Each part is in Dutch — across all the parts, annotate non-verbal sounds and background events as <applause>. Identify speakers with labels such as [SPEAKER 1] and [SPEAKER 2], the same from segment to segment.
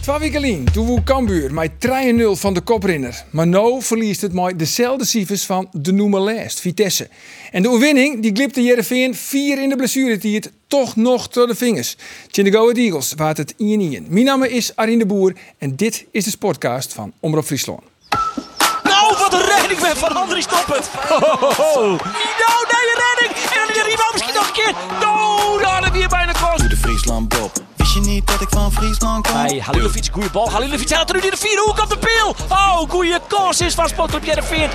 [SPEAKER 1] Twee weken geleden, toen woe Cambuur met 3-0 van de koprinner. Maar nu verliest het mooi dezelfde cijfers van de noemer last, Vitesse. En de overwinning die glipte Jereveen vier in de blessuretijd toch nog door de vingers. Tjin de Go Ahead Eagles waard het 1-1. Mijn naam is Arjen de Boer en dit is de sportcast van Omroep Friesland.
[SPEAKER 2] Nou, wat een redding met Van Andries Stoppert. Nou, nee, een redding. En dan de rebound misschien nog een keer. Nou, daar hadden we hier bijna kost.
[SPEAKER 3] de Friesland Bob. Wist je niet dat ik van Friesland kwam?
[SPEAKER 2] Hey, Halilovic, goede bal. Halilovic haalt er nu in de vierde hoek op de pil. Oh, goede kans is van Sportclub Jereveen.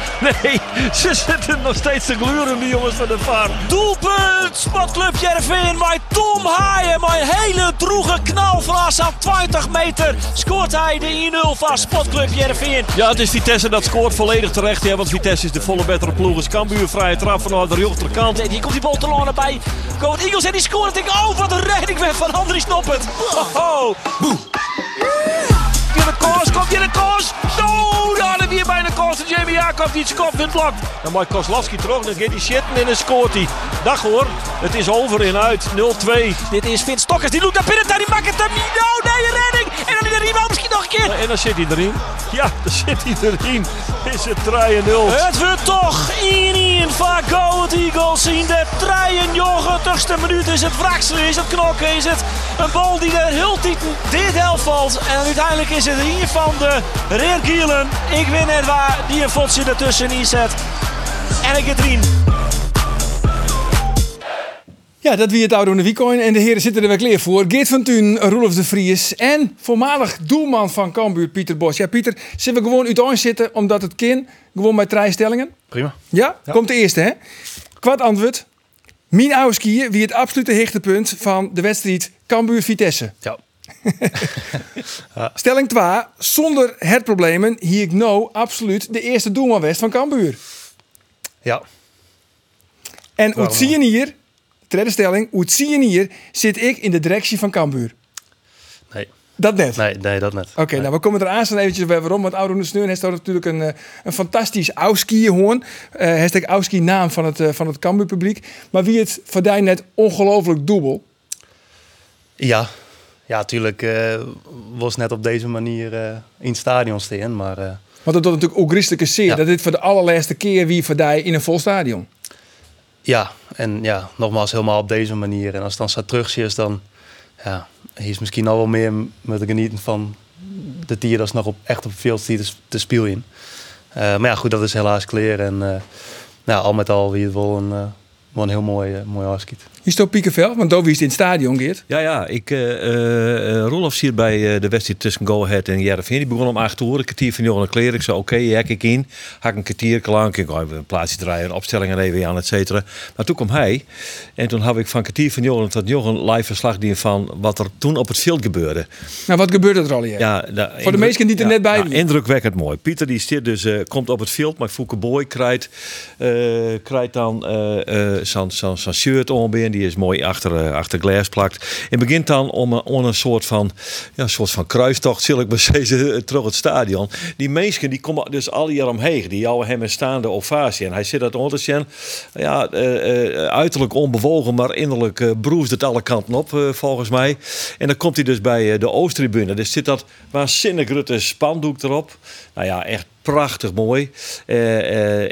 [SPEAKER 2] Nee, <laughs> ze zitten nog steeds te gluren, die jongens van de farm. Doelpunt, Sportclub Jereveen. Maar Tom Haaien, maar een hele droege knal van aan 20 meter. Scoort hij de 1-0 van Sportclub Jereveen.
[SPEAKER 4] Ja, het is Vitesse dat scoort volledig terecht. Ja, want Vitesse is de volle betere ploeg. Is Cambuur vrije trap vanuit de rechterkant.
[SPEAKER 2] En hier komt die bal te lonen bij Goat Eagles en die scoort. Ik denk, oh, wat een redding weer van Andries Noppert. Oh, oh. Weer een koos, komt weer een koos. Zo, daar hadden we weer bijna koos. En Jamie Jacob die het skopt en blokt.
[SPEAKER 4] Dan maakt Koslowski terug, dan gaat hij shitten en dan scoort hij. Dag hoor, het is over en uit. 0-2.
[SPEAKER 2] Dit is Vin Stokkers, die loopt naar binnen. daar, Die maakt het hem niet. Nou, nee, een redding. En dan in de rebound misschien nog een keer.
[SPEAKER 4] En dan zit hij erin. Ja, dan zit hij erin. Is het 3-0.
[SPEAKER 2] Het wordt toch 1-1 van Goat Eagles in de 93ste minuut. Is het wrakselen, is het knokken, is het een bal die er heel diep dit helft valt. En uiteindelijk is het hier van de Reer Gielen. Ik win het waar, die een fotje ertussen inzet. En ik het erin.
[SPEAKER 1] Ja, dat wie het oude de Wiecoin en de heren zitten er weer klaar voor. Geert van Thun, Roelof de Vries en voormalig doelman van Cambuur, Pieter Bos. Ja, Pieter, zullen we gewoon uiteen zitten omdat het kind gewoon met drie stellingen?
[SPEAKER 5] Prima.
[SPEAKER 1] Ja? Komt de eerste, hè? Kwart antwoord. Mijn oude skiën wie het absolute hoogtepunt van de wedstrijd Cambuur-Vitesse.
[SPEAKER 5] Ja.
[SPEAKER 1] Stelling 2. Zonder herproblemen hier ik nou absoluut de eerste doelman west van Cambuur.
[SPEAKER 5] Ja.
[SPEAKER 1] En uit zien hier, tweede stelling, uit zien hier zit ik in de directie van Cambuur.
[SPEAKER 5] Nee.
[SPEAKER 1] Dat net.
[SPEAKER 5] Nee, nee, dat net.
[SPEAKER 1] Oké, nou we komen er aanstaan eventjes bij waarom. Want Auron de Sneur heeft daar natuurlijk een, eh, een fantastisch Auski hoorn. Eh hashtag Auski naam van het, eh, van het Cambuur publiek. Maar wie het voor die net ongelooflijk dubbel.
[SPEAKER 5] Ja. Ja, tuurlijk eh, was net op deze manier eh, in het stadion staan, maar eh,
[SPEAKER 1] Want dat doet natuurlijk ook christelijke zeer.
[SPEAKER 5] Ja.
[SPEAKER 1] Dat dit voor de allerlaatste keer wie voor die in een vol stadion.
[SPEAKER 5] ja. En ja, nogmaals, helemaal op deze manier. En als het dan zo terug is, dan ja, hier is misschien al wel meer m- met genieten van de tier dat is nog op, echt op veel te, s- te spelen in. Eh, maar ja, goed, dat is helaas clear. En eh, nou, al met al, wie het wel een, eh, wel een heel mooi, eh, mooi afskiet.
[SPEAKER 1] Hier staat Piekenveld, want Dovi is in het stadion, Geert.
[SPEAKER 4] Ja, ja. Ik, eh eh, eh, Roelof hier bij eh, de wedstrijd tussen Go Ahead en Jereveen. Die begon om 8 uur. Een kwartier van Johan Kleer. Ik zei, oké, hek ik in. Hak een kwartier lang. Ik ga even een plaatsje draaien, opstellingen even aan, et cetera. Maar toen kwam hij. En toen had ik van kwartier van Johan tot Johan live verslag die van wat er toen op het veld gebeurde.
[SPEAKER 1] Nou, wat gebeurt er al hier?
[SPEAKER 4] Ja,
[SPEAKER 1] Voor de meesten die er net bij
[SPEAKER 4] zijn.
[SPEAKER 1] waren.
[SPEAKER 4] indrukwekkend mooi. Pieter die stier dus, eh, komt op het veld, maar Fouke Boy krijgt, eh, krijgt dan eh, eh, zijn- zijn zijn shirt omheen. Die is mooi achter, eh, achter glas plakt. En begint dan om, een- om een soort van, ja, een soort van kruistocht, zal ik maar <laughs> zeggen, eh, terug het stadion. Die mensen die komen dus al hier omheen. Die houden hem een staande ovatie. En hij zit dat onder zijn, ja, eh, eh, uiterlijk onbewogen, maar innerlijk eh, broest het alle kanten op, eh, volgens mij. En dan komt hij dus bij eh, de Oosttribune. Dus zit dat waanzinnig rutte spandoek erop. Nou ja, echt prachtig mooi. Eh,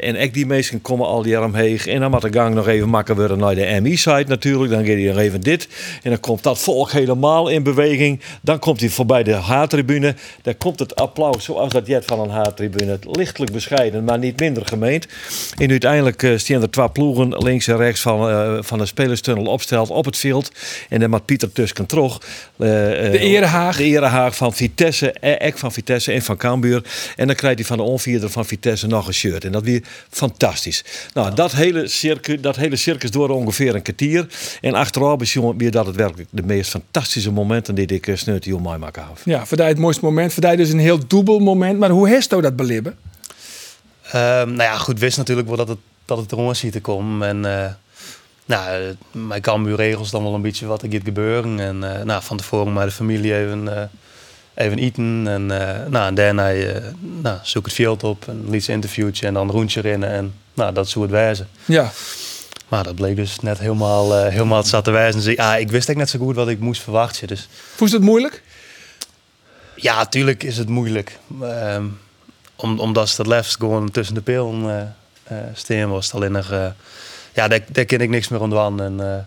[SPEAKER 4] eh, en ook die mensen komen al die omheen. En dan moet de gang nog even makker worden naar de MI-site natuurlijk. Dan gaat hij nog even dit. En dan komt dat volk helemaal in beweging. Dan komt hij voorbij de H-tribune. Daar komt het applaus zoals dat jet van een H-tribune. Lichtelijk bescheiden, maar niet minder gemeend. En uiteindelijk eh staan er twee ploegen links en rechts van, eh, van de spelerstunnel opsteld op het veld. En dan maakt Pieter Tusken terug. Eh,
[SPEAKER 1] De erehaag.
[SPEAKER 4] De erehaag van Vitesse, eh, ek van Vitesse en van Cambuur. En dan krijgt hij van de onvierder van Vitesse nog een shirt. En dat weer fantastisch. Nou, dat, hele circus, dat hele circus door ongeveer een kwartier. En achteraf is jongen weer dat het werkelijk de meest fantastische momenten die ik eh, sneurt die om mij maken af.
[SPEAKER 1] Ja, voor die het mooiste moment. Voor die dus een heel dubbel moment. Maar hoe hesto dat belibben?
[SPEAKER 5] Ehm, nou ja, goed, wist natuurlijk wel dat het, dat het eronder ziet te komen. En eh, Nou, eh, mijn Cambuur regels dan wel een beetje wat er gaat gebeuren. En eh, nou, van tevoren met de familie even, eh, even eten. En, eh, nou, en daarna eh, nou, zoek het veld op, een liedje interviewtje en dan een rondje rennen. En nou, dat zou het wijzen.
[SPEAKER 1] Ja,
[SPEAKER 5] Maar dat bleek dus net helemaal, eh, helemaal het zat te wijzen. Dus ik, ah, ik wist eigenlijk net zo goed wat ik moest verwachten. Dus
[SPEAKER 1] vond je dat moeilijk?
[SPEAKER 5] ja, tuurlijk is het moeilijk. Ehm, om, omdat ze dat lefst gewoon tussen de pil eh eh, steen was. Alleen nog, eh, ja, daar, daar ken ik niks meer aan doen. En eh,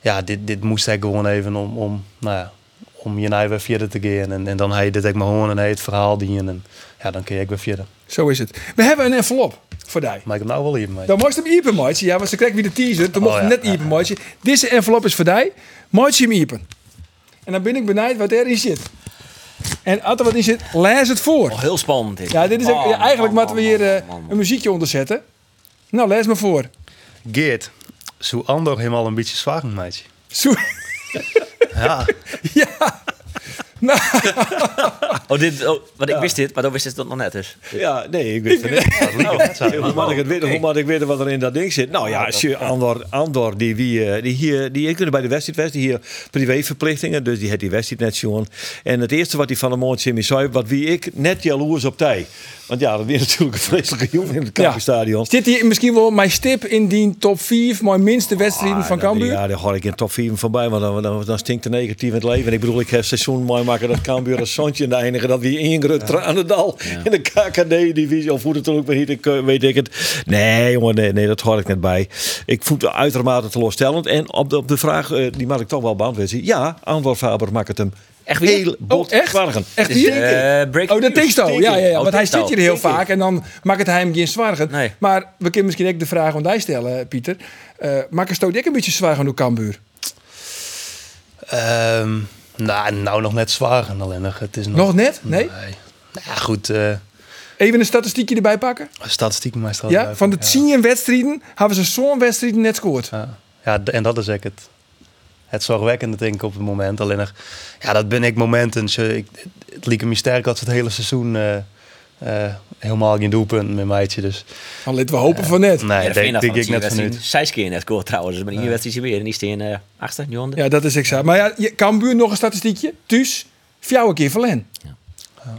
[SPEAKER 5] ja, dit, dit moest ik gewoon even om, om, nou ja, om je naar weer verder te gaan. En, en dan heb je dit ik maar gewoon en hij het verhaal dienen. En ja, dan kun je ik weer verder.
[SPEAKER 1] Zo is het. We hebben een envelop voor jou.
[SPEAKER 5] Maar ik heb nou wel hier mee.
[SPEAKER 1] Dan moest hem iepen, Maatje. Ja, want ze kreeg weer de teaser. Toen
[SPEAKER 5] Oh,
[SPEAKER 1] mocht hem
[SPEAKER 5] ja,
[SPEAKER 1] net
[SPEAKER 5] ja,
[SPEAKER 1] iepen, Maatje. Deze envelop is voor jou. Maatje hem iepen. En dan ben ik benijd wat erin zit. En als er wat in zit, lees het voor.
[SPEAKER 6] Al Oh, heel spannend dit.
[SPEAKER 1] Ja, dit is
[SPEAKER 6] Man,
[SPEAKER 1] ja, eigenlijk
[SPEAKER 6] man,
[SPEAKER 1] moeten we
[SPEAKER 6] man,
[SPEAKER 1] hier
[SPEAKER 6] man,
[SPEAKER 1] eh,
[SPEAKER 6] man, man.
[SPEAKER 1] een muziekje onder zetten. Nou, lees maar voor.
[SPEAKER 5] Geert, zo ander helemaal een beetje zwaar, meidje.
[SPEAKER 1] Zo-
[SPEAKER 5] Ja.
[SPEAKER 1] ja.
[SPEAKER 6] Oh, dit, oh, want ik wist dit, maar dan wist ik dat nog net. Dus.
[SPEAKER 4] Ja, nee,
[SPEAKER 6] <laughs>
[SPEAKER 4] ik weet het niet.
[SPEAKER 1] Oh.
[SPEAKER 4] Hoe moet ik het weten? Hoe moet ik weten wat er in dat ding zit? Nou ja, als je Andor, Andor die, wie, eh, die hier, die kunnen bij de wedstrijd West, die hier privéverplichtingen, dus die had die wedstrijd net zien. En het eerste wat hij van de morgen Jimmy zei, wat wie ik net jaloers op tij. Want ja, dat weer <laughs> natuurlijk een vreselijke jongen in
[SPEAKER 1] <laughs>
[SPEAKER 4] het
[SPEAKER 1] ja.
[SPEAKER 4] Kampenstadion.
[SPEAKER 1] Zit hier misschien wel mijn stip in die top 5, mijn minste wedstrijden
[SPEAKER 6] Ah,
[SPEAKER 1] van Cambuur?
[SPEAKER 4] Ah, Ja, daar hoor ik in top 4 voorbij, want dan, dan, dan stinkt de negatief in het leven. En ik bedoel, ik heb seizoen mooi maken dat Cambuur als Santje en de enige dat wie ingrut aan het dal in de KKD-divisie. Of hoe het dan ook maar niet, ik, eh, weet ik het. Nee, jongen, nee, nee, dat hoor ik net bij. Ik voel het uitermate teleurstellend. En op de, op de vraag, eh, die mag ik toch wel beantwoorden. Ja, Antwoord Faber maakt het hem
[SPEAKER 6] Echt weer?
[SPEAKER 4] heel bot
[SPEAKER 1] oh, echt?
[SPEAKER 4] kwargen.
[SPEAKER 1] Echt
[SPEAKER 6] Dus,
[SPEAKER 1] hier?
[SPEAKER 6] eh, breaking
[SPEAKER 1] oh, dat
[SPEAKER 6] news.
[SPEAKER 1] tinkst al. Ja, ja, ja.
[SPEAKER 6] Oh,
[SPEAKER 1] Want hij
[SPEAKER 6] tinkst
[SPEAKER 1] zit
[SPEAKER 6] al.
[SPEAKER 1] hier heel
[SPEAKER 4] Tinkst.
[SPEAKER 1] vaak en dan maakt het hem geen zwaargen.
[SPEAKER 6] Nee.
[SPEAKER 1] Maar we kunnen misschien ook de vraag aan jou stellen, Pieter. Eh maak een stoot ook een beetje zwaargen door Cambuur?
[SPEAKER 5] Ehm, nou, nou nog net zwaar en alleen nog. Het is nog,
[SPEAKER 1] Nog net? Nee?
[SPEAKER 5] Nou Ja, goed. eh
[SPEAKER 1] Even een statistiekje erbij pakken.
[SPEAKER 5] statistieken Oh, maar staat
[SPEAKER 1] Ja,
[SPEAKER 5] erbij.
[SPEAKER 1] van de tien wedstrijden hebben ze zo'n wedstrijd net gescoord.
[SPEAKER 5] Ja, ja d- en dat is eigenlijk het, het zorgwekkende denk ik op het moment. Alleen nog, ja, dat ben ik momenten. Zo, ik, het- het liep me sterk als het hele seizoen eh, eh, helemaal geen doelpunt met meidje. Dus
[SPEAKER 1] Dan laten we hopen van net.
[SPEAKER 5] nee, denk, denk ik net van
[SPEAKER 6] nu.
[SPEAKER 5] niet.
[SPEAKER 6] Zes keer net scoort trouwens, maar in die wedstrijd is hij weer. En die steen eh achter, nu onder.
[SPEAKER 1] Ja, dat is exact. Maar ja, je- Cambuur nog een statistiekje. Dus, vier keer verlen.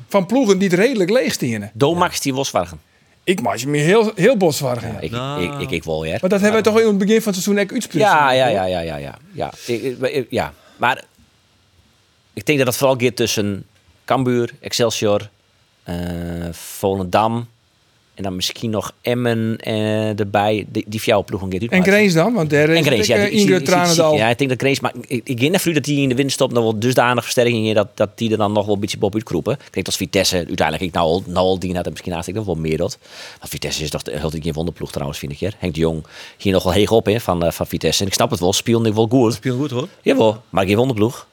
[SPEAKER 1] Van ploegen die het redelijk leeg stenen.
[SPEAKER 6] Domax die Wolfswagen.
[SPEAKER 1] Ik maak je me heel, heel botswaardig.
[SPEAKER 6] Ik, ik, ik, ik wel, ja.
[SPEAKER 1] Maar dat hebben we toch in het begin van het seizoen ook uitspreken.
[SPEAKER 6] Ja, ja, ja, ja, ja, ja. Ja, ik, ik- ik- ja. maar ik denk dat dat vooral gaat tussen Cambuur, Excelsior, eh, Volendam en dan misschien nog Emmen eh, erbij. Die, die vier ploegen gaat
[SPEAKER 1] En
[SPEAKER 6] Greens
[SPEAKER 1] Greens dan? Want daar is
[SPEAKER 6] En Greens, ja.
[SPEAKER 1] natuurlijk,
[SPEAKER 6] die-
[SPEAKER 1] eh,
[SPEAKER 6] ik
[SPEAKER 1] Ingrid
[SPEAKER 6] zie- ik zie- ik zie-
[SPEAKER 1] Tranendal.
[SPEAKER 6] Ja, ik denk dat Greens, maar ik, ik denk dat dat die in de winst stopt, dan wel dusdanig versterking in dat, dat die er dan nog wel een beetje boven uitkroepen. Ik denk dat Vitesse uiteindelijk, ik nou, al- nou al die had er misschien naast, ik nog wel meer dat. Maar Vitesse is toch de- heel die geen wonderploeg trouwens, vind ik. Hè. Henk de Jong hier nog wel heeg op hè, van, eh, van Vitesse. En ik snap het wel, spelen ik wel goed.
[SPEAKER 4] Speel goed hoor.
[SPEAKER 6] Jawel, maar geen wonderploeg.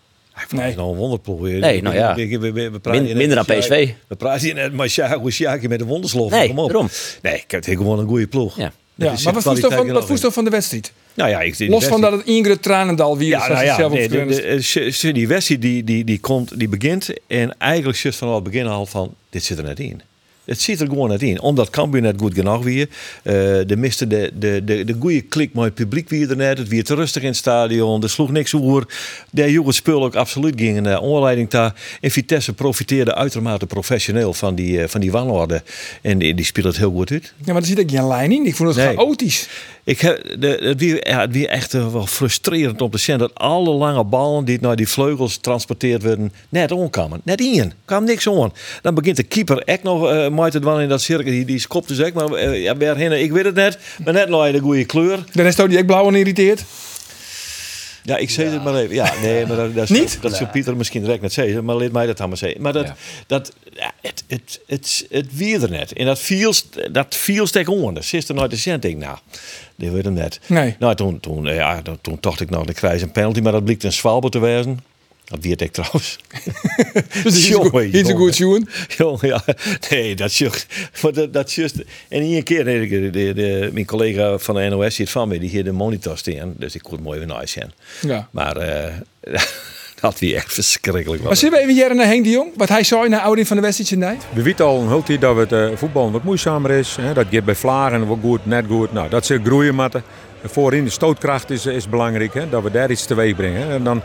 [SPEAKER 1] Nee.
[SPEAKER 4] Dat is nou een wonderploeg. weer.
[SPEAKER 6] Nee, nou ja.
[SPEAKER 4] We- we- we- we praten
[SPEAKER 6] Min-
[SPEAKER 4] hier
[SPEAKER 6] minder
[SPEAKER 4] net
[SPEAKER 6] dan
[SPEAKER 4] met
[SPEAKER 6] PSV.
[SPEAKER 4] Sjaak- We praten hier net maar Sjaak- hoe Sjaakje met een wondersloof.
[SPEAKER 6] Nee,
[SPEAKER 4] Kom op.
[SPEAKER 6] daarom.
[SPEAKER 4] Nee, ik heb het gewoon een goede ploeg.
[SPEAKER 6] Ja.
[SPEAKER 4] Dat
[SPEAKER 1] Ja,
[SPEAKER 4] is
[SPEAKER 1] maar
[SPEAKER 4] de
[SPEAKER 1] wat voest dan
[SPEAKER 4] kwaliteit
[SPEAKER 1] van, wat
[SPEAKER 4] erover.
[SPEAKER 1] voest dan van de wedstrijd?
[SPEAKER 4] Nou ja, ik zie die
[SPEAKER 1] Los van
[SPEAKER 4] Wesley-
[SPEAKER 1] dat het Ingrid Tranendal weer is.
[SPEAKER 4] ja, nou
[SPEAKER 1] zoals ze
[SPEAKER 4] ja,
[SPEAKER 1] zelf
[SPEAKER 4] nee, de,
[SPEAKER 1] opgeschreven
[SPEAKER 4] de,
[SPEAKER 1] is.
[SPEAKER 4] eh, Su- Su- die Wessie die, die, die, komt, die begint en eigenlijk zit van al het begin al van, dit zit er net in. Het zit er gewoon net in. Omdat Cambuur net goed genoeg weer. Eh de miste de, de, de, de goede klik met het publiek weer er net. Het weer te rustig in het stadion. Er sloeg niks oer. De jongens spul ook absoluut gingen naar onleiding daar. En Vitesse profiteerde uitermate professioneel van die, eh, van die wanorde. En die, die speelt het heel goed uit.
[SPEAKER 1] Ja, maar er zit ook geen lijn in. Ik vond het
[SPEAKER 4] Nee.
[SPEAKER 1] chaotisch.
[SPEAKER 4] Ik heb, de, het, wie, ja, het wie echt eh, wel frustrerend om te zien dat alle lange ballen die naar die vleugels transporteerd werden, net onkamen. Net in. kwam niks om. Dan begint de keeper echt nog uh, mooi te doen in dat cirkel. Die, die skopt dus echt, maar eh, ja, waarheen, ik weet het net. Maar net naar de goede kleur.
[SPEAKER 1] Dan is het ook die echt blauw en
[SPEAKER 4] <laughs>
[SPEAKER 1] irriteerd.
[SPEAKER 4] Ja, ik zei het maar even. Ja, nee, maar dat, dat,
[SPEAKER 1] <laughs> Niet?
[SPEAKER 4] dat zou Pieter misschien direct net zeggen, maar laat mij dat dan maar zeggen. Maar dat, dat ja, het, het, het, het weer er net. En dat viel, st- dat viel stek onder. Dat zit er nooit de cent. Ik denk, nou, dit werd hem net.
[SPEAKER 1] Nee.
[SPEAKER 4] Nou, toen, toen, eh, ja, toen, toen dacht ik, nou, dan krijg je een penalty, maar dat bleek een zwalbe te wezen. Dat weet ik trouwens. <laughs>
[SPEAKER 1] Dus die is een goed- die
[SPEAKER 4] Jongen,
[SPEAKER 1] is een
[SPEAKER 4] jongen.
[SPEAKER 1] goed jongen.
[SPEAKER 4] Jong, ja. Nee, dat is juist. maar dat, dat is juist. En in een keer, nee, de, de, de- mijn collega van de NOS zit van me, die hier de monitor staan. Dus ik kon mooi weer nice zijn.
[SPEAKER 1] Ja.
[SPEAKER 4] Maar eh, <laughs> dat wie echt verschrikkelijk
[SPEAKER 1] Maar
[SPEAKER 4] was.
[SPEAKER 1] zullen we even Jaren naar Henk de Jong? Wat hij zei naar Oudin van de wedstrijd nee?
[SPEAKER 7] We weten al een heel tijd dat het eh, voetbal wat moeizamer is. Hè? Dat gaat bij Vlagen wat goed, net goed. Nou, dat zit groeien matten. Voorin de stootkracht is, is belangrijk, hè, dat we daar iets teweeg brengen. hè. En dan,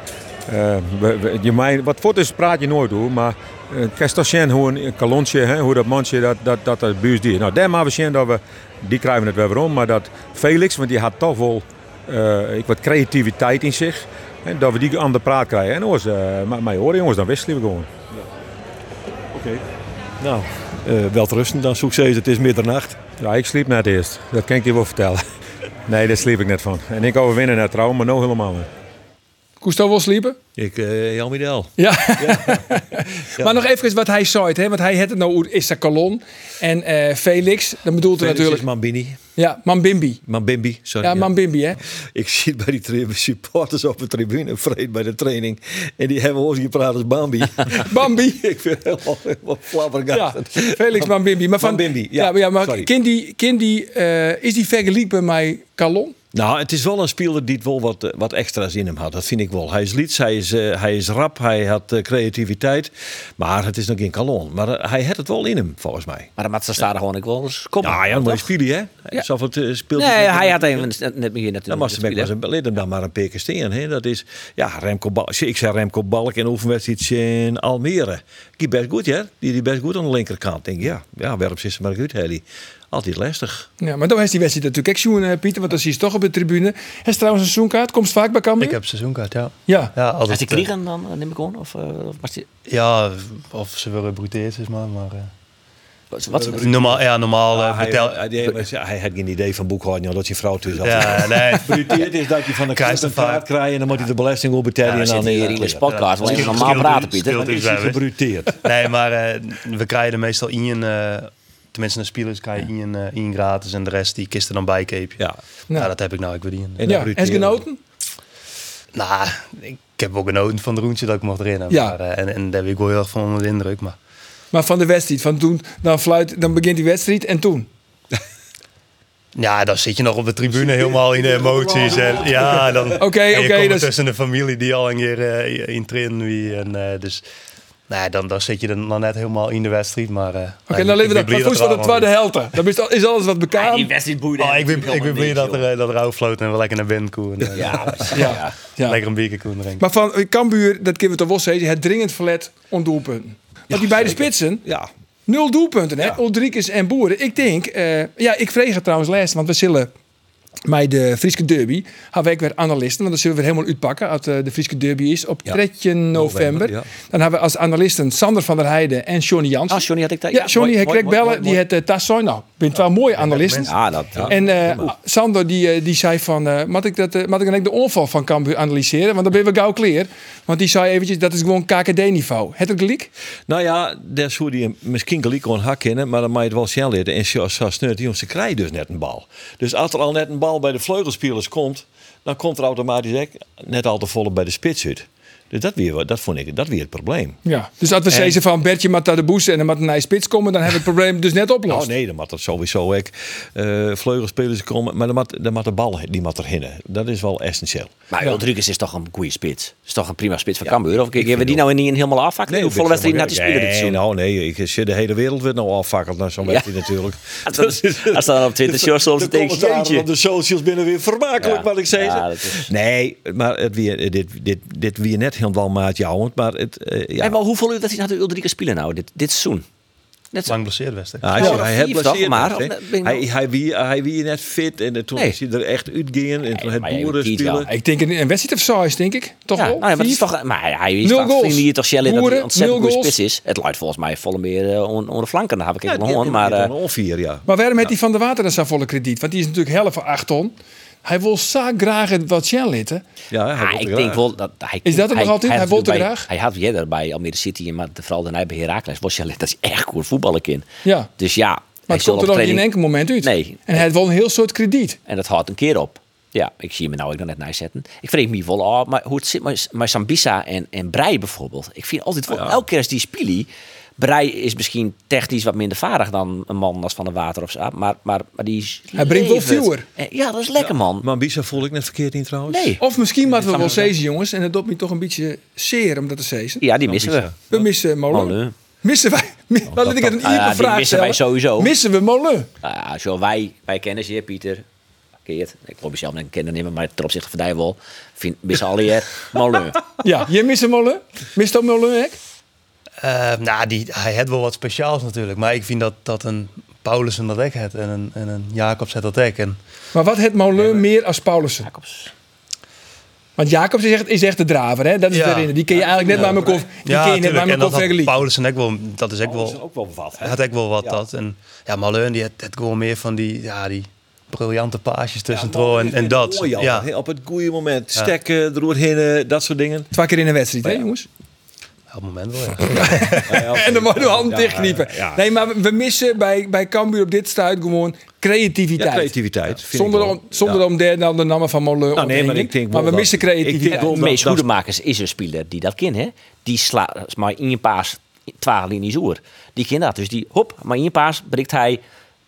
[SPEAKER 7] eh, we- we- je mijn, wat voor is praat je nooit hoor, maar eh kerst toch zien hoe een kalontje, hè, hoe dat mandje, dat dat, dat, dat buurt die. Nou, daar maar we zien dat we, die krijgen het weer weer om, maar dat Felix, want die had toch wel eh, ik wat creativiteit in zich, hè, dat we die aan de praat krijgen. En jongens, eh, maar maar hoor jongens, dan wisselen we gewoon.
[SPEAKER 4] Nou, eh wel rusten dan succes. Het is middernacht.
[SPEAKER 7] Ja, ik sliep net eerst, dat kan ik je wel vertellen. Nee, daar sliep ik net van. En ik overwinnen net trouwen, maar nog helemaal niet.
[SPEAKER 1] Cousteau wil sliepen?
[SPEAKER 4] Ik, eh Jan Middel.
[SPEAKER 1] Ja. <laughs> maar nog even wat hij zei, het, hè? want hij had het nou over Issa Kalon en eh, Felix. Dan bedoelt hij natuurlijk...
[SPEAKER 4] Mambini.
[SPEAKER 1] Ja, Mambimbi.
[SPEAKER 4] Mambimbi, sorry.
[SPEAKER 1] Ja, Mambimbi,
[SPEAKER 4] <laughs>
[SPEAKER 1] hè?
[SPEAKER 4] Ik zit bij die tri- supporters op de tribune, vreed bij de training. En die hebben ons gepraat als Bambi.
[SPEAKER 1] Bambi.
[SPEAKER 4] ik vind het helemaal, helemaal <laughs>
[SPEAKER 1] Ja,
[SPEAKER 4] flabbergasted.
[SPEAKER 1] Felix Mambimbi. Maar van,
[SPEAKER 4] Mambimbi, ja.
[SPEAKER 1] maar, maar
[SPEAKER 4] Sorry.
[SPEAKER 1] kind die, kind die, eh, is die vergelijkbaar met Kalon?
[SPEAKER 4] Nou, het is wel een speler die het wel wat, eh, wat extra's in hem had. Dat vind ik wel. Hij is lieds, hij is, eh, hij is rap, hij had eh, creativiteit. Maar het is nog geen kalon. Maar eh, hij had het wel in hem, volgens mij.
[SPEAKER 6] Maar dat ze staan er gewoon ik wel eens komen.
[SPEAKER 4] Ja, ja, maar spelen, hè?
[SPEAKER 6] Ja.
[SPEAKER 4] Zelf het eh, speelt
[SPEAKER 6] Nee,
[SPEAKER 4] hij niet.
[SPEAKER 6] hij had even net- net meer natuurlijk.
[SPEAKER 4] Dan was de was een lid hem dan maar een pikken steen. Hè? Dat is, ja, Remco Balk. Ik zei Remco Balk in oefenwedstrijd in Almere. Die best goed, hè? Die die best goed aan de linkerkant. Denk, ik, ja, ja, werp ze maar goed, Helly. Altijd lastig.
[SPEAKER 1] Ja, maar dan is die wedstrijd natuurlijk ook zien, eh, Pieter, want dan zie je ze toch op de tribune. Hij is trouwens een seizoenkaart, komt ze vaak bij Cambuur?
[SPEAKER 5] Ik heb seizoenkaart, ja.
[SPEAKER 1] Ja.
[SPEAKER 5] ja altijd,
[SPEAKER 6] Als die
[SPEAKER 5] eh,
[SPEAKER 6] kriegen, dan eh, neem ik gewoon. Of, eh, of was die-
[SPEAKER 5] Ja, of ze willen bruteerd is maar. maar eh,
[SPEAKER 6] wat- wat-
[SPEAKER 5] normaal, ja, normaal
[SPEAKER 6] Ah,
[SPEAKER 5] eh,
[SPEAKER 4] hij,
[SPEAKER 5] vertel...
[SPEAKER 4] hij, hij, was- ja, hij had geen idee van boekhouding, omdat je vrouw thuis had.
[SPEAKER 5] ja, nee.
[SPEAKER 4] Het is dat je van de
[SPEAKER 5] Krijgt
[SPEAKER 4] kast een
[SPEAKER 5] een paar.
[SPEAKER 4] kaart krijgt en dan moet hij de belasting op betalen.
[SPEAKER 6] Ja,
[SPEAKER 4] en
[SPEAKER 6] dan
[SPEAKER 4] dan eh,
[SPEAKER 6] zitten hier in deze <laughs> podcast. Wil je even normaal
[SPEAKER 5] Scheelt-
[SPEAKER 6] praten, Pieter?
[SPEAKER 5] scheelt-
[SPEAKER 4] is hij gebruteerd.
[SPEAKER 5] nee, maar eh, we krijgen er meestal in je... eh, tenminste, naar spelers krijg je in je, eh, in je gratis en de rest die kisten dan bijkeep.
[SPEAKER 4] <laughs> Ja.
[SPEAKER 5] Nou, dat heb ik nou, ik weet niet.
[SPEAKER 4] En
[SPEAKER 1] ja.
[SPEAKER 4] dan
[SPEAKER 1] En genoten?
[SPEAKER 5] Nou, ik heb wel genoten van de roentje dat ik mocht erin hebben.
[SPEAKER 1] Ja.
[SPEAKER 5] Maar, eh, en, en daar ben ik wel heel erg van onder de indruk. Maar
[SPEAKER 1] Maar van de wedstrijd, van toen, dan, fluit, dan begint die wedstrijd en toen.
[SPEAKER 5] ja, dan zit je nog op de tribune helemaal in de emoties. En, ja, dan
[SPEAKER 1] Oké,
[SPEAKER 5] en je
[SPEAKER 1] oké,
[SPEAKER 5] komt
[SPEAKER 1] dus-
[SPEAKER 5] tussen de familie die al een keer eh, in trainen wie. En, eh, dus nou, ja, dan, dan zit je er nog net helemaal in de wedstrijd. Maar, eh,
[SPEAKER 1] Oké,
[SPEAKER 5] nou,
[SPEAKER 1] dan
[SPEAKER 5] ik
[SPEAKER 1] leven we
[SPEAKER 5] ben
[SPEAKER 1] dat.
[SPEAKER 5] blij
[SPEAKER 1] Maar voedsel
[SPEAKER 5] er
[SPEAKER 1] de tweede
[SPEAKER 5] allemaal
[SPEAKER 1] helte. Dan is al- is alles wat
[SPEAKER 6] Ja,
[SPEAKER 1] bekend.
[SPEAKER 6] die wedstrijd boeide.
[SPEAKER 5] is. Oh, ik ben, ik ben
[SPEAKER 6] helemaal
[SPEAKER 5] blij
[SPEAKER 6] niks,
[SPEAKER 5] dat er,
[SPEAKER 6] joh.
[SPEAKER 5] eh, dat er oude floot en we lekker naar binnen koen. En, eh, <laughs>
[SPEAKER 1] Ja. ja.
[SPEAKER 5] Lekker een biertje koen drinken.
[SPEAKER 1] Maar van eh, Cambuur, dat kunnen we toch wel zeggen, het dringend verlet om doelpunten. Want die beide spitsen,
[SPEAKER 4] Ja.
[SPEAKER 1] nul doelpunten, hè? Ulrikes en Boeren. Ik denk, eh, ja, ik vreeg het trouwens les, want we zullen bij de Friese Derby hebben we ook weer analisten, want dat zullen we weer helemaal uitpakken als eh, de Friese Derby is op 13 november.
[SPEAKER 4] november, ja.
[SPEAKER 1] Dan hebben we als analisten Sander van der Heijden en Johnny Jansen.
[SPEAKER 6] Ah, Johnny had ik daar.
[SPEAKER 1] ja, Johnny,
[SPEAKER 6] mooi,
[SPEAKER 1] hij
[SPEAKER 6] mooi,
[SPEAKER 1] kreeg
[SPEAKER 6] mooi,
[SPEAKER 1] bellen,
[SPEAKER 6] mooi,
[SPEAKER 1] die
[SPEAKER 6] mooi.
[SPEAKER 1] het eh Tassoy. Nou, bent wel mooie analisten.
[SPEAKER 6] Ja, dat. ja.
[SPEAKER 1] En eh, Sander die, eh, die zei van, eh mag ik, dat, eh, mag ik dan ook de onval van Cambuur analyseren? Want dan ben we gauw clear. Want die zei eventjes, dat is gewoon KKD-niveau. Het ook gelijk?
[SPEAKER 4] Nou ja, daar zou hij hem misschien gelijk kon hakken, in, maar dan moet je het wel snel leren. En zoals zo sneurt die jongens, ze krijgen dus net een bal. Dus als er al net een bal bij de vleugelspelers komt, dan komt er automatisch ook net al te volle bij de spits uit. Dus dat, weer, wat- dat vond ik dat weer het probleem.
[SPEAKER 1] Ja. Dus als we zeggen van Bertje moet naar de boes en dan moet een nieuwe spits komen, dan hebben we het probleem dus net oplost.
[SPEAKER 4] Oh nee, dan moet dat sowieso ook eh, vleugelspelers komen, maar dan moet, dan moet de bal die moet er hinnen. Dat is wel essentieel.
[SPEAKER 6] Maar Rodriguez is toch een goede spits. Is toch een prima spits van Cambuur. Of hebben we die nou niet in helemaal afvakken? Nee, volle wedstrijd naar te spelen dit
[SPEAKER 4] Nee,
[SPEAKER 6] seizoen.
[SPEAKER 4] nou nee, ik zit de hele wereld weer nou afvakkeld naar zo'n
[SPEAKER 6] Ja.
[SPEAKER 4] wedstrijd natuurlijk.
[SPEAKER 6] Als dan- Als dan op Twitter shows soms
[SPEAKER 4] de
[SPEAKER 6] een tegensteentje.
[SPEAKER 4] commentaren op de socials binnen weer vermakelijk,
[SPEAKER 6] Ja.
[SPEAKER 4] wat ik zei.
[SPEAKER 6] Ja, dat is-
[SPEAKER 4] Nee, maar het weer, dit, dit, dit weer net helemaal maatjouwend, maar het, eh, ja.
[SPEAKER 6] En wel, hoeveel uur dat hij nou de Ulrike spelen nou dit, dit seizoen? Net zo.
[SPEAKER 5] Lang blesseerd best. hè?
[SPEAKER 4] Ja, hij
[SPEAKER 6] Ja,
[SPEAKER 4] zei, hij
[SPEAKER 6] vier
[SPEAKER 4] had
[SPEAKER 6] toch,
[SPEAKER 4] blesseerd
[SPEAKER 6] maar
[SPEAKER 4] net, hè.
[SPEAKER 6] of- ben ik
[SPEAKER 4] hij,
[SPEAKER 6] nou-
[SPEAKER 4] hij, wie, hij wie net fit en eh, toen
[SPEAKER 6] Nee.
[SPEAKER 4] is hij er echt uitgegaan en toen het
[SPEAKER 6] maar jij
[SPEAKER 4] boeren
[SPEAKER 6] moet niet, ja.
[SPEAKER 4] spelen.
[SPEAKER 1] Ik denk een, een wedstrijd of size, denk ik. Toch
[SPEAKER 6] Ja,
[SPEAKER 1] wel?
[SPEAKER 6] nou ja, maar, het is
[SPEAKER 1] Vier?
[SPEAKER 6] toch, maar hij is
[SPEAKER 1] Nul
[SPEAKER 6] toch
[SPEAKER 1] goals.
[SPEAKER 6] vrienden hier toch Shelley dat hij
[SPEAKER 1] Boeren,
[SPEAKER 6] een ontzettend
[SPEAKER 1] nul
[SPEAKER 6] goede
[SPEAKER 1] goals.
[SPEAKER 6] spits is. Het luidt volgens mij volle meer eh on, on de flanken. Daar heb ik
[SPEAKER 4] Ja,
[SPEAKER 6] even
[SPEAKER 4] die- die-
[SPEAKER 6] maar
[SPEAKER 4] die-
[SPEAKER 6] eh,
[SPEAKER 4] die- onvier, ja.
[SPEAKER 1] Maar waarom heeft die Van der Water dan zijn volle krediet? Want die is natuurlijk helft van acht ton. Hij wil zo graag het wat Jan litten.
[SPEAKER 4] ja, hij
[SPEAKER 6] ah,
[SPEAKER 4] wordt
[SPEAKER 6] ik
[SPEAKER 4] er
[SPEAKER 6] denk
[SPEAKER 4] graag.
[SPEAKER 6] wel dat hij
[SPEAKER 1] Is dat hem nog altijd? Hij
[SPEAKER 6] had
[SPEAKER 1] wil te
[SPEAKER 6] bij-
[SPEAKER 1] graag?
[SPEAKER 6] Hij had eerder bij Almere City, maar de- vooral daarna bij Heracles was Shelley dat is echt goed voetballen in.
[SPEAKER 1] Ja.
[SPEAKER 6] Dus ja,
[SPEAKER 1] Maar het komt er dan in enkel moment uit.
[SPEAKER 6] Nee.
[SPEAKER 1] En hij heeft wel een heel soort krediet.
[SPEAKER 6] En dat houdt een keer op. Ja, ik zie me nou ook nog net nice zetten. Ik vrees me wel, oh, maar hoe het zit met, met Sambisa en, en Brei bijvoorbeeld. Ik vind altijd, wel, elke keer als die spili... Brei is misschien technisch wat minder vaardig dan een man als Van de Water of zo. Maar, maar, maar die is
[SPEAKER 1] Hij brengt wel
[SPEAKER 6] levend.
[SPEAKER 1] viewer.
[SPEAKER 6] En- Ja, dat is lekker, man.
[SPEAKER 4] Maar Bisa voel ik net verkeerd in trouwens.
[SPEAKER 6] Nee.
[SPEAKER 1] Of misschien moeten we wel zezen, jongens. En dat doet me toch een beetje zeer om dat te zezen.
[SPEAKER 6] Ja, die missen we.
[SPEAKER 4] Bisa.
[SPEAKER 1] We missen Molen.
[SPEAKER 6] Molen.
[SPEAKER 1] Missen wij? <laughs> mi- laat ik het een
[SPEAKER 6] Ah, ja,
[SPEAKER 1] iedere
[SPEAKER 6] die
[SPEAKER 1] vraag
[SPEAKER 6] missen wij
[SPEAKER 1] stellen.
[SPEAKER 6] sowieso.
[SPEAKER 1] Missen we Molen?
[SPEAKER 6] Ah, zo, wij, wij kennen ze, Pieter. keert. Ik probeer zelf een kennen nemen, maar ten opzichte van Dijwol vind missen eh, alle <laughs> hier Molen.
[SPEAKER 1] Ja, je mist een molen? Mist ook molen, hè?
[SPEAKER 5] Eh, nou, die, hij had wel wat speciaals natuurlijk. Maar ik vind dat, dat een Paulus dat dek had en een, en een Jacobs had dat dek. En
[SPEAKER 1] Maar wat het Molen meer als Paulussen?
[SPEAKER 6] Jacobs.
[SPEAKER 1] Want Jacobs is echt, is echt de draver, hè? Dat is
[SPEAKER 5] Ja.
[SPEAKER 1] de reden. Die kun je eigenlijk net bij mijn koffie, die kun je net
[SPEAKER 5] tuurlijk.
[SPEAKER 1] bij mijn
[SPEAKER 5] en dat had
[SPEAKER 1] koffie vergelijken.
[SPEAKER 5] Paulus en ook wel, dat is ook
[SPEAKER 4] is
[SPEAKER 5] wel,
[SPEAKER 4] ook wel wat.
[SPEAKER 5] had ook wel wat dat. En ja, Malheun die had, had gewoon meer van die, ja, die briljante paasjes tussen Tro en, en dat. Ja.
[SPEAKER 4] Ja. Op het goede moment. Stekken, doorheen, eh, dat soort dingen.
[SPEAKER 1] Twee keer in een wedstrijd, hè, jongens? <laughs>
[SPEAKER 5] Op het moment wel, ja.
[SPEAKER 1] En dan worden we handen dichtkniepen. Nee, maar we- we missen bij, bij Cambuur op dit stuit gewoon creativiteit.
[SPEAKER 4] Ja, creativiteit. vind
[SPEAKER 1] Zonder,
[SPEAKER 4] ik wel.
[SPEAKER 1] om, zonder om daar dan de namen van Molen
[SPEAKER 4] Nou, nee, maar ik denk wel
[SPEAKER 1] we
[SPEAKER 4] dat-
[SPEAKER 1] missen
[SPEAKER 4] ik denk
[SPEAKER 1] creativiteit.
[SPEAKER 4] wel dat-
[SPEAKER 6] Mees
[SPEAKER 4] dat-
[SPEAKER 6] Goedemakers is een speler die dat kent, hè? Die slaat maar in je paas twaalf linies oer. Die kent dat. Dus die, hop, maar in je paas breekt hij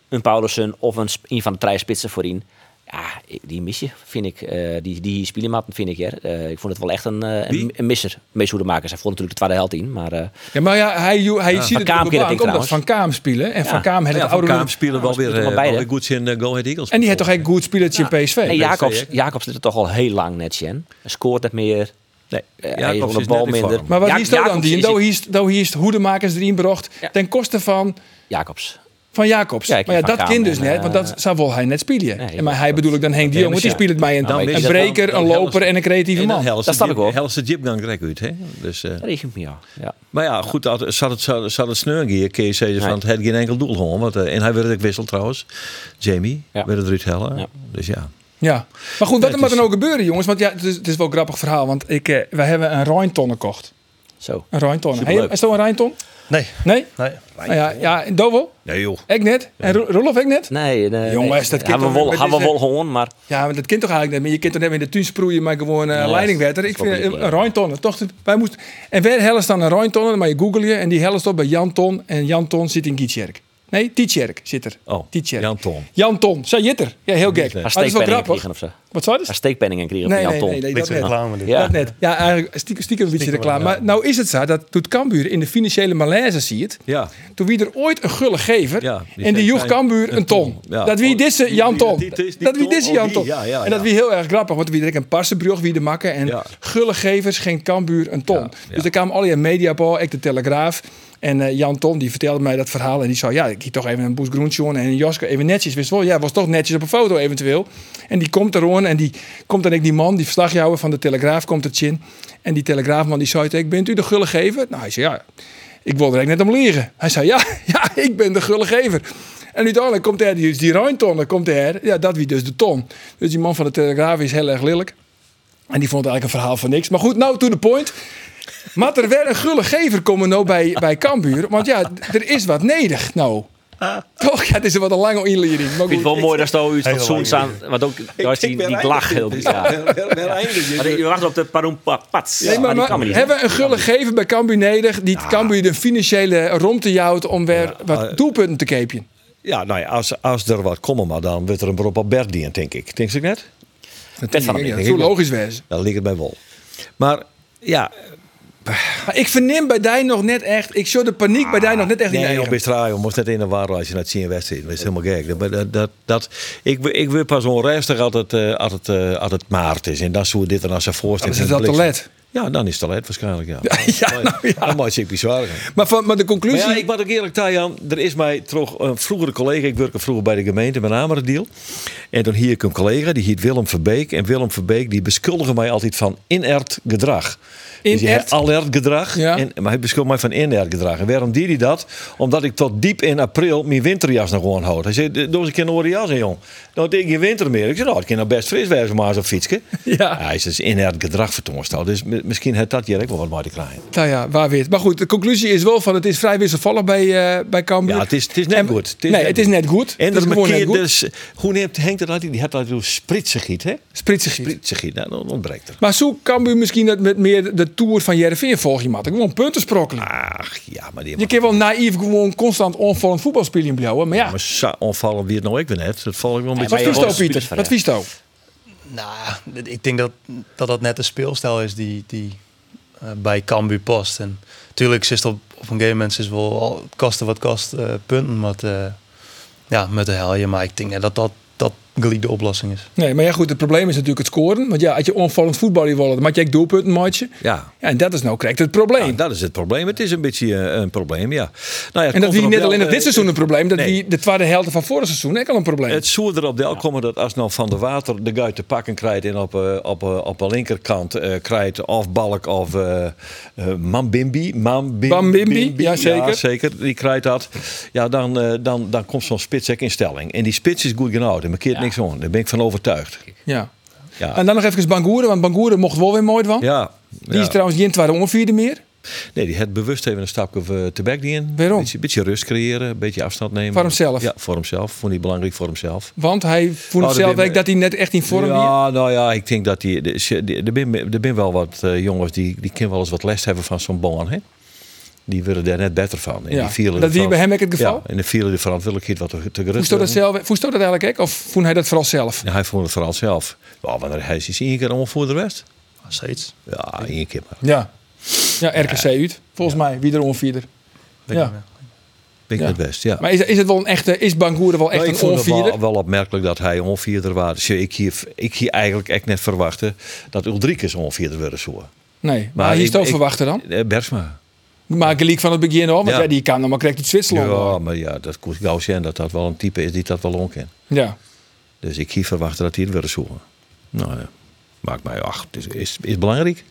[SPEAKER 6] een Paulussen of een, sp- een van de drie spitsen voorin. Ja, die mis je, vind ik. Eh, die die spielermaat vind ik, hè. Eh, ik vond het wel echt een, eh, een, een misser. Mees Goedemakers. Hij vond natuurlijk de tweede helft in, maar... eh,
[SPEAKER 1] Ja, maar ja, hij, hij ziet
[SPEAKER 6] Van
[SPEAKER 1] het
[SPEAKER 6] Kaam
[SPEAKER 1] op de
[SPEAKER 6] keer dat
[SPEAKER 1] bank
[SPEAKER 6] ik
[SPEAKER 1] omdat
[SPEAKER 6] trouwens.
[SPEAKER 1] Van Kaam spelen. En Van Kaam had het
[SPEAKER 4] Ja, van
[SPEAKER 1] oude
[SPEAKER 4] Kaam spelen wel weer,
[SPEAKER 6] spelen
[SPEAKER 4] eh,
[SPEAKER 6] maar beide.
[SPEAKER 4] wel weer goed in eh, Go Ahead Eagles.
[SPEAKER 1] En die had toch een goed spelletje in PSV?
[SPEAKER 6] ah, Nee, Jacobs,
[SPEAKER 4] hè?
[SPEAKER 6] Jacobs zit er toch al heel lang net, Jen. Hij scoort het meer.
[SPEAKER 4] Nee,
[SPEAKER 6] Eh, hij
[SPEAKER 4] Jacobs
[SPEAKER 6] heeft wel
[SPEAKER 4] is
[SPEAKER 6] een
[SPEAKER 4] net
[SPEAKER 6] bal
[SPEAKER 4] in
[SPEAKER 6] minder.
[SPEAKER 4] vorm.
[SPEAKER 1] Maar wat
[SPEAKER 6] Ja-
[SPEAKER 1] is dat dan?
[SPEAKER 6] Jacobs
[SPEAKER 1] Die?
[SPEAKER 6] is-
[SPEAKER 1] Nou hiest, nou hiest hoedemakers erin bracht
[SPEAKER 6] Ja.
[SPEAKER 1] ten koste van,
[SPEAKER 6] Jacobs.
[SPEAKER 1] van Jacobs.
[SPEAKER 6] Ja, ik
[SPEAKER 1] maar ja,
[SPEAKER 6] van
[SPEAKER 1] dat
[SPEAKER 6] Kaam
[SPEAKER 1] kind dus
[SPEAKER 6] en,
[SPEAKER 1] net, want dat
[SPEAKER 6] eh,
[SPEAKER 1] zou wel hij net spelen.
[SPEAKER 6] Nee,
[SPEAKER 1] En maar
[SPEAKER 6] dat-
[SPEAKER 1] hij bedoel ik dan Henk de Jong, want die
[SPEAKER 6] ja.
[SPEAKER 1] speelt het bij een,
[SPEAKER 6] Nou,
[SPEAKER 1] een
[SPEAKER 6] is dat
[SPEAKER 1] breker,
[SPEAKER 4] dan-
[SPEAKER 1] een
[SPEAKER 4] dan
[SPEAKER 1] loper
[SPEAKER 4] helft-
[SPEAKER 1] en een creatieve
[SPEAKER 4] En dan
[SPEAKER 1] man.
[SPEAKER 4] helst de
[SPEAKER 6] Dat snap ik
[SPEAKER 4] jip-
[SPEAKER 6] wel.
[SPEAKER 4] helst de jipgang direct uit. Hè? Dus, eh,
[SPEAKER 6] Dat regent me, ja. ja.
[SPEAKER 4] maar ja, goed, dat, zat het, zat, zat het sneur hier, kun je zeggen, van
[SPEAKER 6] Nee.
[SPEAKER 4] het had geen enkel doel gewoon. Want, eh, en hij werd ook wisseld trouwens. Jamie
[SPEAKER 6] Ja.
[SPEAKER 4] werd het eruit hellen.
[SPEAKER 6] Ja.
[SPEAKER 4] Dus ja.
[SPEAKER 1] Ja, maar goed, wat er
[SPEAKER 4] het
[SPEAKER 1] maar dan
[SPEAKER 4] is-
[SPEAKER 1] ook gebeuren, jongens. Want ja, het is, het is wel een grappig verhaal. Want ik, eh, wij hebben een Rijnton gekocht.
[SPEAKER 6] Zo.
[SPEAKER 1] Een Rijnton.
[SPEAKER 4] Superleuk.
[SPEAKER 1] Hey, is dat een Rijnton?
[SPEAKER 5] Nee,
[SPEAKER 1] Nee?
[SPEAKER 5] nee.
[SPEAKER 1] Nou ja, ja, en Dovo?
[SPEAKER 4] Nee joh.
[SPEAKER 1] Ik net? En Ro- Rolof, ik net?
[SPEAKER 6] Nee, nee.
[SPEAKER 1] Jongens, dat
[SPEAKER 6] nee.
[SPEAKER 1] kind
[SPEAKER 6] Gaan we
[SPEAKER 1] toch-
[SPEAKER 6] wel,
[SPEAKER 1] dit
[SPEAKER 6] gaan we
[SPEAKER 1] is,
[SPEAKER 6] wel
[SPEAKER 1] eh,
[SPEAKER 6] gewoon, maar
[SPEAKER 1] Ja, maar dat kind toch eigenlijk net. meer. Je kind toch net in de tuin sproeien, maar gewoon eh
[SPEAKER 6] dat is-
[SPEAKER 1] leidingwetter.
[SPEAKER 6] dat
[SPEAKER 1] Ik
[SPEAKER 6] is wel
[SPEAKER 1] vind een
[SPEAKER 6] goed, ja.
[SPEAKER 1] Rijnton. Toch, wij moesten, en waar helst dan een Rijnton? Dan maar je google je. En die helst op bij Janton. En Janton zit in Gietjerk. Nee, Tietjerk zit er.
[SPEAKER 4] Oh,
[SPEAKER 1] Tietjerk.
[SPEAKER 4] Janton.
[SPEAKER 1] Janton, zei Jitter. Ja, heel gek. Maar
[SPEAKER 6] Haar
[SPEAKER 1] dat is wel
[SPEAKER 6] steekpenningen
[SPEAKER 1] grappig.
[SPEAKER 6] kregen of zo.
[SPEAKER 1] Wat zei dat?
[SPEAKER 6] Haar steekpenningen kregen
[SPEAKER 1] Nee,
[SPEAKER 6] van
[SPEAKER 1] nee,
[SPEAKER 6] Jan Ton.
[SPEAKER 1] nee, nee, dat
[SPEAKER 5] Niks
[SPEAKER 1] net.
[SPEAKER 5] reclame dit.
[SPEAKER 6] Ja.
[SPEAKER 1] Dat net. Ja, eigenlijk stiekem, stiekem een beetje reclame. Maar nou is het zo, dat doet Cambuur in de financiële malaise ziet.
[SPEAKER 4] <laughs> Ja.
[SPEAKER 1] Toen wie er ooit een gulle gever
[SPEAKER 4] Ja, die
[SPEAKER 1] en die
[SPEAKER 4] zei,
[SPEAKER 1] joeg
[SPEAKER 4] "Fijn,
[SPEAKER 1] Cambuur een
[SPEAKER 4] een ton."
[SPEAKER 1] ton.
[SPEAKER 4] Ja.
[SPEAKER 1] Dat wie
[SPEAKER 4] Oh,
[SPEAKER 1] disse
[SPEAKER 4] die-
[SPEAKER 1] Jan
[SPEAKER 4] die-
[SPEAKER 1] Ton.
[SPEAKER 4] die- die- die
[SPEAKER 1] Dat wie
[SPEAKER 4] ton,
[SPEAKER 1] disse
[SPEAKER 4] oh,
[SPEAKER 1] Jan
[SPEAKER 4] die.
[SPEAKER 1] Ton.
[SPEAKER 4] Ja, ja,
[SPEAKER 1] En dat
[SPEAKER 4] ja.
[SPEAKER 1] wie heel erg grappig, want wie direct een passenbrug wie de makken en
[SPEAKER 4] Ja.
[SPEAKER 1] gulle gevers geen Cambuur een ton. Dus daar kwamen al je mediabal, ik de Telegraaf. En eh, Jan Ton die vertelde mij dat verhaal en die zei ja, ik hier toch even een Boes Groensjoen en een Joske even netjes wist wel. Ja, was toch netjes op een foto eventueel. En die komt er gewoon en die komt dan ik die man, die verslagjouwer van de Telegraaf komt er in. En die Telegraafman die zei ik bent u de gulle gever? Nou, hij zei ja. Ik wilde er eigenlijk net om liegen. Hij zei, ja, <laughs> ja, ik ben de gullegever. En uiteindelijk komt er dus die Rijnton, dan komt er, ja, dat wie dus de ton. Dus die man van de Telegraaf is heel erg lelijk. En die vond eigenlijk een verhaal van niks. Maar goed, nou to the point. Maar er werd een gullegever komen nou bij, bij Kambuur. Want ja, d- er is wat nedig nou. Toch? Ja, het is wat een lange inleiding. Maar
[SPEAKER 6] Ik vind
[SPEAKER 1] goed.
[SPEAKER 6] het wel mooi dat ze iets
[SPEAKER 5] Hele
[SPEAKER 6] fatsoens
[SPEAKER 5] lange
[SPEAKER 6] aan... Want ook daar is die, die lach heel bizar. Maar Je wacht op de paroen pa- pats.
[SPEAKER 1] Nee, maar,
[SPEAKER 6] die
[SPEAKER 1] maar
[SPEAKER 6] kan niet.
[SPEAKER 1] hebben we een gullegever bij Cambuur nedig... die Cambuur de financiële romte jouwt om weer
[SPEAKER 4] eh,
[SPEAKER 1] wat doelpunten te kepen?
[SPEAKER 4] Ja, nou ja, als, als er wat komt, maar dan wordt er een beroep op Berdien, denk ik. Denk ik net?
[SPEAKER 6] Pet van
[SPEAKER 1] Ja,
[SPEAKER 6] hem.
[SPEAKER 1] dat zou logisch wezen.
[SPEAKER 4] Dan ligt het bij Wol. Maar ja,
[SPEAKER 1] Maar ik verneem bij Dijn nog net echt. Ik show de paniek bij Dijn nog net echt
[SPEAKER 6] Ah,
[SPEAKER 4] Nee,
[SPEAKER 1] niet.
[SPEAKER 4] op Israël moest net in de war als je naar het zien wedstrijd. Dat is helemaal gek. Dat- Dat, dat, dat, ik, ik word pas onrustig als het, eh, als, het, eh, als het maart is. En dan zou dit er als ze
[SPEAKER 1] Oh, Dan
[SPEAKER 4] voorstellen.
[SPEAKER 1] is het al te laat.
[SPEAKER 4] Ja, dan is het te laat waarschijnlijk. Ja,
[SPEAKER 1] <laughs> ja, nou ja.
[SPEAKER 4] Dan moet je zich bezwaren.
[SPEAKER 1] Maar, van, maar de
[SPEAKER 4] Maar
[SPEAKER 1] conclusie.
[SPEAKER 4] ja, ik moet ook eerlijk zeggen, Jan. Er is mij toch een vroegere collega. Ik werkte vroeger bij de gemeente, met name deal. En toen hier ik een collega, die heet Willem Verbeek. En Willem Verbeek, die beschuldigde mij altijd van inert gedrag. Dus je
[SPEAKER 1] Inert?
[SPEAKER 4] hebt alert gedrag.
[SPEAKER 1] Ja.
[SPEAKER 4] En, maar hij beschuldigt mij van inert gedrag. En waarom deed hij dat? Omdat ik tot diep in april mijn winterjas nog gewoon houd. Hij zei, doe eens een keer een oude jas in, jong. Dan deed ik geen winter meer. Ik zei, nou, het kan nou best fris wezen, maar zo'n fietsje.
[SPEAKER 1] <laughs> Ja.
[SPEAKER 4] Hij is dus inert gedrag vertoonsteld. Dus mi- misschien had dat hier ook wel wat mee te krijgen.
[SPEAKER 1] Nou ja, waar weer. Maar goed, de conclusie is wel van het is vrij wisselvallig bij, eh bij Cambuur.
[SPEAKER 4] Ja, het is- het is net
[SPEAKER 1] En-
[SPEAKER 4] goed. Het
[SPEAKER 1] nee,
[SPEAKER 4] is net
[SPEAKER 1] het is
[SPEAKER 4] goed.
[SPEAKER 1] net goed.
[SPEAKER 4] En
[SPEAKER 1] het is
[SPEAKER 4] dat
[SPEAKER 1] gewoon net
[SPEAKER 4] markeert
[SPEAKER 1] goed.
[SPEAKER 4] dus... Hoe neemt Henk dat Die had dat door spritsengiet, hè?
[SPEAKER 1] Spritsig is.
[SPEAKER 4] Spritsengiet, nou, dan ontbreekt er.
[SPEAKER 1] Maar zo Cambuur misschien dat met meer de tour van Jereveen volg je, Matt. Gewoon punten sprokkelen.
[SPEAKER 4] Ah. Ach, ja, maar die
[SPEAKER 1] je kan wel naïef gewoon constant onvallend voetbal spelen in blauw, maar ja.
[SPEAKER 4] Maar zo onvallen wie het nou ik ben net. Dat val ik wel een beetje...
[SPEAKER 1] Wat vies
[SPEAKER 6] hoort
[SPEAKER 1] nou,
[SPEAKER 6] de spelers
[SPEAKER 1] Pieter?
[SPEAKER 6] van,
[SPEAKER 1] Wat
[SPEAKER 6] ja.
[SPEAKER 1] vies nou?
[SPEAKER 5] Nou, ik denk dat dat, dat net de speelstijl is die, die eh, bij Cambuur past. En natuurlijk is het op, op een gegeven moment is wel al, het kosten wat kost eh, punten met, eh, ja, met de helje. Maar ik denk net dat dat, dat gelijk de oplossing is.
[SPEAKER 1] Nee, maar ja, goed, het probleem is natuurlijk het scoren. Want ja, als je onvallend voetbal wil, dan maak je echt doelpunten, maatje.
[SPEAKER 4] Ja.
[SPEAKER 1] Ja, en dat is nou correct het probleem.
[SPEAKER 4] Ja, dat is het probleem. Het is een beetje eh, een probleem, ja. Nou ja het
[SPEAKER 1] en dat
[SPEAKER 4] komt
[SPEAKER 1] wie
[SPEAKER 4] erop
[SPEAKER 1] net
[SPEAKER 4] wel,
[SPEAKER 1] alleen nog
[SPEAKER 4] eh,
[SPEAKER 1] dit seizoen een probleem, dat
[SPEAKER 4] nee.
[SPEAKER 1] die de tweede helft van vorig seizoen ook al een probleem.
[SPEAKER 4] Het zou erop deel komen dat als nou Van der Water de guit te pakken krijgt en op, eh, op, eh, op de linkerkant eh krijgt of Balk of eh, eh, Mambimbi. Mambim-
[SPEAKER 1] Mambimbi,
[SPEAKER 4] Bimbi,
[SPEAKER 1] ja, zeker.
[SPEAKER 4] zeker. Die krijgt dat. Ja, dan, eh, dan, dan komt zo'n spits ook in stelling. En die spits is goed genoeg. Daar markeert niks aan. Daar ben ik van overtuigd.
[SPEAKER 1] ja.
[SPEAKER 4] Ja.
[SPEAKER 1] En dan nog even Bangoeren, want Bangoeren mocht wel weer mooi van.
[SPEAKER 4] ja.
[SPEAKER 1] Die is
[SPEAKER 4] ja.
[SPEAKER 1] trouwens geen tweede onvierde meer.
[SPEAKER 4] Nee, die het bewust even een stapje eh, te back die in.
[SPEAKER 1] Waarom?
[SPEAKER 4] Beetje, beetje rust creëren, een beetje afstand nemen.
[SPEAKER 1] Voor hemzelf?
[SPEAKER 4] Ja, voor hemzelf. Vond hij belangrijk voor hemzelf.
[SPEAKER 1] Want hij voelt
[SPEAKER 4] Oh, dat
[SPEAKER 1] zelf
[SPEAKER 4] ben-
[SPEAKER 1] ook dat hij net echt in vorm is.
[SPEAKER 4] ja, nou ja, ik denk dat die. de- ze- die- Er zijn er ben wel wat eh, jongens die, die kunnen wel eens wat les hebben van zo'n baan. Hè? Die willen daar net beter van. En
[SPEAKER 1] Ja,
[SPEAKER 4] die vielen
[SPEAKER 1] dat
[SPEAKER 4] de
[SPEAKER 1] is
[SPEAKER 4] verant-
[SPEAKER 1] bij hem ook het geval?
[SPEAKER 4] Ja, en de vielen de verantwoordelijkheid wat te- te
[SPEAKER 1] Voest dat,
[SPEAKER 4] gerust.
[SPEAKER 1] zelf, voest dat eigenlijk ook? Of voelde hij dat vooral zelf?
[SPEAKER 4] Ja, hij vond het vooral zelf. Ja, maar hij is één keer allemaal voor de rest.
[SPEAKER 5] Nog steeds.
[SPEAKER 4] Ja, één keer maar.
[SPEAKER 1] Ja. Ja, RKC uit. Volgens mij, wie er onvierder.
[SPEAKER 5] Weet
[SPEAKER 1] Ja.
[SPEAKER 5] ik niet meer.
[SPEAKER 4] Ben ik
[SPEAKER 1] Ja.
[SPEAKER 4] het best. Ja.
[SPEAKER 1] Maar is, is het wel een echte, is Bangoeren wel echt
[SPEAKER 4] Nou, ik
[SPEAKER 1] een
[SPEAKER 4] vond het
[SPEAKER 1] onvierder?
[SPEAKER 4] wel, wel opmerkelijk dat hij onvierder was. Dus Ik hier, ik hier eigenlijk echt net verwachtte dat Ulrike onvierder werd zo.
[SPEAKER 1] Nee, maar, hij is
[SPEAKER 4] ik-
[SPEAKER 1] het ook
[SPEAKER 4] ik-
[SPEAKER 1] verwachten dan.
[SPEAKER 4] Eh, Bergsma.
[SPEAKER 1] Maar gelijk van het begin al, want ja.
[SPEAKER 4] Ja.
[SPEAKER 1] die kan dan maar correct uit Zwitserland.
[SPEAKER 4] Ja, maar ja, dat kost gauw zijn dat dat wel een type is die dat wel onkent.
[SPEAKER 1] Ja.
[SPEAKER 4] Dus ik hier verwachten dat hij het weer zoeken. Nou ja, maakt mij ach, het is, is, is belangrijk.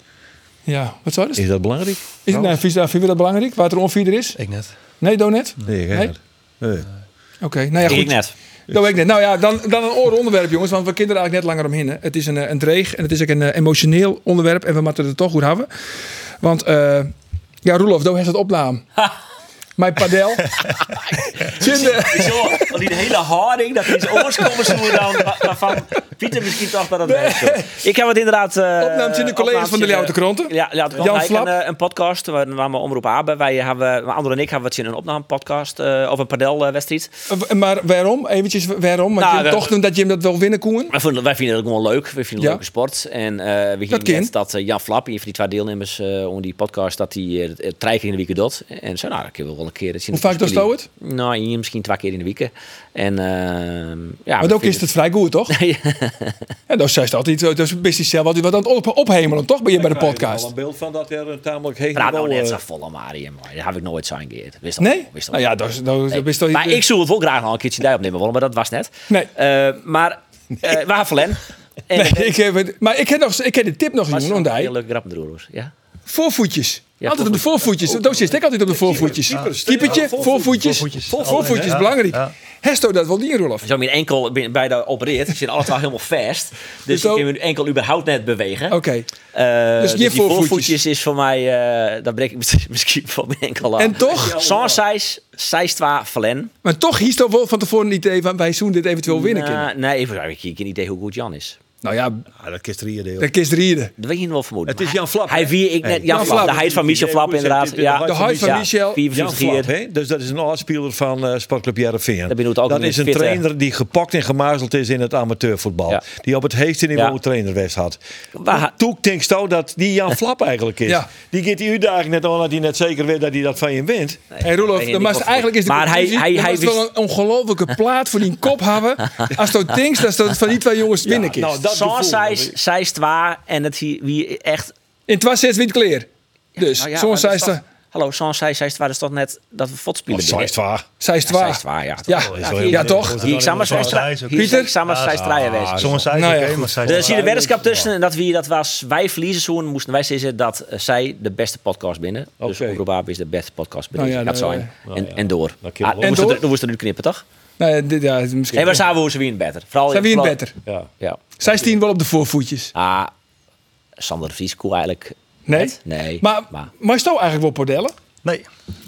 [SPEAKER 1] Ja, wat zou dat?
[SPEAKER 4] Is dat belangrijk?
[SPEAKER 1] Is het nou, vies- nou, vinden we dat belangrijk? Waar het er onvierder is?
[SPEAKER 5] Ik net.
[SPEAKER 1] Nee, Donet?
[SPEAKER 4] Nee, ik
[SPEAKER 1] Nee?
[SPEAKER 4] niet. Nee.
[SPEAKER 1] Oké, nou ja, goed.
[SPEAKER 6] Ik net.
[SPEAKER 1] Dat weet ik net. Nou ja, dan, dan een oor onderwerp, jongens. Want we kinderen eigenlijk net langer omheen. hè. Het is een, eh, een dreig en het is ook een eh, emotioneel onderwerp. En we moeten het toch goed hebben. Want, eh, ja, Roelof, daar heeft het
[SPEAKER 6] <laughs>
[SPEAKER 1] opname. Mijn padel. eh, Kinder.
[SPEAKER 6] Zo, want die hele harding, dat is oorspronkelijk zo dan wa- waarvan Pieter misschien dacht dat het nee. Ik heb het inderdaad... eh
[SPEAKER 1] Opnames in de collega's
[SPEAKER 6] opnames
[SPEAKER 1] van de
[SPEAKER 6] in
[SPEAKER 1] Leeuwarden Kranten.
[SPEAKER 6] Ja, Leeuwarden Kranten.
[SPEAKER 1] Jan
[SPEAKER 6] Wij
[SPEAKER 1] Flap.
[SPEAKER 6] Een, eh, een podcast, we namen Omroep Abe. Wij hebben, Andor en ik hebben wat in een opnamepodcast eh of een padelwedstrijd.
[SPEAKER 1] Eh, Maar waarom? Eventjes waarom? Want
[SPEAKER 6] Nou,
[SPEAKER 1] je
[SPEAKER 6] dat-
[SPEAKER 1] toch dat je hem dat wil winnen, Koen?
[SPEAKER 6] Wij vinden, wij vinden het gewoon leuk. We vinden het
[SPEAKER 1] Ja.
[SPEAKER 6] een leuke sport. En eh we
[SPEAKER 1] Dat
[SPEAKER 6] zien
[SPEAKER 1] kind.
[SPEAKER 6] net dat eh, Jan Flap, een van die twee deelnemers eh om die podcast, dat hij eh, het- het drie keer in de week doet. En zo, nou, dat kunnen we wel een keer. dat zien
[SPEAKER 1] Hoe
[SPEAKER 6] we
[SPEAKER 1] vaak
[SPEAKER 6] op
[SPEAKER 1] doet hij het?
[SPEAKER 6] jullie. Nou, hier misschien twee keer in de week. En, ehm ja,
[SPEAKER 1] Maar ook is het vrij goed,
[SPEAKER 6] <laughs>
[SPEAKER 1] toch?
[SPEAKER 6] Ja.
[SPEAKER 1] En dan zei ze altijd, dat is business zelf altijd wat aan het op- ophemelen, toch? Ben je bij de
[SPEAKER 4] al
[SPEAKER 1] podcast?
[SPEAKER 4] een beeld van dat er een tamelijk hele
[SPEAKER 6] praat nou
[SPEAKER 4] bal,
[SPEAKER 6] net
[SPEAKER 4] eh,
[SPEAKER 6] zo volle Marium. Dat heb ik nooit zo geëerd. Wist dat
[SPEAKER 1] Nee?
[SPEAKER 6] wel, wist dat
[SPEAKER 1] Nou
[SPEAKER 6] wel.
[SPEAKER 1] ja, dat is- dat dat is toch...
[SPEAKER 6] Maar ik zou het wel graag nog een keertje daar opnemen willen, maar dat was net.
[SPEAKER 1] Nee.
[SPEAKER 6] Eh, maar eh waar Valen?
[SPEAKER 1] <laughs> <laughs>
[SPEAKER 6] En eh,
[SPEAKER 1] Nee, ik heb het- Maar ik heb nog- ik heb de tip nog, jongen, want hij-
[SPEAKER 6] Heel leuke grap met de roerloers, Ja.
[SPEAKER 1] Voorvoetjes.
[SPEAKER 6] Ja,
[SPEAKER 1] altijd op de voorvoetjes.
[SPEAKER 6] Oh.
[SPEAKER 1] Daar zit ik altijd op de voorvoetjes.
[SPEAKER 4] keepers,
[SPEAKER 1] Keepertje,
[SPEAKER 4] ja, voorvoet-
[SPEAKER 1] voorvoetjes.
[SPEAKER 5] voorvoetjes.
[SPEAKER 1] Voorvoetjes,
[SPEAKER 5] Ja,
[SPEAKER 1] belangrijk.
[SPEAKER 5] ja.
[SPEAKER 1] Hesto dat wel niet, Rolof.
[SPEAKER 6] Zo mijn enkel bin- bij de opereert. Ik zit alle twaalf helemaal vast. Dus
[SPEAKER 1] zo-
[SPEAKER 6] ik kan mijn enkel überhaupt net bewegen.
[SPEAKER 1] Oké.
[SPEAKER 6] Eh,
[SPEAKER 1] Dus je
[SPEAKER 6] die
[SPEAKER 1] voorvoetjes.
[SPEAKER 6] is voor mij... eh daar breek ik mis- <laughs> misschien van mijn enkel aan.
[SPEAKER 1] En toch?
[SPEAKER 6] Sans size, size 2 Valen.
[SPEAKER 1] Maar toch hiest toch wel van tevoren het idee van wij zoen dit eventueel winnen. kunnen.
[SPEAKER 6] Nou, nee, even, ik heb geen idee hoe goed Jan is.
[SPEAKER 1] Nou ja,
[SPEAKER 4] Ah, dat kist er hier deel.
[SPEAKER 1] dat kist Rieden.
[SPEAKER 6] Dat weet je nog wel vermoeden.
[SPEAKER 4] Het is
[SPEAKER 6] Maar
[SPEAKER 4] Jan Flap,
[SPEAKER 6] Hij
[SPEAKER 4] hè?
[SPEAKER 6] wie ik net
[SPEAKER 4] Hey.
[SPEAKER 1] Jan
[SPEAKER 6] Jan, Flap.
[SPEAKER 1] Flap.
[SPEAKER 6] De heid van Michel
[SPEAKER 4] Ja,
[SPEAKER 6] Flap
[SPEAKER 4] goed, hè.
[SPEAKER 6] inderdaad.
[SPEAKER 4] Dit- dit-
[SPEAKER 6] Ja,
[SPEAKER 4] de
[SPEAKER 1] De huid van
[SPEAKER 4] Ja,
[SPEAKER 1] Michel.
[SPEAKER 4] Jan
[SPEAKER 6] 54
[SPEAKER 4] Flap,
[SPEAKER 6] hier.
[SPEAKER 4] hè? Dus dat is een oudspeler van eh Sportclub Jarreveen.
[SPEAKER 6] Dat benoemt ook
[SPEAKER 4] dat
[SPEAKER 6] nog
[SPEAKER 4] is
[SPEAKER 6] een
[SPEAKER 4] een
[SPEAKER 6] fitte-
[SPEAKER 4] trainer die gepakt en gemazeld is in het amateurvoetbal.
[SPEAKER 6] Ja.
[SPEAKER 4] Die op het heegste niveau
[SPEAKER 6] Ja.
[SPEAKER 4] trainerwest had.
[SPEAKER 6] Waar-
[SPEAKER 4] Toen denk ik nou dat die
[SPEAKER 6] <laughs>
[SPEAKER 4] Jan Flap eigenlijk is.
[SPEAKER 1] Ja.
[SPEAKER 4] Die gaat die uitdaging net aan dat hij net zeker weet dat hij dat van je wint.
[SPEAKER 1] Hey Rolof,
[SPEAKER 6] weet je
[SPEAKER 1] dan
[SPEAKER 6] niet
[SPEAKER 1] was
[SPEAKER 6] wat-
[SPEAKER 1] eigenlijk is de
[SPEAKER 6] Maar hij-
[SPEAKER 1] conclusie,
[SPEAKER 6] hij-
[SPEAKER 1] dan
[SPEAKER 6] hij
[SPEAKER 1] was het wel
[SPEAKER 6] wist-
[SPEAKER 1] een ongelofelijke plaat voor die kop
[SPEAKER 6] <laughs>
[SPEAKER 1] hebben. Als dat dings, dat is dat van die twee jongens winnen kist.
[SPEAKER 4] nou, dat
[SPEAKER 6] Sans
[SPEAKER 4] gevoel.
[SPEAKER 6] size, size 2 en het hier- wie echt...
[SPEAKER 1] In twee zes wint kleer. Dus,
[SPEAKER 6] Nou ja,
[SPEAKER 1] zo'n
[SPEAKER 6] maar dat
[SPEAKER 1] zei
[SPEAKER 6] is
[SPEAKER 1] ze,
[SPEAKER 6] toch- Hallo, Sans size, size 2 dat is toch net dat we
[SPEAKER 4] Oh,
[SPEAKER 6] fotspelen
[SPEAKER 4] size
[SPEAKER 6] binnen.
[SPEAKER 4] twaar.
[SPEAKER 1] zij is het
[SPEAKER 6] Ja,
[SPEAKER 1] waar.
[SPEAKER 6] size 2, ja.
[SPEAKER 1] Ja.
[SPEAKER 4] heel
[SPEAKER 6] hier-
[SPEAKER 1] Ja,
[SPEAKER 4] moeilijk.
[SPEAKER 1] toch?
[SPEAKER 6] Hier ik samen
[SPEAKER 5] Zoals hij
[SPEAKER 6] size
[SPEAKER 5] is ook.
[SPEAKER 6] Hier ik
[SPEAKER 5] Pieter?
[SPEAKER 6] samen
[SPEAKER 5] Ja,
[SPEAKER 6] size
[SPEAKER 5] ja.
[SPEAKER 6] 2 wezen.
[SPEAKER 5] Soms zei
[SPEAKER 1] Nou
[SPEAKER 5] ik
[SPEAKER 1] ja,
[SPEAKER 5] oké,
[SPEAKER 1] goed.
[SPEAKER 5] maar zij
[SPEAKER 6] Er zie je de
[SPEAKER 5] zei-
[SPEAKER 6] weddenschap tussen en dat, wie, dat was wij verliezen zoen, moesten wij zeggen dat eh, zij de beste podcast binnen. Dus
[SPEAKER 4] Oké.
[SPEAKER 6] Omroep AB is de beste podcast binnen.
[SPEAKER 1] Nou ja,
[SPEAKER 6] dat
[SPEAKER 1] nou,
[SPEAKER 6] zijn.
[SPEAKER 1] eh,
[SPEAKER 6] en, en door.
[SPEAKER 4] Nou,
[SPEAKER 6] Ah,
[SPEAKER 4] kerel,
[SPEAKER 6] dan moesten
[SPEAKER 1] en
[SPEAKER 6] we
[SPEAKER 1] door?
[SPEAKER 6] dan moesten we nu knippen, toch?
[SPEAKER 1] Nou, dit- ja, misschien.
[SPEAKER 6] Nee, maar zouden we ze winnen beter. Vooral
[SPEAKER 1] Zij wint
[SPEAKER 6] vooral-
[SPEAKER 1] beter.
[SPEAKER 4] Ja.
[SPEAKER 6] Ja.
[SPEAKER 1] Zij stien wel op de voorvoetjes.
[SPEAKER 6] Ah, Sander de Vries koe eigenlijk.
[SPEAKER 1] Nee?
[SPEAKER 6] net. Nee.
[SPEAKER 1] Maar, maar. is het ook eigenlijk wel podellen?
[SPEAKER 5] Nee,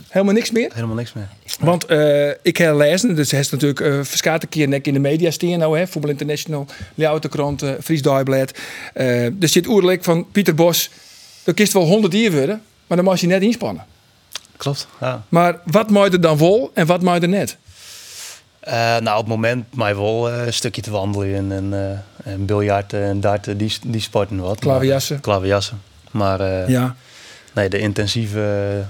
[SPEAKER 1] Helemaal niks meer?
[SPEAKER 5] helemaal niks meer.
[SPEAKER 1] Want eh, ik heb lezen, dus hij is natuurlijk eh verskaat een keer nek in de media staan nou, hè, Voetbal International, Ljouwerkrant, eh Fries Dagblad. Eh, er zit oerlijk van Pieter Bos, dat kist wel 100 hier worden, maar dan mag je net inspannen.
[SPEAKER 5] Klopt. Ja.
[SPEAKER 1] Maar wat moet er dan vol en wat moet er net?
[SPEAKER 5] Eh, nou, op het moment mij wel eh, een stukje te wandelen en, en, eh, en biljarten en darten, die, die sporten wat.
[SPEAKER 1] Klaverjassen.
[SPEAKER 5] Klaverjassen. Maar eh,
[SPEAKER 1] Ja.
[SPEAKER 5] nee, de intensieve,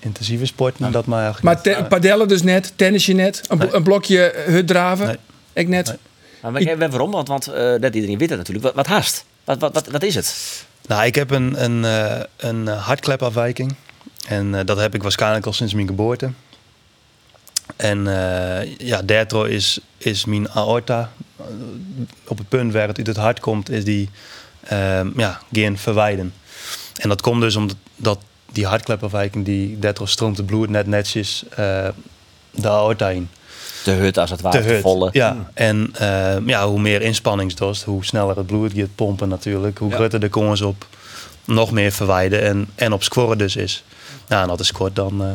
[SPEAKER 5] intensieve sporten, dat mij eigenlijk
[SPEAKER 1] Maar
[SPEAKER 5] niet.
[SPEAKER 1] te- padellen dus net, tennisje net, een, blo- een blokje eh, hut draven,
[SPEAKER 5] Nee.
[SPEAKER 1] ik net.
[SPEAKER 5] Nee.
[SPEAKER 6] Maar ik, weet waarom, want, want eh, dat iedereen weet het natuurlijk. Wat, wat haast? Wat, wat, wat, wat is het?
[SPEAKER 5] Nou, ik heb een, een, eh, een eh, hartklepafwijking. En eh, dat heb ik waarschijnlijk al sinds mijn geboorte. En eh, ja, daardoor is, is mijn aorta, eh, op het punt waar het uit het hart komt, is die eh, ja, geen verwijden. En dat komt dus omdat dat die hartklepafwijking, die daardoor stroomt het bloed net netjes eh, de aorta in.
[SPEAKER 6] De hut als het ware,
[SPEAKER 5] Te hut.
[SPEAKER 6] volle.
[SPEAKER 5] Ja, en eh, ja, hoe meer inspanningsdost, hoe sneller het bloed gaat pompen natuurlijk. Hoe groter de kans op nog meer verwijden en, en op scoren dus is. Nou, en dat is scoort dan, eh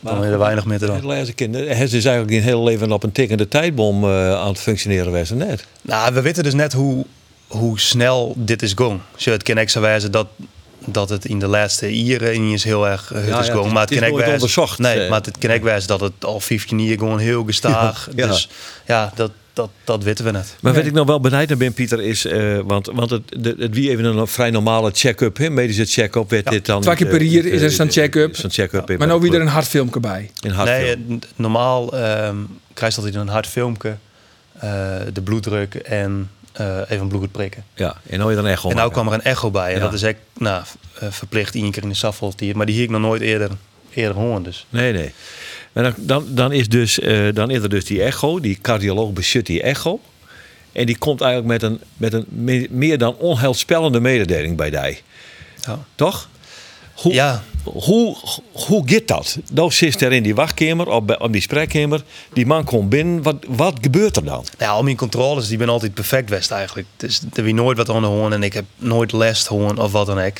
[SPEAKER 5] dan weer er weinig meer te
[SPEAKER 4] Het
[SPEAKER 5] doen.
[SPEAKER 4] laatste kind, hij is dus eigenlijk een hele leven op een tikkende tijdbom eh, aan het functioneren geweest, of net.
[SPEAKER 5] Nou, we weten dus net hoe, hoe snel dit is gong. Zo, het kan ook zo wijzen dat, dat het in de laatste jaren niet eens heel erg eh, het
[SPEAKER 4] ja,
[SPEAKER 5] is
[SPEAKER 4] het
[SPEAKER 5] gong.
[SPEAKER 4] is-
[SPEAKER 5] maar het,
[SPEAKER 4] het is
[SPEAKER 5] kan ook
[SPEAKER 4] nooit
[SPEAKER 5] wijzen-
[SPEAKER 4] onderzocht,
[SPEAKER 5] Nee,
[SPEAKER 4] eh.
[SPEAKER 5] maar het kan ook wijzen dat het al 15 jaar gewoon heel gestaag.
[SPEAKER 4] <laughs> Ja, ja.
[SPEAKER 5] Dus ja, dat, dat, dat weten we net.
[SPEAKER 4] Maar wat ik nog wel benijd naar ben, Pieter, is... eh, want want het, de- het wie even een vrij normale check-up, hè, medische check-up, werd dit dan...
[SPEAKER 1] Twee keer per
[SPEAKER 4] eh,
[SPEAKER 1] jaar
[SPEAKER 4] eh,
[SPEAKER 1] is er zo'n check-up.
[SPEAKER 4] is Zo'n check-up. in-
[SPEAKER 1] Maar nou weer een hartfilmpje bij.
[SPEAKER 4] In Hartfilm.
[SPEAKER 5] Nee, eh, n- normaal ehm krijg je altijd een hard filmpje, eh, de bloeddruk en eh, even een bloed prikken.
[SPEAKER 4] ja, en nou je dan echt om.
[SPEAKER 5] en nou kwam er een echo bij. En
[SPEAKER 4] Ja.
[SPEAKER 5] dat is echt nou, v- eh, verplicht één keer in de saffeltier. Maar die hier ik nog nooit eerder, eerder horen. Dus.
[SPEAKER 4] Nee, nee. Maar dan, dan, dan, is dus, eh, dan is er dus die echo. Die cardioloog bezit die echo. En die komt eigenlijk met een, met een me- meer dan onheilspellende mededeling bij die.
[SPEAKER 5] Ja.
[SPEAKER 4] Toch? Hoe,
[SPEAKER 5] Ja.
[SPEAKER 4] hoe, hoe gaat dat? Nou zit er in die wachtkamer, op, bij- op die spreekkamer. Die man komt binnen. Wat, wat gebeurt er dan?
[SPEAKER 5] Nou, ja, al mijn controles die ben altijd perfect west eigenlijk. Dus er wie nooit wat aan de hoorn en ik heb nooit les hoorn of wat dan ook.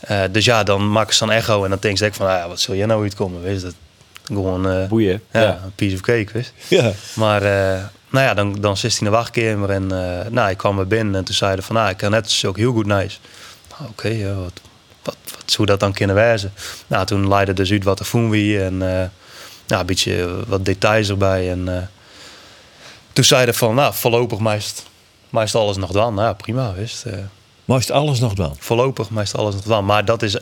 [SPEAKER 5] Eh, dus ja, dan maak ik zo'n echo en dan denk ik van, ah, ja, wat zul jij nou uitkomen? Weet je, dat gewoon eh,
[SPEAKER 6] Boeien,
[SPEAKER 5] Ja,
[SPEAKER 6] ja.
[SPEAKER 5] een piece of cake, wist.
[SPEAKER 4] Ja.
[SPEAKER 5] Maar eh, nou ja, dan, dan zit hij in de wachtkamer en eh, nou, ik kwam er binnen en toen zei hij van, nou, ik kan net is ook heel goed nice. Nou, Oké, ja, wat, wat, wat zou dat dan kunnen wijzen? Nou, toen leidde dus uit wat er voelen we en eh, nou, een beetje wat details erbij en... eh, toen zei hij van, nou, voorlopig meest, meest alles nog dan. Nou, prima, wist. eh,
[SPEAKER 4] Maar is het alles nog wel?
[SPEAKER 5] voorlopig meest alles nog dan. Maar dat is,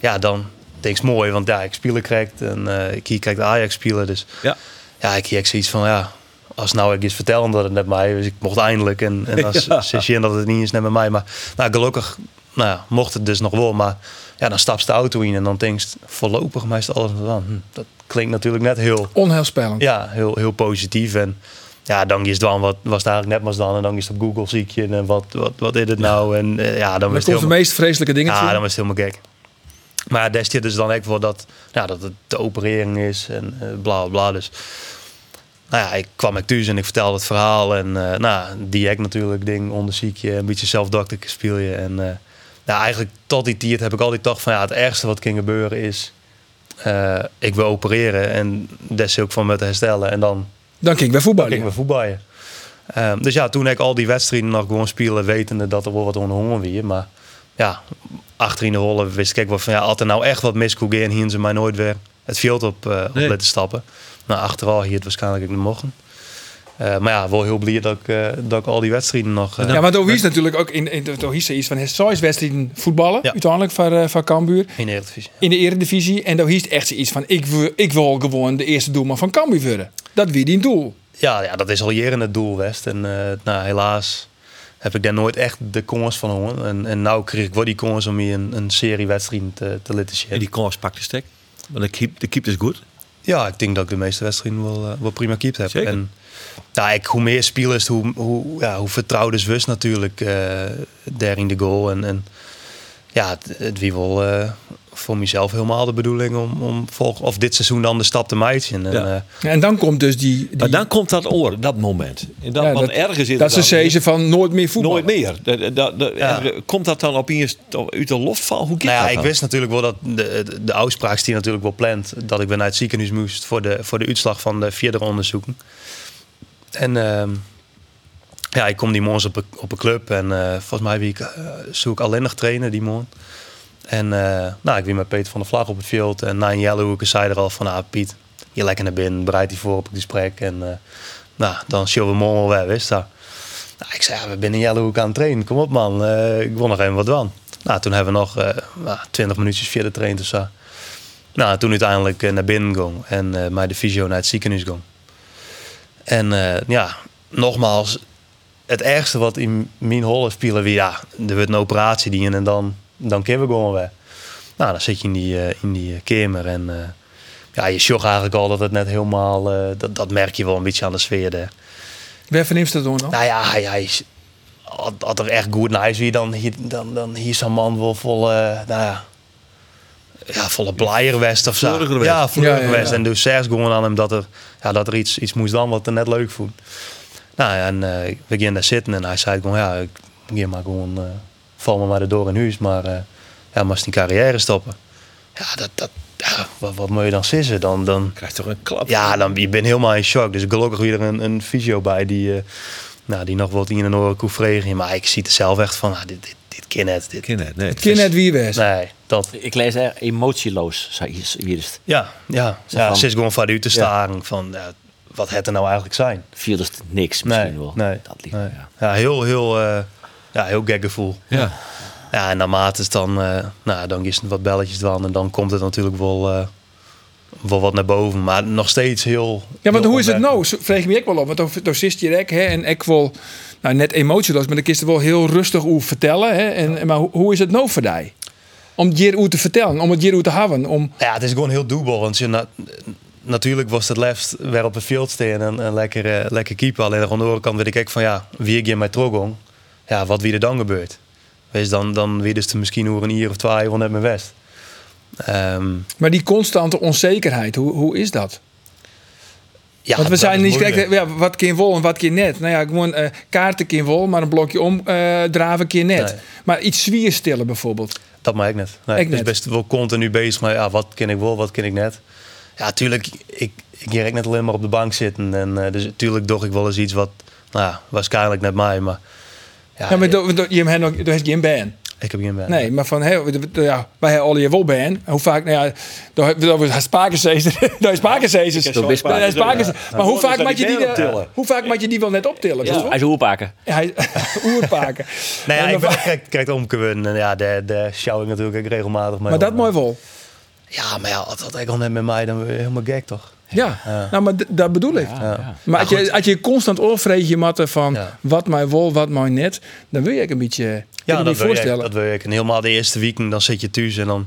[SPEAKER 5] ja, dan denk ik mooi, want ja, ik spelen krijgt en eh, ik hier krijg de Ajax spelen. Dus
[SPEAKER 4] Ja.
[SPEAKER 5] ja, ik hier ook zoiets van, ja, als nou ik iets vertelde dat het net mij, dus ik mocht eindelijk en, en als
[SPEAKER 4] Ja.
[SPEAKER 5] zes jaar dat het niet is net met mij. Maar nou, gelukkig, nou ja, mocht het dus nog wel, maar ja, dan stapt de auto in en dan denk je voorlopig meest alles nog dan. Hm, dat klinkt natuurlijk net heel
[SPEAKER 1] Onheilspellend.
[SPEAKER 5] ja, heel, heel positief. En ja, dan is het dan wat was het eigenlijk net was dan. En dan is het op Google ziekje. En eh, wat, wat, wat is het nou? En eh, ja, dan was
[SPEAKER 1] Dan komt
[SPEAKER 5] het
[SPEAKER 1] de
[SPEAKER 5] helemaal,
[SPEAKER 1] meest vreselijke dingen
[SPEAKER 5] ja, Ah, dan
[SPEAKER 1] ja,
[SPEAKER 5] was het helemaal gek. Maar daar zit dus dan echt voor dat, nou, dat het de operering is en eh, bla bla bla. Dus nou ja, ik kwam ik thuis en ik vertelde het verhaal. En eh nou, die hek natuurlijk, ding onder ziekje. Een beetje zelfdokter speel je. En eh, nou, eigenlijk tot die tijd heb ik altijd gedacht van ja, het ergste wat kan gebeuren is... eh, ik wil opereren en daar zit ook van met herstellen. En dan
[SPEAKER 1] Dan kijk ik bij voetballen.
[SPEAKER 5] gingen we voetballen. Ehm, dus ja, toen ik al die wedstrijden nog gewoon spelen, wetende dat er wel wat onder honger weer. Maar ja, achterin de rollen wist ik ook wel van ja, had er nou echt wat mis kon gaan, hingen ze mij nooit weer het veld op, eh op
[SPEAKER 4] Nee.
[SPEAKER 5] laten stappen. Nou, achteral hier het waarschijnlijk ook niet mogen. Eh, maar ja, wel heel blij dat ik, eh, dat ik al die wedstrijden nog... eh,
[SPEAKER 1] Ja, want Owie is natuurlijk ook in, in Owie is iets van het zes wedstrijden voetballen,
[SPEAKER 5] Ja.
[SPEAKER 1] uiteindelijk van, eh, van Cambuur
[SPEAKER 5] in de Eredivisie.
[SPEAKER 1] in de eredivisie. En Owie is echt iets van ik wil, ik wil gewoon de eerste doelman van Cambuur worden. Dat wie die doel.
[SPEAKER 5] Ja, ja, dat is al jaren het doel, West. En eh, nou, helaas heb ik daar nooit echt de kans van hoor. En, en nou kreeg ik wel die kans om hier een, een serie wedstrijden te, te laten zien.
[SPEAKER 4] En die kans pakt de stek. Want de keep, de keep is goed.
[SPEAKER 5] Ja, ik denk dat ik de meeste wedstrijden wel, eh, wel prima keept heb.
[SPEAKER 4] Zeker.
[SPEAKER 5] En nou, ik, hoe meer spelers, hoe, hoe, ja, hoe vertrouwder is Wust natuurlijk eh daar in de goal. En, en ja, het, het wie wel eh, voor mezelf helemaal de bedoeling om, om volg, of dit seizoen dan de stap te maken. En,
[SPEAKER 4] Ja.
[SPEAKER 5] eh,
[SPEAKER 1] En dan komt dus die. die
[SPEAKER 4] Maar dan komt dat oor, dat moment. En dan,
[SPEAKER 1] ja,
[SPEAKER 4] want ergens in
[SPEAKER 1] dat ze zezen van nooit meer voetbal.
[SPEAKER 4] Nooit meer. De- de- de-
[SPEAKER 5] Ja.
[SPEAKER 4] er- komt dat dan op je uit de loft vallen? Hoe gaat
[SPEAKER 5] Nou ja,
[SPEAKER 4] dat
[SPEAKER 5] ik
[SPEAKER 4] dan?
[SPEAKER 5] wist natuurlijk wel dat de, de, de uitspraak is die natuurlijk wel plant, dat ik weer naar het ziekenhuis moest voor de, voor de uitslag van de vierde onderzoeken. En ehm, ja, ik kom die morgens op een, op een club en eh, volgens mij wie ik, eh, zoek alleen nog trainen die morgen. En eh, nou, ik wie met Peter van der Vlag op het veld en Nine Yellowhoeken zei er al van, ah Piet, je lekker naar binnen, bereid je voor op het gesprek en eh, nou, dan zullen we morgen wel weer, wist dat. Nou, ik zei, ja, we binnen Jelle ook aan het trainen. Kom op man, Eh, ik wil nog even wat van. Nou, toen hebben we nog eh, nou, 20 minuutjes verder getraind of zo. Nou, toen uiteindelijk eh, naar binnen ging en eh mij de fysio naar het ziekenhuis ging. En eh, ja, nogmaals, het ergste wat in mijn holle spelen weer, ja, er wordt een operatie die en dan, dan kunnen we gewoon weer. Nou, dan zit je in die, eh, in die eh, kamer en eh, ja, je sjocht eigenlijk al dat het net helemaal, eh, dat, dat merk je wel een beetje aan de sfeer daar.
[SPEAKER 1] Waar verneemt dat dan?
[SPEAKER 5] Nou ja, hij, hij is, had, had er echt goed naar is wie dan hier, dan, dan hier zo'n man wel vol, eh, nou ja, ja, volle blijer west of zo.
[SPEAKER 4] Vleuriger west.
[SPEAKER 5] Ja, vleuriger
[SPEAKER 1] Ja, ja, ja.
[SPEAKER 5] west. En dus zegt gewoon aan hem dat er, ja, dat er iets, iets moest dan wat er net leuk voelt. Nou ja, en eh, we gingen daar zitten en hij zei gewoon, ja, ik ging maar gewoon, eh, val me maar erdoor in huis, maar eh ja, maar die carrière stoppen. Ja, dat, dat, ja, wat, wat moet je dan sissen? Dan, dan,
[SPEAKER 4] Krijgt toch een klap?
[SPEAKER 5] ja, dan, je bent helemaal in shock. Dus gelukkig weer een, een fysio bij die, eh, nou, die nog wat in een oren koefregen. Maar ik zie het zelf echt van, ah, dit, dit, dit kan het. Dit,
[SPEAKER 4] Kinderen, nee.
[SPEAKER 1] Het kind net wie wees.
[SPEAKER 5] nee, dat.
[SPEAKER 6] Ik lees er emotieloos, zei Iris- Iris.
[SPEAKER 5] Ja, ja.
[SPEAKER 6] Zo
[SPEAKER 5] ja
[SPEAKER 6] van-
[SPEAKER 5] ze is gewoon van u te staren van, ja, wat het er nou eigenlijk zijn.
[SPEAKER 6] Viel dus niks misschien wel.
[SPEAKER 5] nee,
[SPEAKER 6] dat liep,
[SPEAKER 5] nee.
[SPEAKER 6] ja.
[SPEAKER 5] Ja, heel, heel, eh, ja, heel gek gevoel.
[SPEAKER 4] Ja.
[SPEAKER 5] Ja, en naarmate het dan, eh nou, dan is er wat belletjes dan en dan komt het natuurlijk wel, eh, wel wat naar boven. Maar nog steeds heel...
[SPEAKER 1] Ja, maar
[SPEAKER 5] heel
[SPEAKER 1] hoe is het
[SPEAKER 5] opmerkelijk.
[SPEAKER 1] nou? Zo Vreeg ik me ook wel op. Want dan- dan zit je er ook, hè, en ik wel, nou net emotieloos, maar dan kist er wel heel rustig over vertellen. Hè, en, maar hoe, hoe is het nou voor jou? Om het hier over te vertellen, om het hier over te houden. Om,
[SPEAKER 5] Ja, het is gewoon heel dubbel. Want je na- natuurlijk was het left weer op het veld staan en, en lekker, eh, lekker keeper. Alleen aan de andere kant weet ik ook van ja, wie ik je met trogong, ja, wat wie er dan gebeurt. Wees dan, dan weer dus misschien over een uur of twee wel net mijn west. Ehm,
[SPEAKER 1] maar die constante onzekerheid, hoe, hoe is dat?
[SPEAKER 5] ja,
[SPEAKER 1] Want we
[SPEAKER 5] dat
[SPEAKER 1] zijn
[SPEAKER 5] is
[SPEAKER 1] niet
[SPEAKER 5] moeilijk.
[SPEAKER 1] kijk, ja, wat keer wol en wat keer net. Nou ja, gewoon eh, kaarten keer wol, maar een blokje om eh, draven keer net.
[SPEAKER 5] Nee.
[SPEAKER 1] Maar iets zwierstillen bijvoorbeeld.
[SPEAKER 5] Dat maak ik net. Nee,
[SPEAKER 1] Ik
[SPEAKER 5] ik ben
[SPEAKER 1] net.
[SPEAKER 5] best wel continu bezig met ja, wat ken ik wel, wat ken ik net. Ja, tuurlijk, ik, ik hier ook net alleen maar op de bank zitten. En eh, dus tuurlijk doch ik wel eens iets wat, nou ja, waarschijnlijk net mij, maar... Ah, Ja,
[SPEAKER 1] Ja, maar
[SPEAKER 5] ik,
[SPEAKER 1] do- do- je hebt nog- je hebt geen ban.
[SPEAKER 5] ik heb geen band.
[SPEAKER 1] Nee, maar van hey, ja, wij hebben al je wel ban. Hoe vaak, nou ja, daar daar was spakenseester. <laughs> Daar is spakenseester.
[SPEAKER 6] Door Bispa.
[SPEAKER 1] Daar is Spakense- Maar hoe vaak
[SPEAKER 4] dan
[SPEAKER 1] maak je die,
[SPEAKER 4] die band
[SPEAKER 1] eh,
[SPEAKER 4] optillen.
[SPEAKER 1] hoe vaak maak je die wel net optillen?
[SPEAKER 6] Ja. Hij
[SPEAKER 1] Ja.
[SPEAKER 6] is hoerpaken.
[SPEAKER 1] Hij <laughs> oerpaken.
[SPEAKER 5] Nou ja,
[SPEAKER 1] En
[SPEAKER 5] ik <laughs>
[SPEAKER 1] dan-
[SPEAKER 5] ben, kijk, kijk omgewonnen. En ja, daar daar sjouw ik natuurlijk ook regelmatig mee.
[SPEAKER 1] maar dat
[SPEAKER 5] om.
[SPEAKER 1] mooi wel.
[SPEAKER 5] Ja, maar ja, als dat ik al net met mij, dan ben je helemaal gek, toch?
[SPEAKER 1] Ja, nou, maar d- dat bedoel ik. Maar als je, als je constant oorvreet je matten van
[SPEAKER 5] Ja.
[SPEAKER 1] wat mij wol, wat mij net, dan wil je ook een beetje. kan
[SPEAKER 5] Ja, dat
[SPEAKER 1] je niet
[SPEAKER 5] wil, je,
[SPEAKER 1] voorstellen.
[SPEAKER 5] dat wil je. En helemaal de eerste weekend, dan zit je thuis en dan...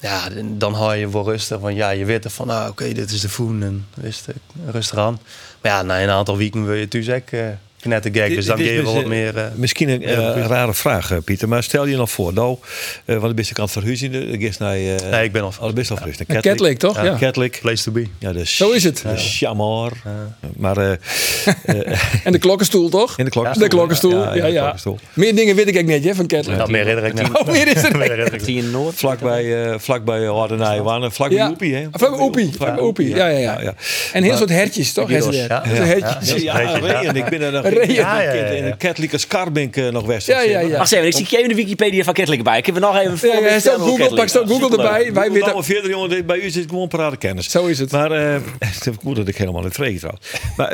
[SPEAKER 5] Ja, dan hou je wel rustig. Want ja, je weet er van, nou, oké, dit is de voen. En wist ik, rustig aan. Maar ja, na een aantal weken wil je thuis ook eh knettergek. Dus dan
[SPEAKER 4] Dit
[SPEAKER 5] geef
[SPEAKER 4] is
[SPEAKER 5] je wel
[SPEAKER 4] dus,
[SPEAKER 5] wat
[SPEAKER 4] eh,
[SPEAKER 5] meer... eh,
[SPEAKER 4] Misschien een eh,
[SPEAKER 5] precies.
[SPEAKER 4] rare vraag, eh, Pieter. Maar stel je nog voor, nou, eh want ik ben ik aan het verhuizen. Ik is naar... eh,
[SPEAKER 5] nee, ik ben al...
[SPEAKER 4] Oh, dat is al fris.
[SPEAKER 1] Een Catholic, toch? Ja.
[SPEAKER 4] Catholic.
[SPEAKER 5] Place to be. Nou,
[SPEAKER 4] Ja, dus,
[SPEAKER 1] Zo is het.
[SPEAKER 4] De chamar. Maar eh,
[SPEAKER 1] En de klokkenstoel, toch?
[SPEAKER 4] in de klokkenstoel.
[SPEAKER 1] De klokkenstoel. Ja,
[SPEAKER 4] in
[SPEAKER 1] ja,
[SPEAKER 4] de klokkenstoel.
[SPEAKER 1] Meer dingen weet ik ook niet, hè, van Kettler.
[SPEAKER 5] Dat Nou, meer herinner ik niet.
[SPEAKER 1] Oh, meer is er niet.
[SPEAKER 5] <laughs> Meer herinner ik niet.
[SPEAKER 6] Die in Noord.
[SPEAKER 4] Vlakbij, eh vlakbij Hardenij waren. Vlakbij
[SPEAKER 1] Ja.
[SPEAKER 4] Oepie, hè?
[SPEAKER 1] Vlakbij Oepie, vlakbij Oepie. Ja, ja, ja.
[SPEAKER 4] ja.
[SPEAKER 1] En heel soort hertjes, toch? Heel soort
[SPEAKER 5] Ja, ja.
[SPEAKER 1] hertjes.
[SPEAKER 5] Ja,
[SPEAKER 4] Ja,
[SPEAKER 5] ja.
[SPEAKER 4] Reen. Ik ben er nog
[SPEAKER 1] Reen.
[SPEAKER 4] ik ben
[SPEAKER 5] Ja, ja, ja,
[SPEAKER 4] kind in
[SPEAKER 5] ja.
[SPEAKER 4] een katholieke skarbink eh, nog west.
[SPEAKER 1] Ja, ja, ja.
[SPEAKER 6] Wacht even, ik zie je in de Wikipedia van Kettling bij. Kunnen we nog even...
[SPEAKER 1] Ja, ja, stel Google, pak stel Google erbij. Wij
[SPEAKER 4] Wij
[SPEAKER 1] weten.
[SPEAKER 4] allemaal verder, nou, jongen. Dit- Bij u zit gewoon parade kennis.
[SPEAKER 1] Zo is het.
[SPEAKER 4] Maar eh, <laughs> ik moet dat ik helemaal niet vreeg trouwens. Maar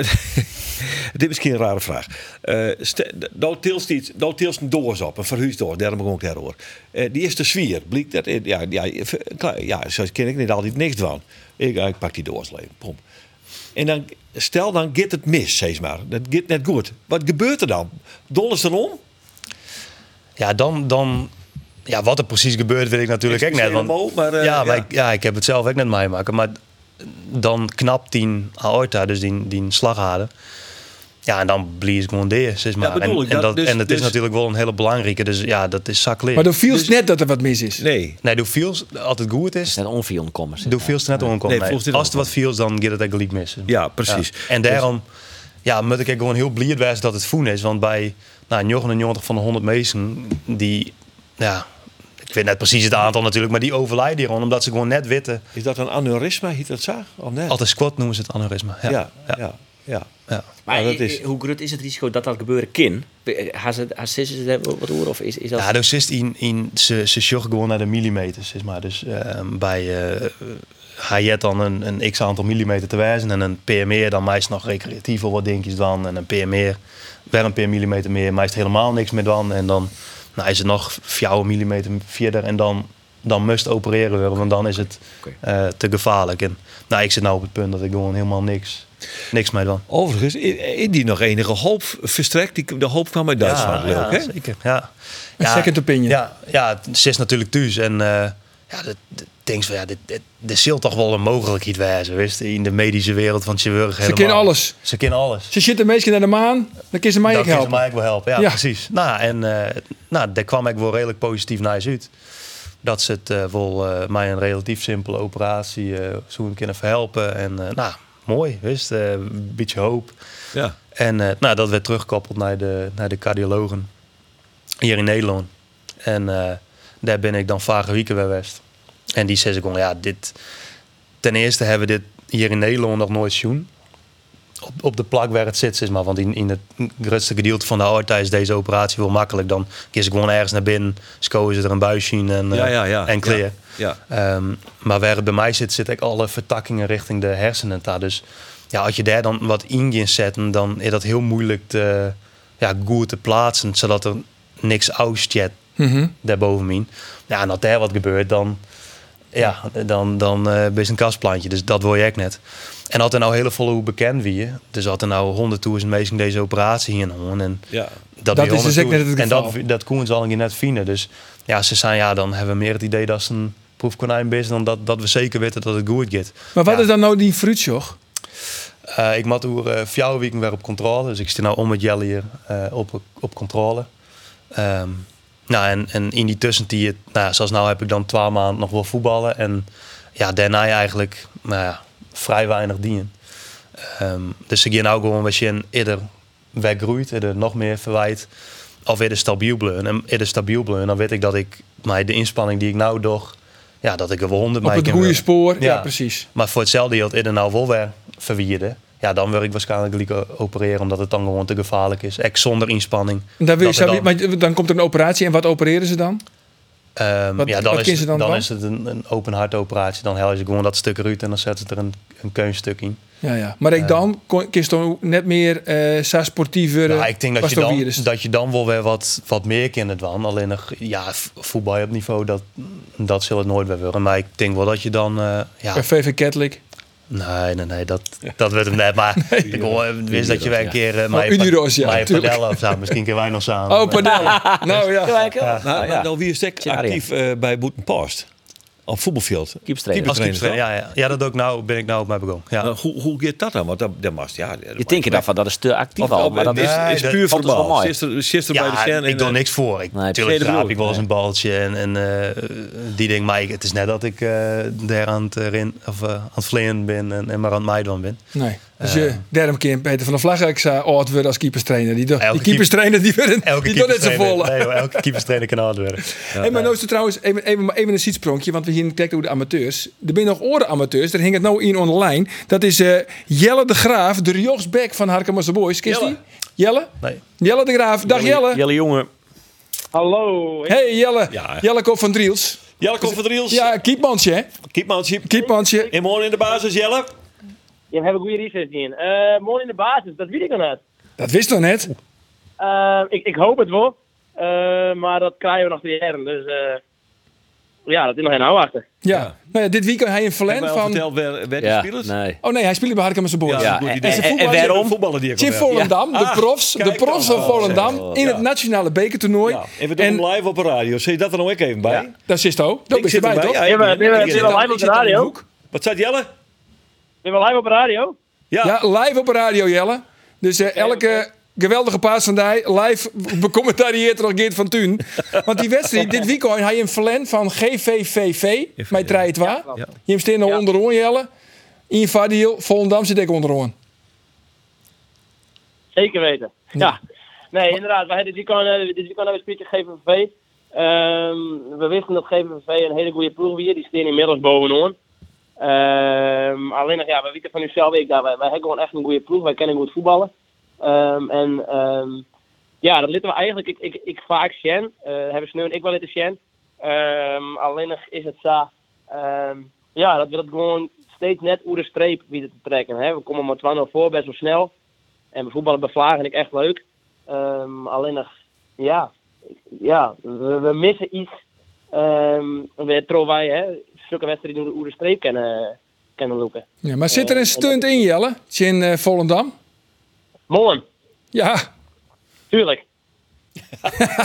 [SPEAKER 4] <laughs> dit is misschien een rare vraag. Eh ste- nou tilst iets, nou tilst een doos op, een verhuisdoos, daarom kom ik daar hoor. Eh, die is te zwier, blijkt dat. eh, Ja, ja, ja, ja zo ken ik niet altijd niks van. Ik, eh, ik pak die doos leeg, pom. En dan, stel dan gaat het mis, zeg maar. Dat gaat net goed. Wat gebeurt er dan? Donders ze om?
[SPEAKER 5] Ja, dan, dan... Ja, wat er precies gebeurt, weet ik natuurlijk ook net.
[SPEAKER 4] Excuseer
[SPEAKER 5] Want,
[SPEAKER 4] me, Mo, maar, eh,
[SPEAKER 5] ja, maar
[SPEAKER 4] ja.
[SPEAKER 5] Ik, ja, ik heb het zelf ook net meemaken. Maar dan knapt die aorta, dus die, die slagader. Ja, en dan blies ik gewoon deer, zeg maar.
[SPEAKER 4] bedoel
[SPEAKER 5] en,
[SPEAKER 4] ik,
[SPEAKER 5] en,
[SPEAKER 4] dat- dus-
[SPEAKER 5] en het
[SPEAKER 4] dus-
[SPEAKER 5] is natuurlijk wel een hele belangrijke. Dus ja, dat is zakleer.
[SPEAKER 1] Maar dan viel het net dat er wat mis is.
[SPEAKER 4] Nee.
[SPEAKER 5] Dus- Nee, doe feels, altijd goed is.
[SPEAKER 6] Zijn onvionkommers.
[SPEAKER 5] Doe feels net
[SPEAKER 4] Nee,
[SPEAKER 5] onkomen. Nee,
[SPEAKER 4] volgens dit
[SPEAKER 5] Als er wat feels, dan gaat het eigenlijk mis.
[SPEAKER 4] Ja, precies.
[SPEAKER 5] En daarom ja, moet ik ook gewoon heel blij zijn dat het voen is. Want bij nou, 99 van de 100 mensen, die, ja, ik weet net precies het aantal natuurlijk, maar die overlijden hier gewoon omdat ze gewoon net witte.
[SPEAKER 4] Is dat een aneurysma, heet dat zo? Of net?
[SPEAKER 5] Altijd squat noemen ze het aneurysma. Ja,
[SPEAKER 4] ja,
[SPEAKER 5] ja.
[SPEAKER 4] ja. ja.
[SPEAKER 5] ja.
[SPEAKER 6] Maar
[SPEAKER 4] Ja, dat
[SPEAKER 6] i-
[SPEAKER 4] is-
[SPEAKER 6] i- hoe groot is het risico dat dat gebeuren kan? Has het, has is het hebben we wat horen of is, is dat?
[SPEAKER 5] Ja, dus is het in, in, ze, ze sjoggen gewoon naar de millimeters. Zeg maar. Dus ehm, bij eh Hayet dan een, een x aantal millimeter te wijzen. En een PMR dan meest nog recreatief of wat dingetjes dan. En een PMR, wel een paar millimeter meer, meest helemaal niks meer dan. En dan nou, is het nog vier millimeter verder. En dan, dan must opereren worden, want dan is het
[SPEAKER 6] Oké.
[SPEAKER 5] eh, te gevaarlijk. En nou, ik zit nou op het punt dat ik gewoon helemaal niks niks mee dan.
[SPEAKER 4] Overigens, i- indien nog enige hoop verstrekt, die, de hoop kwam uit Duitsland. leuk, hè?
[SPEAKER 5] Zeker, ja.
[SPEAKER 1] Een second opinion.
[SPEAKER 5] Ja, ja, ze is natuurlijk thuis. En eh, ja, dat- dat- ik denk van, ja, dit, dit, er zult toch wel een mogelijkheid wijzen, wist je, in de medische wereld van chirurgen helemaal.
[SPEAKER 1] kennen alles.
[SPEAKER 5] Ze kennen alles.
[SPEAKER 1] Ze zitten meestal naar de maan, dan kun ze mij ook
[SPEAKER 5] Dat kan ze
[SPEAKER 1] helpen.
[SPEAKER 5] mij ook wel helpen, ja,
[SPEAKER 1] Ja.
[SPEAKER 5] precies. Nou, en eh, nou, daar kwam ik wel redelijk positief naar eens uit. Dat ze het eh wel eh, mij een relatief simpele operatie eh zo kunnen verhelpen. En eh, nou, mooi, wist eh, Een beetje hoop.
[SPEAKER 4] Ja.
[SPEAKER 5] En eh, nou, dat werd teruggekoppeld naar de, naar de cardiologen hier in Nederland. En eh, daar ben ik dan vage weken bij West. En die zei ze gewoon, ja, dit... Ten eerste hebben we dit hier in Nederland nog nooit zien. Op, op de plak waar het zit, zeg maar. Want in, in het grootste gedeelte van de aorta is deze operatie wel makkelijk. Dan kies ik gewoon ergens naar binnen, scoren ze er een buisje in en, eh,
[SPEAKER 4] Ja, ja, ja.
[SPEAKER 5] en clear.
[SPEAKER 4] Ja, ja.
[SPEAKER 5] Ehm, maar waar het bij mij zit, zit ik alle vertakkingen richting de hersenen daar. Dus ja, als je daar dan wat in gaat zetten, dan is dat heel moeilijk te, ja, goed te plaatsen, zodat er niks uitstjet daarbovenin. Ja, en als daar wat gebeurt, dan, ja, dan, dan eh ben je een kastplantje. Dus dat wil je echt net. En had er nou hele volle hoe bekend wie je. Dus had er nou honderdduizend mensen deze operatie hier horen. En
[SPEAKER 4] Ja.
[SPEAKER 5] dat,
[SPEAKER 1] Dat
[SPEAKER 5] weer
[SPEAKER 1] is dus ook net het
[SPEAKER 5] 100.000. En
[SPEAKER 1] geval.
[SPEAKER 5] dat, dat koen zal ik je net vinden. Dus ja, ze zijn ja, dan hebben we meer het idee dat ze een proefkonijn is dan dat, dat we zeker weten dat het goed gaat.
[SPEAKER 1] Maar wat
[SPEAKER 5] Ja.
[SPEAKER 1] is dan nou die fruitsjog?
[SPEAKER 5] Eh, ik mat over eh vier weken weer op controle. Dus ik zit nou om met Jelle hier eh, op, op controle. Ehm, nou, en, en in die tussentijd, nou, zoals nou heb ik dan twaalf maanden nog wel voetballen. En ja, daarna eigenlijk nou ja, vrij weinig dienen. Ehm, dus ik hier nou gewoon wat je in eerder weggroeit, eerder nog meer verwijt. Of eerder stabiel bleun. En eerder stabiel bleun, dan weet ik dat ik maar de inspanning die ik nou doch, ja, dat ik er wel honderd
[SPEAKER 1] Op
[SPEAKER 5] mee
[SPEAKER 1] het
[SPEAKER 5] kan
[SPEAKER 1] goede
[SPEAKER 5] werken.
[SPEAKER 1] spoor? Ja, precies.
[SPEAKER 5] Maar voor hetzelfde geld in de nou wel weer verwierde. Ja, dan wil ik waarschijnlijk liever opereren omdat het dan gewoon te gevaarlijk is. Echt zonder inspanning.
[SPEAKER 1] En daar wil je,
[SPEAKER 5] Dat er
[SPEAKER 1] zou je- maar dan komt er een operatie en wat opereren ze dan?
[SPEAKER 5] ehm,
[SPEAKER 1] wat-
[SPEAKER 5] ja,
[SPEAKER 1] wat
[SPEAKER 5] dan, is,
[SPEAKER 1] kiezen ze
[SPEAKER 5] het-
[SPEAKER 1] dan
[SPEAKER 5] dan,
[SPEAKER 1] van?
[SPEAKER 5] is het een, een open hart operatie. Dan halen ze gewoon dat stuk eruit en dan zetten ze er een, een keunstuk in.
[SPEAKER 1] Ja, ja. Maar ik dan kon- kies dan net meer eh sa sportiever.
[SPEAKER 5] Ja, Nou, ik denk dat je, dan,
[SPEAKER 1] dus-
[SPEAKER 5] dat je dan wel weer wat, wat meer kinderen dan. Alleen nog, ja, v- voetbal op niveau, dat, dat zal het nooit weer worden. Maar ik denk wel dat je dan, eh, ja,
[SPEAKER 1] Bij VV Catholic.
[SPEAKER 5] Nee, nee, nee, dat, dat werd hem net. Maar
[SPEAKER 1] <laughs>
[SPEAKER 5] ik hoor, eh, wist dat je weer een keer... eh, maar je
[SPEAKER 1] Uniros, Oh, ja,
[SPEAKER 5] maar je
[SPEAKER 1] tuurlijk.
[SPEAKER 5] padellen of zo. Misschien kunnen wij nog samen. eh,
[SPEAKER 1] Oh, padel. nou ja.
[SPEAKER 4] Nou,
[SPEAKER 6] Nou, ja.
[SPEAKER 4] Dan wie is ik
[SPEAKER 6] Zit Arjen.
[SPEAKER 4] actief eh, bij Boetenpost. Op voetbalveld.
[SPEAKER 6] Keeperstrainer.
[SPEAKER 5] Als keeper,
[SPEAKER 4] toch?
[SPEAKER 5] ja, ja. ja, dat ook nou, ben ik nou op mij begonnen. Ja.
[SPEAKER 4] Nou, hoe, hoe gaat dat dan? Want dat, dat was, ja, dat
[SPEAKER 6] Je denkt daarvan, dat is te actief
[SPEAKER 4] Of-
[SPEAKER 6] al.
[SPEAKER 4] of-
[SPEAKER 6] Maar dat
[SPEAKER 4] is,
[SPEAKER 6] is...
[SPEAKER 5] Nee,
[SPEAKER 4] is
[SPEAKER 5] dat-
[SPEAKER 4] puur
[SPEAKER 6] dat is wel
[SPEAKER 4] voetbal.
[SPEAKER 6] mooi.
[SPEAKER 4] dus Gisteren, gisteren bij de
[SPEAKER 5] Ja,
[SPEAKER 4] scène.
[SPEAKER 5] ik
[SPEAKER 4] en,
[SPEAKER 5] doe
[SPEAKER 4] eh,
[SPEAKER 5] niks voor. Ik,
[SPEAKER 6] Nee,
[SPEAKER 5] natuurlijk
[SPEAKER 4] tweede
[SPEAKER 5] raap
[SPEAKER 4] bedoel
[SPEAKER 5] ik wel eens
[SPEAKER 4] ik,
[SPEAKER 5] een baltje en, en eh, die ding. Maar ik- het is net dat ik eh daar aan het, rin, of, eh, aan het vleien ben en, en maar aan het meiden ben.
[SPEAKER 1] Nee. Dus je derde keer Peter van der Vlag ik zou oud worden als keeperstrainer. Die, do- die
[SPEAKER 5] keep-
[SPEAKER 1] keeperstrainer die, werd,
[SPEAKER 5] Elke
[SPEAKER 1] die doet net zo
[SPEAKER 5] keeperstrainer-
[SPEAKER 1] volle.
[SPEAKER 5] Nee, hoor, elke keeperstrainer kan hard
[SPEAKER 4] <laughs>
[SPEAKER 5] werken.
[SPEAKER 1] Hey, maar nou is er trouwens even, even, even een zietspronkje, want we hier kijken hoe de amateurs. Er zijn nog oren amateurs, daar hing het nou in online. Dat is eh, Jelle de Graaf, de Riochsbek van Harkemasse Boys. Kist die? Jelle?
[SPEAKER 5] Nee.
[SPEAKER 1] Jelle de Graaf, dag Jelle.
[SPEAKER 6] Jelle jongen.
[SPEAKER 8] Hallo.
[SPEAKER 1] Hey Jelle,
[SPEAKER 4] Ja.
[SPEAKER 1] Jelle Koop van Driels.
[SPEAKER 4] Jelle komt van Driels.
[SPEAKER 1] Ja, keepmansje hè?
[SPEAKER 4] Kiepmansje.
[SPEAKER 1] Keepmansje.
[SPEAKER 4] En morgen in de basis, Jelle.
[SPEAKER 8] Je hebt een goede research in. Eh morgen in de basis, dat weet ik nog net.
[SPEAKER 1] Dat wist nog net.
[SPEAKER 8] Eh, ik, ik hoop het wel. Eh, maar dat krijgen we nog te jaren. Dus eh, ja, dat is nog geen afwachten.
[SPEAKER 1] Ja. Nou ja, dit weekend hij een
[SPEAKER 4] Heb
[SPEAKER 1] verlen
[SPEAKER 4] je al
[SPEAKER 1] van...
[SPEAKER 4] verteld waar waar die
[SPEAKER 6] Ja,
[SPEAKER 4] spelers?
[SPEAKER 6] nee.
[SPEAKER 1] Oh nee, hij speelde bij Harkemasse Boys.
[SPEAKER 6] Ja,
[SPEAKER 4] goed
[SPEAKER 6] en-
[SPEAKER 4] idee.
[SPEAKER 6] en-
[SPEAKER 4] Ze
[SPEAKER 6] en
[SPEAKER 4] voetballen-
[SPEAKER 6] waarom?
[SPEAKER 4] Voetballen die ook
[SPEAKER 1] Zit
[SPEAKER 4] wel.
[SPEAKER 1] Volendam, de
[SPEAKER 4] Ah,
[SPEAKER 1] profs, de
[SPEAKER 4] kijk
[SPEAKER 1] profs van
[SPEAKER 4] dan. Oh,
[SPEAKER 1] Volendam
[SPEAKER 4] zeg.
[SPEAKER 1] in het
[SPEAKER 4] Ja.
[SPEAKER 1] nationale bekertoernooi.
[SPEAKER 4] Ja, en we doen hem live op de radio. Zie je dat er nog ook even bij?
[SPEAKER 6] Ja.
[SPEAKER 1] daar zit hij ook. Daar ben
[SPEAKER 4] Ik
[SPEAKER 1] je
[SPEAKER 4] zit
[SPEAKER 1] bij,
[SPEAKER 4] erbij.
[SPEAKER 1] toch?
[SPEAKER 4] Ja,
[SPEAKER 8] Zijn we,
[SPEAKER 4] ik-
[SPEAKER 8] zijn we,
[SPEAKER 4] ik-
[SPEAKER 8] zijn we live op de radio?
[SPEAKER 4] Wat staat Jelle?
[SPEAKER 8] Zijn we live op de radio?
[SPEAKER 4] Ja.
[SPEAKER 1] Ja, live op de radio, Jelle. Dus eh, elke geweldige paas van die live <laughs> becommentarieert door Geert van Tuin. Want die wedstrijd, dit weekend, hij een verlen van GVVV, mij draait het waar. Je hem staat nou onderaan, Jelle. In Vadiel, Volendam zit ik onderaan.
[SPEAKER 8] Zeker weten. Ja. Nee, inderdaad. We hebben dit weekend, eh, dit weekend hebben we een speech GVV. Ehm, we wisten dat GVV een hele goede ploeg weer. Die staan inmiddels bovenaan. Ehm, alleen nog, ja, we weten van uzelf ik daar. Wij, wij hebben gewoon echt een goede ploeg. Wij kennen goed voetballen. Ehm, en ehm, ja, dat litten we eigenlijk. Ik, ik, ik vaak Shen. eh hebben Sneu en ik wel litten Shen. Ehm, alleen nog is het zo. ehm, ja, dat we dat gewoon steeds net over de streep weten te trekken. Hè? We komen maar 2-0 voor, best wel snel. En voetballen bij Vlaag vind ik echt leuk. Ehm, alleen nog, ja, ja we, we missen iets. Ehm we trouwen wij, hè, zulke wedstrijden die we de streep kennen. kennelijk. hè.
[SPEAKER 1] Ja, maar zit er
[SPEAKER 4] Oh,
[SPEAKER 1] een stunt in, Jelle? In eh, Volendam?
[SPEAKER 8] Morgen,
[SPEAKER 1] Ja,
[SPEAKER 8] tuurlijk.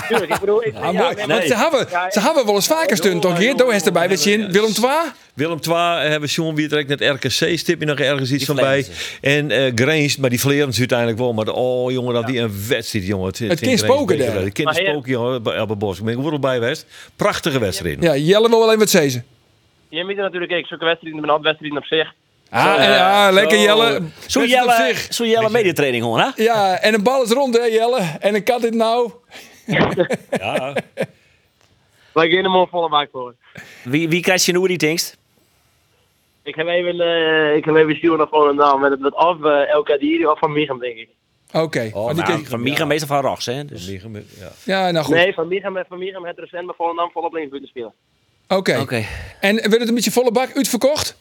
[SPEAKER 8] tuurlijk, ik bedoel... Ik, ja,
[SPEAKER 1] Ah, mooi.
[SPEAKER 8] nee,
[SPEAKER 1] want ze hebben,
[SPEAKER 8] Ja,
[SPEAKER 1] ze hebben wel eens vaker stunt, toch? Geert? Daar is erbij. Weet je, in Willem II?
[SPEAKER 4] Willem Twa eh, hebben we Sean Wietrek net RKC stip je nog ergens iets van bij. En eh Grains, maar die vleren ze uiteindelijk wel. Maar oh jongen, dat die een wedstrijd jongen.
[SPEAKER 1] Het kind spoken daar.
[SPEAKER 4] Het kind
[SPEAKER 8] Maar heer-
[SPEAKER 4] spoken jongen bij Elbe Bosch. Ik ben er bij geweest. Prachtige wedstrijd.
[SPEAKER 1] Ja, Jelle wil wel even wat zezen.
[SPEAKER 8] Je moet er natuurlijk ook zulke wedstrijden, maar wedstrijden op zich.
[SPEAKER 1] Ah, en- ah, lekker Jelle.
[SPEAKER 6] Zo
[SPEAKER 1] Met het op
[SPEAKER 6] Jelle,
[SPEAKER 1] zich.
[SPEAKER 6] zo Jelle mediatraining, hoor. Hè?
[SPEAKER 1] Ja, en een bal is rond, hè, Jelle. En een kat dit nou.
[SPEAKER 8] Wij gaan er morgen volle bak voor.
[SPEAKER 6] Wie, wie krijgt je nu die dingst?
[SPEAKER 8] Ik heb even, eh, ik heb even Sjoerd naar Volendam met, met of eh, LK Dier of van Micham, denk ik.
[SPEAKER 1] Oké.
[SPEAKER 4] Oh,
[SPEAKER 1] Maar die
[SPEAKER 4] nou.
[SPEAKER 1] kan-
[SPEAKER 6] Van Miga meestal van Rochs, hè? Dus.
[SPEAKER 4] Liggen met- ja.
[SPEAKER 1] Ja, nou goed.
[SPEAKER 8] Nee, van Micham, van Micham heeft recent bij Volendam volop linksbuiten spelen.
[SPEAKER 1] Oké.
[SPEAKER 6] Oké.
[SPEAKER 1] En werd het een beetje volle bak uitverkocht?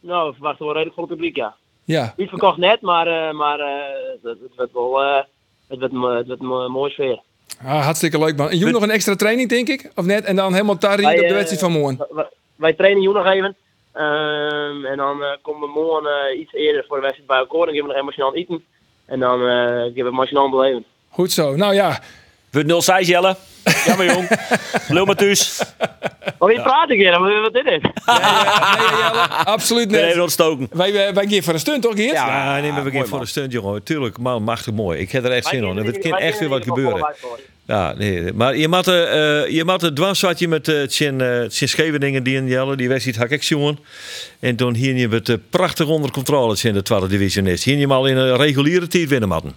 [SPEAKER 8] Nou, we verwachten wel redelijk vol publiek, ja.
[SPEAKER 1] Ja.
[SPEAKER 8] Niet verkocht net, maar, eh, maar eh, het, het, het werd wel eh, het werd, mo- het werd mo- een eh, mooie sfeer.
[SPEAKER 1] Ah, hartstikke leuk, man. En Joen nog een extra training, denk ik? Of net? En dan helemaal tarien
[SPEAKER 8] Wij,
[SPEAKER 1] op de
[SPEAKER 8] eh,
[SPEAKER 1] wedstrijd van morgen.
[SPEAKER 8] Wij- Wij trainen hier nog even. Ehm, en dan eh, komen we morgen eh, iets eerder voor de wedstrijd bij elkaar. Dan gaan we nog emotioneel eten. En dan eh gaan we het emotioneel beleven.
[SPEAKER 1] Goed zo. Nou ja.
[SPEAKER 6] Wordt 0 6 Jelle. Jammer, jong. Lul maar
[SPEAKER 8] <laughs>
[SPEAKER 6] thuis.
[SPEAKER 8] Maar wie praat ik hier? Wat- Wat dit is?
[SPEAKER 1] Nee, Jelle, absoluut
[SPEAKER 6] Ben even
[SPEAKER 1] net.
[SPEAKER 6] ontstoken.
[SPEAKER 1] Wij, eh, wij, wij gaan voor een stunt, toch, Geert?
[SPEAKER 4] <laughs> Ja, nee, maar we gaan voor de stunt, jongen. Tuurlijk, man, machtig mooi. Ik heb er echt zin in. Het kan echt weer wat gebeuren. Ja, nee, maar je moet, eh eh, je moet het dwars zat je met eh Tjen eh, Tjen Scheveningen die in Jelle, die wedstrijd hak ik jongen. En toen hier je het eh, prachtig onder controle in de tweede divisionist. Hier je hem al in een reguliere tijd winnen, matten.
[SPEAKER 8] Ik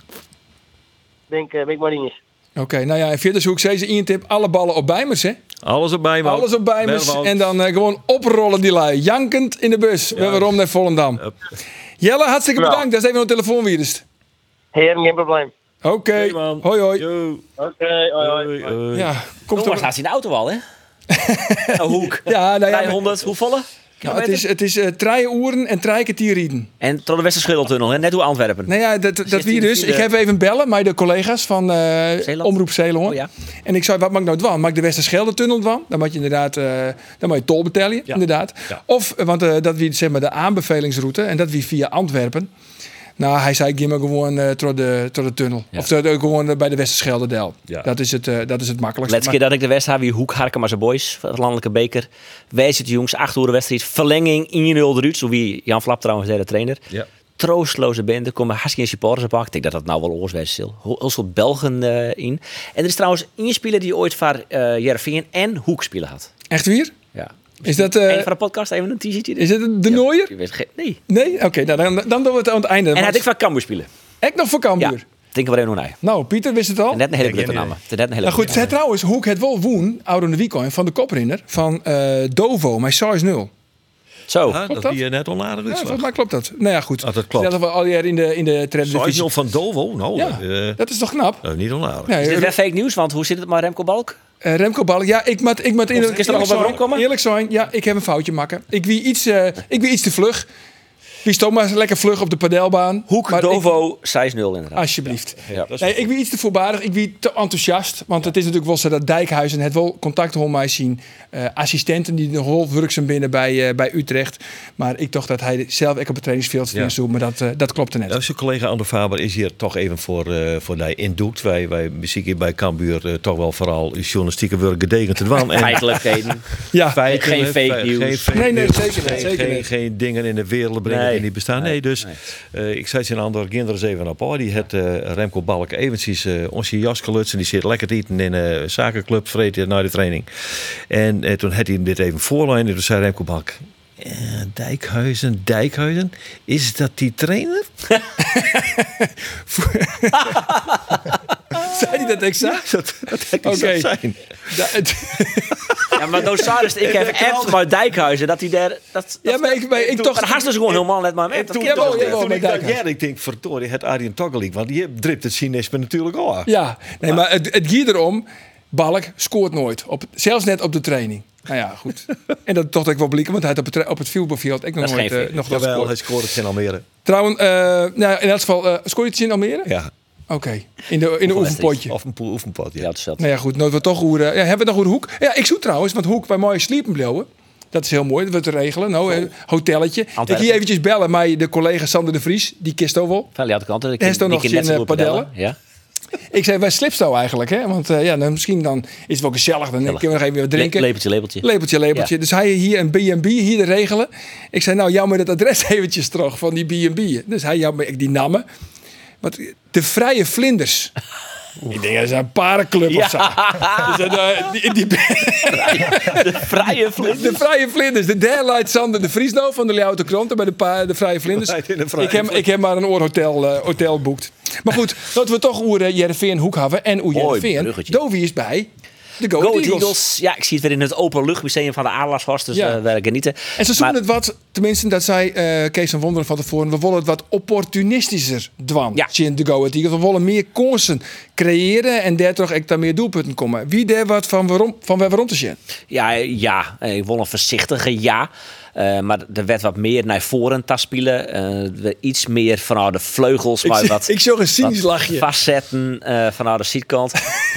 [SPEAKER 8] denk, uh, ben ik maar niet eens.
[SPEAKER 1] Oké, nou ja. En verder zoek ze ze in tip. Alle ballen op Bijmers, hè?
[SPEAKER 4] Alles erbij, man.
[SPEAKER 1] Alles op Bijmers.
[SPEAKER 4] Bergwald.
[SPEAKER 1] En dan eh, gewoon oprollen die lui. Jankend in de bus. We hebben rond naar Volendam. Jelle, hartstikke
[SPEAKER 8] Ja.
[SPEAKER 1] bedankt. Dat is even een telefoon wierst.
[SPEAKER 8] Heren, geen probleem.
[SPEAKER 1] Oké.
[SPEAKER 4] Hey, man.
[SPEAKER 1] Hoi, hoi.
[SPEAKER 4] Yo,
[SPEAKER 8] Oké, hoi, hoi.
[SPEAKER 4] hoi, hoi.
[SPEAKER 1] Ja, komt
[SPEAKER 6] Thomas
[SPEAKER 1] toch.
[SPEAKER 6] staat in de auto
[SPEAKER 1] <laughs>
[SPEAKER 6] al, hè? Een hoek.
[SPEAKER 1] Ja, nou ja.
[SPEAKER 6] 500, hoe volle?
[SPEAKER 1] Nou, het is, het is eh drie uren en drie keer tien rieden.
[SPEAKER 6] En tot de Westerschildertunnel, hè? net hoe Antwerpen.
[SPEAKER 1] Nou ja, dat, dat
[SPEAKER 6] 16
[SPEAKER 1] wie dus.
[SPEAKER 6] vierde.
[SPEAKER 1] Ik heb even bellen met de collega's van eh, Omroep Zeeland.
[SPEAKER 6] Oh, ja.
[SPEAKER 1] En ik zei, wat mag ik nou dwan? Maak ik de Westerschelde-tunnel dwan? Dan moet je inderdaad, eh, dan moet je tol betalen, inderdaad. Of, eh, want eh, dat wie zeg maar de aanbevelingsroute en dat wie via Antwerpen. Nou, hij zei, geef me gewoon eh door de, door de tunnel. Of door de- gewoon eh, bij de Westerschelde-del.
[SPEAKER 4] Ja.
[SPEAKER 1] Dat, is het, eh, dat is het makkelijkste.
[SPEAKER 6] Laatste keer dat ik de wedstrijd wie Hoek Harken maar zijn boys, van het landelijke beker. Wijzert jongens, acht uur wedstrijd, verlenging 1-0 eruit. Zo wie Jan Flap trouwens zei de trainer.
[SPEAKER 4] Ja.
[SPEAKER 6] Troostloze bende, komen hartstikke in supporters op af. Ik denk dat dat nou wel oorswijs is. Heel heel veel Belgen eh, in. En er is trouwens één speler die ooit van eh Jervin en Hoek spelen had.
[SPEAKER 1] Maar- Echt weer?
[SPEAKER 6] Ja.
[SPEAKER 1] Is dat, eh,
[SPEAKER 6] Eén van de podcast, even een teasertje.
[SPEAKER 1] is het de Nooier?
[SPEAKER 6] Je weet geen- Nee.
[SPEAKER 1] Nee? Oké, nou, dan, dan doen we het aan het einde.
[SPEAKER 6] En
[SPEAKER 1] Maar
[SPEAKER 6] had ik van Cambuur spelen.
[SPEAKER 1] echt nog voor
[SPEAKER 6] Ja.
[SPEAKER 1] Cambuur.
[SPEAKER 6] Denk wel even hoe hij.
[SPEAKER 1] Nou, Pieter wist het al.
[SPEAKER 6] Net een hele grutte naam. Net een hele
[SPEAKER 1] Nou goed,
[SPEAKER 6] grutte
[SPEAKER 1] het trouwens, hoe ik het wel woen, oude de weekend van de koprinner van eh, Dovo, mijn size 0.
[SPEAKER 6] naam. Zo.
[SPEAKER 4] Ah, dat
[SPEAKER 1] dat?
[SPEAKER 4] die eh, net onaardig
[SPEAKER 1] Ja,
[SPEAKER 4] is.
[SPEAKER 1] volgens mij klopt dat. Nou ja, goed.
[SPEAKER 4] Ah, dat klopt.
[SPEAKER 1] Dat we al jaren in de, in de
[SPEAKER 4] Zoals
[SPEAKER 1] Eredivisie.
[SPEAKER 4] nog van Dovo? Nou,
[SPEAKER 1] Ja,
[SPEAKER 4] eh,
[SPEAKER 1] dat is toch knap?
[SPEAKER 4] dat is niet onaardig.
[SPEAKER 1] Nee,
[SPEAKER 6] Is dit
[SPEAKER 1] Re-
[SPEAKER 6] weer fake nieuws? Want hoe zit het met Remco Balk?
[SPEAKER 1] eh, Remco Ballen. Ja, ik moet ik moet eerlijk,
[SPEAKER 6] is er nog
[SPEAKER 1] eerlijk
[SPEAKER 6] wel
[SPEAKER 1] zijn-
[SPEAKER 6] rondkomen?
[SPEAKER 1] eerlijk zijn. Ja, ik heb een foutje maken. Ik wie iets, eh, ik wie iets te vlug. Wie stond maar lekker vlug op de padelbaan.
[SPEAKER 6] Hoek,
[SPEAKER 1] Maar ik- Ah,
[SPEAKER 6] Dovo, 6-0 inderdaad.
[SPEAKER 1] Alsjeblieft.
[SPEAKER 6] Ja.
[SPEAKER 1] Nee, ik ben iets te voorbarig, ik ben te enthousiast. Want het is natuurlijk wel zo dat Dijkhuizen het wel contact rond mij zien. eh, assistenten die nog wel werkzaam binnen bij, eh, bij Utrecht. Maar ik dacht dat hij zelf ook op het trainingsveld
[SPEAKER 4] Ja.
[SPEAKER 1] ja. doet. Maar dat, eh, dat klopte net.
[SPEAKER 4] Ja, Zijn Nou, collega Ander Faber is hier toch even voor, eh voor die indoekt. Wij, wij muziek hier bij Cambuur eh, toch wel vooral journalistieke werk gedegen te dwan. En
[SPEAKER 1] <laughs>
[SPEAKER 6] Feitelijkheden.
[SPEAKER 1] Ja,
[SPEAKER 4] feiten,
[SPEAKER 6] Geen fake
[SPEAKER 4] fe-
[SPEAKER 6] news.
[SPEAKER 4] Geen fake
[SPEAKER 1] Nee, nee,
[SPEAKER 4] news.
[SPEAKER 1] zeker niet,
[SPEAKER 4] Geen,
[SPEAKER 1] zeker
[SPEAKER 4] geen-
[SPEAKER 1] niet.
[SPEAKER 4] geen dingen in de wereld brengen
[SPEAKER 6] Nee.
[SPEAKER 4] die niet bestaan. Nee, dus eh, ik zei het een ander kinderen eens even op. hoor. die het eh, Remco Balk eventjes eh onze jas gelutst. En die zit lekker te eten in een zakenclub, vreet hij na de training. En eh, toen had hij hem dit even voorlijn. En toen zei Remco Balk... eh, Dijkhuizen, Dijkhuizen, is dat die trainer? <laughs>
[SPEAKER 1] zei hij dat exact?
[SPEAKER 4] Dat, dat had hij zo
[SPEAKER 1] Oké.
[SPEAKER 4] zijn.
[SPEAKER 1] Da- het-
[SPEAKER 6] ja, maar Nosaris, ik heb echt maar Dijkhuizen. Dat hij daar... Dat, dat,
[SPEAKER 1] Ja, maar ik, maar ik
[SPEAKER 6] toch,
[SPEAKER 1] dacht...
[SPEAKER 6] daar haast ze gewoon helemaal net maar
[SPEAKER 4] En
[SPEAKER 6] Oh, met. Dat
[SPEAKER 4] toen,
[SPEAKER 6] kan
[SPEAKER 1] jawel,
[SPEAKER 6] toch niet?
[SPEAKER 1] jawel.
[SPEAKER 4] toen
[SPEAKER 1] maar
[SPEAKER 4] ik dat
[SPEAKER 1] Dijkhuis.
[SPEAKER 4] jaren, ik denk, verdorie, het Arjen Toggelik. Want die dript het cynisme natuurlijk al.
[SPEAKER 1] Ja, nee, maar het, het ging erom. Balk scoort nooit. Op, zelfs net op de training. Nou ja, goed. en dat dacht ik wel blikken, want hij had op het, tra- op het fieldbefield ik nog
[SPEAKER 6] Dat is
[SPEAKER 1] nooit
[SPEAKER 6] geen
[SPEAKER 1] eh,
[SPEAKER 6] fake.
[SPEAKER 1] nog dat
[SPEAKER 4] Jawel, hij
[SPEAKER 1] scoort.
[SPEAKER 4] scoorde het in Almere.
[SPEAKER 1] Trouwens, eh, nou, in elk geval, eh scoort je het in Almere?
[SPEAKER 4] Ja,
[SPEAKER 1] Oké, in de, in de oefenpotje.
[SPEAKER 4] of een poel- oefenpad.
[SPEAKER 6] Ja,
[SPEAKER 4] Ja.
[SPEAKER 6] het is wel-
[SPEAKER 1] Nou ja, goed. Nou, we toch hoe, eh, ja, hebben we nog hoe Hoek. Ja, ik zoek trouwens, want Hoek bij mooie sliepen bleven. Dat is heel mooi, dat we te regelen. Nou, eh, hotelletje. Ik
[SPEAKER 6] Antwerpen.
[SPEAKER 1] hier eventjes bellen met de collega Sander de Vries. Die kist ook wel.
[SPEAKER 6] Van de andere kant. Ik
[SPEAKER 1] Hij is toch nog
[SPEAKER 6] net zo
[SPEAKER 1] in,
[SPEAKER 6] goed
[SPEAKER 1] eh, padellen?
[SPEAKER 6] Ja.
[SPEAKER 1] Ik zei, wij slipsto eigenlijk, hè? Want eh, ja, dan, misschien dan is het wel gezellig. Dan kunnen we nog even weer wat drinken.
[SPEAKER 6] Le- lepeltje, lepeltje.
[SPEAKER 1] Lepeltje, lepeltje. Dus hij hier een B&B, hier de regelen. Ik zei, nou, jou met het adres <laughs> eventjes terug van die B&B. Dus hij jou met die namen. Want eh, de Vrije
[SPEAKER 6] <laughs>
[SPEAKER 1] Vlinders. Ik denk, dat is een parenclub of zo. <laughs> Dus, eh, die, die,
[SPEAKER 6] Vrije
[SPEAKER 1] de <laughs> Vrije Vlinders. De Derlight Sander de Vriesno van de Leeuwarden Kranten bij de, pa- de Vrije Vlinders. ik, heb, ik heb maar een oorhotel eh, hotel boekt. Maar
[SPEAKER 6] <laughs>
[SPEAKER 1] goed, laten we toch oer eh, Jereveen Hoek hebben en oer
[SPEAKER 6] Mooi
[SPEAKER 1] Jereveen.
[SPEAKER 6] bruggetje.
[SPEAKER 1] Dovi is bij de Go,
[SPEAKER 6] Go
[SPEAKER 1] Ahead
[SPEAKER 6] Ahead
[SPEAKER 1] Eagles.
[SPEAKER 6] Eagles. Ja, ik zie het weer in het Openluchtmuseum van de Adelaarshorst. Dus
[SPEAKER 1] Ja.
[SPEAKER 6] ja. werken niet.
[SPEAKER 1] En ze zoeken het wat, tenminste dat zei eh, Kees van Wonderen van tevoren, we willen het wat opportunistischer dwan.
[SPEAKER 6] Ja.
[SPEAKER 1] in de Go Ahead Eagles. We willen meer kansen creëren en daardoor ook dan meer doelpunten komen. Wie daar wat van waarom, van waar waarom te zien?
[SPEAKER 6] Ja, ja. Eh, Ik wil een voorzichtige ja. Eh, maar er werd wat meer naar voren te spelen. Eh, we iets meer vanuit de vleugels. Maar wat,
[SPEAKER 1] ik zag een cynisch
[SPEAKER 6] wat
[SPEAKER 1] lachje.
[SPEAKER 6] Vastzetten eh, vanuit de
[SPEAKER 1] <laughs>
[SPEAKER 6] zijkant. ah,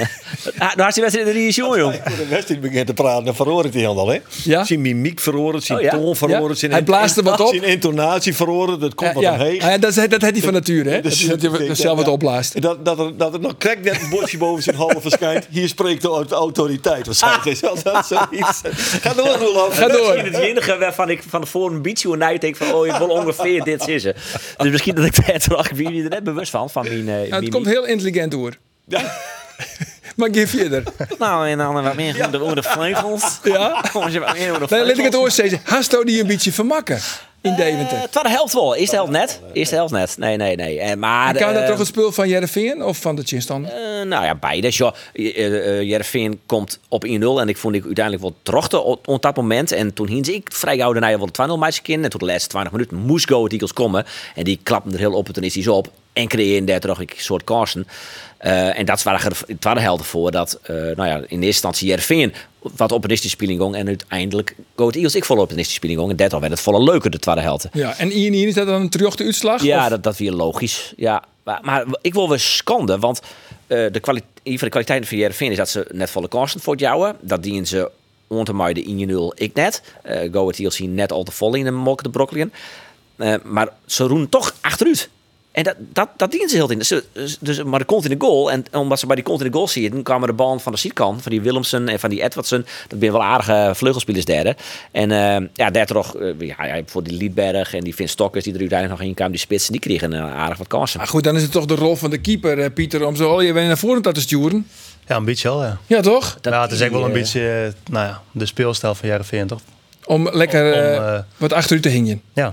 [SPEAKER 6] nou had je wedstrijd in de jongen, jong.
[SPEAKER 4] De wedstrijd begint te praten, dan verhoor ik die hand al. Hè?
[SPEAKER 1] Ja.
[SPEAKER 4] Zijn mimiek verhoord, zijn
[SPEAKER 6] Oh, ja.
[SPEAKER 4] toon verhoord.
[SPEAKER 1] Ja.
[SPEAKER 4] Zijn
[SPEAKER 1] Hij blaast er
[SPEAKER 6] Ah,
[SPEAKER 1] wat op.
[SPEAKER 4] Zijn intonatie verhoord, dat komt
[SPEAKER 1] Ja,
[SPEAKER 4] Oh, wat
[SPEAKER 1] ja.
[SPEAKER 4] omheen.
[SPEAKER 1] Ah, ja, dat, is- dat had hij van nature, hè? Dat
[SPEAKER 4] Dus
[SPEAKER 1] hij dat hij
[SPEAKER 4] ik denk,
[SPEAKER 1] zelf wat
[SPEAKER 4] ja,
[SPEAKER 1] opblaast.
[SPEAKER 4] Dat, dat, er, dat er nog krek net een bordje boven zijn handen verschijnt. Hier spreekt de au- autoriteit
[SPEAKER 5] Ah.
[SPEAKER 4] waarschijnlijk. Is dat
[SPEAKER 5] <laughs>
[SPEAKER 4] zoiets? Ga door, Roelof.
[SPEAKER 1] Ga door.
[SPEAKER 6] Misschien het enige waarvan ik van tevoren een beetje naar denk van, oh, ik wil ongeveer dit zitten. Dus misschien dat ik daar toch, ik ben je er net bewust van, van mijn, eh,
[SPEAKER 1] Ja, het
[SPEAKER 6] mimiek.
[SPEAKER 1] komt heel intelligent door. <laughs> maar geef verder.
[SPEAKER 6] Nou, en dan wat meer om de, om de <laughs> vleugels.
[SPEAKER 1] Ja?
[SPEAKER 6] Kom je wat meer om de
[SPEAKER 1] Nee,
[SPEAKER 6] vleugels. Eh,
[SPEAKER 1] laat ik het oor steeds. Hasto die een beetje vermakken in Deventer.
[SPEAKER 6] Het was de helft wel. Eerste helft net. Eerste helft net. Nee, nee, nee. Eh, maar,
[SPEAKER 1] kan dat
[SPEAKER 6] eh,
[SPEAKER 1] toch een spul van Jereveen of van de Chinstander?
[SPEAKER 6] eh, nou ja, beide. Ja, eh, Jervin komt op 1-0 en ik vond ik uiteindelijk wel trochten op, op dat moment. En toen hing ze ik vrij gauw daarna wel de 2-0 match in. En tot de laatste 20 minuten moest Go Ahead Eagles komen. En die klapten er heel opportunistisch op en creëerden daar toch een soort kansen. Eh, en dat waren er- het waren helden voor dat, eh, nou ja, in eerste instantie Jervin wat opportunistisch speling ging. En uiteindelijk Go Ahead Eagles ik volle opportunistisch speling ging. En dat werd het volle leuker de tweede helft.
[SPEAKER 1] Ja, en Ian Ian, is dat dan een terjochte uitslag?
[SPEAKER 6] Ja,
[SPEAKER 1] Of-
[SPEAKER 6] dat, dat weer logisch. Ja. Maar, maar ik wil weer schande, want eh, de kwali- een van de kwaliteiten van Jervin is dat ze net volle kansen voor het jouwen. Dat dienen ze onder mij de 1-0 ik net. Eh Go Ahead Eagles zien net al te vol in de mokken de broccoliën. Eh, maar ze roen toch achteruit. En dat, dat, dat dienen ze heel in. Ze- Dus, maar de kont in de goal. En omdat ze bij die kont in de goal zitten, kwamen de bal van de zijkant. Van die Willemsen en van die Edwardsen. Dat zijn wel aardige vleugelspelers derde. En eh, ja, daar toch eh, ja, ja, voor die Liedberg en die Vin Stokkers die er uiteindelijk nog in kwamen. Die spitsen, die kregen eh, aardig wat kansen.
[SPEAKER 1] Maar goed, dan is het toch de rol van de keeper, eh, Pieter, om zo al je weer naar voren te sturen.
[SPEAKER 5] Ja, een beetje al, ja.
[SPEAKER 1] Ja, toch?
[SPEAKER 5] nou, het is echt wel een
[SPEAKER 6] die, eh,
[SPEAKER 5] beetje eh, nou ja, de speelstijl van Jareveen, toch?
[SPEAKER 1] Om lekker
[SPEAKER 5] Om,
[SPEAKER 1] eh,
[SPEAKER 5] eh,
[SPEAKER 1] wat achteruit te hingen.
[SPEAKER 5] ja,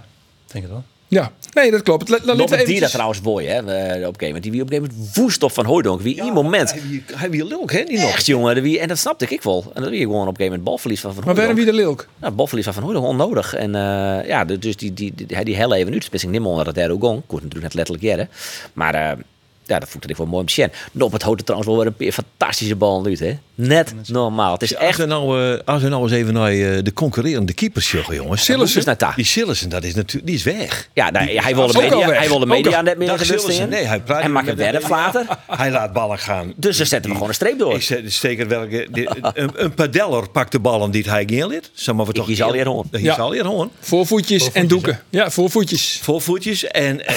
[SPEAKER 5] ik denk het wel.
[SPEAKER 1] Ja, nee, dat klopt. La- la- laten we
[SPEAKER 6] Nog een dier
[SPEAKER 1] eventjes-
[SPEAKER 6] dat trouwens mooi, hè? eh, Op een gegeven moment. Die wie op een gegeven moment woest op van Hooydonk. Wie in moment.
[SPEAKER 4] Hij wil ook, hè? Die nog.
[SPEAKER 6] Echt, jongen. Wie, en dat snapte ik wel. En dat wie gewoon op een gegeven moment balverlies van Van
[SPEAKER 1] Maar waarom
[SPEAKER 6] Hooijdonk.
[SPEAKER 1] wie de Lilk?
[SPEAKER 6] Nou, Boffel is van hoe onnodig. En eh, ja, de- dus die, die, die, die, die hele even nu, beslissing nimmer onder het derde gong. Ik hoor het natuurlijk net letterlijk jaren. Maar eh, ja, dat voelt ik wel mooi om te zien. Nou, Op het houten trouwens wel weer een paar fantastische bal nu, hè? Net normaal. Het is
[SPEAKER 4] Als
[SPEAKER 6] echt
[SPEAKER 4] we, nou, eh, als we nou eens even naar eh, de concurrerende keepers joggen, jongens.
[SPEAKER 6] Sillessen? Dus naar daar.
[SPEAKER 4] Die Sillessen, dat is natuurlijk, die is weg.
[SPEAKER 6] ja, nou, hij wilde
[SPEAKER 1] ook al
[SPEAKER 6] media,
[SPEAKER 1] weg.
[SPEAKER 6] hij wilde
[SPEAKER 1] Ook
[SPEAKER 6] media
[SPEAKER 1] al-
[SPEAKER 6] net meer
[SPEAKER 4] Dag
[SPEAKER 6] in de rust
[SPEAKER 4] Sillessen.
[SPEAKER 6] in.
[SPEAKER 4] Nee, hij praat
[SPEAKER 6] En
[SPEAKER 4] niet
[SPEAKER 6] maakt
[SPEAKER 4] met
[SPEAKER 6] het werf
[SPEAKER 4] de-
[SPEAKER 6] later.
[SPEAKER 4] <laughs> Hij laat ballen gaan.
[SPEAKER 6] Dus dan zetten we
[SPEAKER 4] Die-
[SPEAKER 6] gewoon een streep door.
[SPEAKER 4] Ik zet- steek er wel een- die- een, een padeller pakt de ballen die hij geen lid. Zeg maar, we toch
[SPEAKER 6] kies alweer
[SPEAKER 4] <laughs>
[SPEAKER 6] hoorn.
[SPEAKER 4] Ik
[SPEAKER 1] Ja.
[SPEAKER 4] kies alweer hoorn.
[SPEAKER 1] Voorvoetjes, en doeken. Ja, voorvoetjes.
[SPEAKER 4] Voorvoetjes en eh,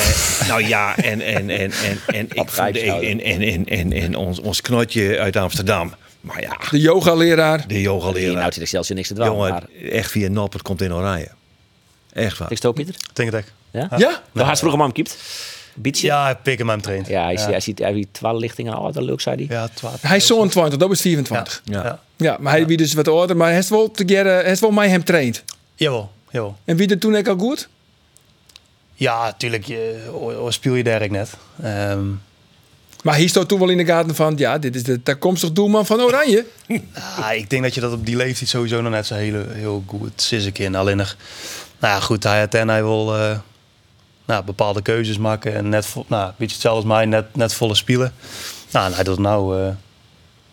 [SPEAKER 4] <laughs> nou ja, en, en, en, en, en, ik vond, en,
[SPEAKER 6] Rijkshouden.
[SPEAKER 4] en, en, en, en ons, ons knotje uit Amsterdam. Maar ja,
[SPEAKER 1] De yoga-leraar.
[SPEAKER 4] de
[SPEAKER 6] Hier houdt
[SPEAKER 4] yoga-leraar.
[SPEAKER 6] hij zichzelf niks te dwalen. Maar,
[SPEAKER 4] eh, Jongen, echt via Nop, het komt in oranje. Echt waar.
[SPEAKER 6] ik stoop Pieter.
[SPEAKER 5] Ik denk het echt.
[SPEAKER 6] Ja? Nou,
[SPEAKER 1] Ja?
[SPEAKER 6] hij is vroeger maar kiept. Bietje. Ja.
[SPEAKER 5] Ja, pik hem hem traint.
[SPEAKER 6] hij ziet, hij ziet, hij ziet twaalf lichtingen. Oh, dat leuk, zei hij.
[SPEAKER 5] Ja, twaalf.
[SPEAKER 1] Hij is zo'n 20, dat is
[SPEAKER 5] Ja.
[SPEAKER 1] 24.
[SPEAKER 5] Ja.
[SPEAKER 4] Ja.
[SPEAKER 1] Ja, maar hij wie dus wat ouder, maar hij is wel te geren- hij is wel mij hem traind.
[SPEAKER 5] Jawel, jawel.
[SPEAKER 1] En wie er toen ook al goed?
[SPEAKER 5] Ja, tuurlijk, je, o- o- speel je daar ik net. Ehm,
[SPEAKER 1] Maar hier stond toen wel in de gaten van, ja, dit is de toekomstig doelman van Oranje.
[SPEAKER 5] ah, ik denk dat je dat op die leeftijd sowieso nog net zo heel, heel goed zit in. Alleen nog, nou ja, goed, hij had en hij wil eh, nou, bepaalde keuzes maken. En net, vo- nou, een beetje hetzelfde als mij, net, net volle spelen. Nou, en hij doet nou eh,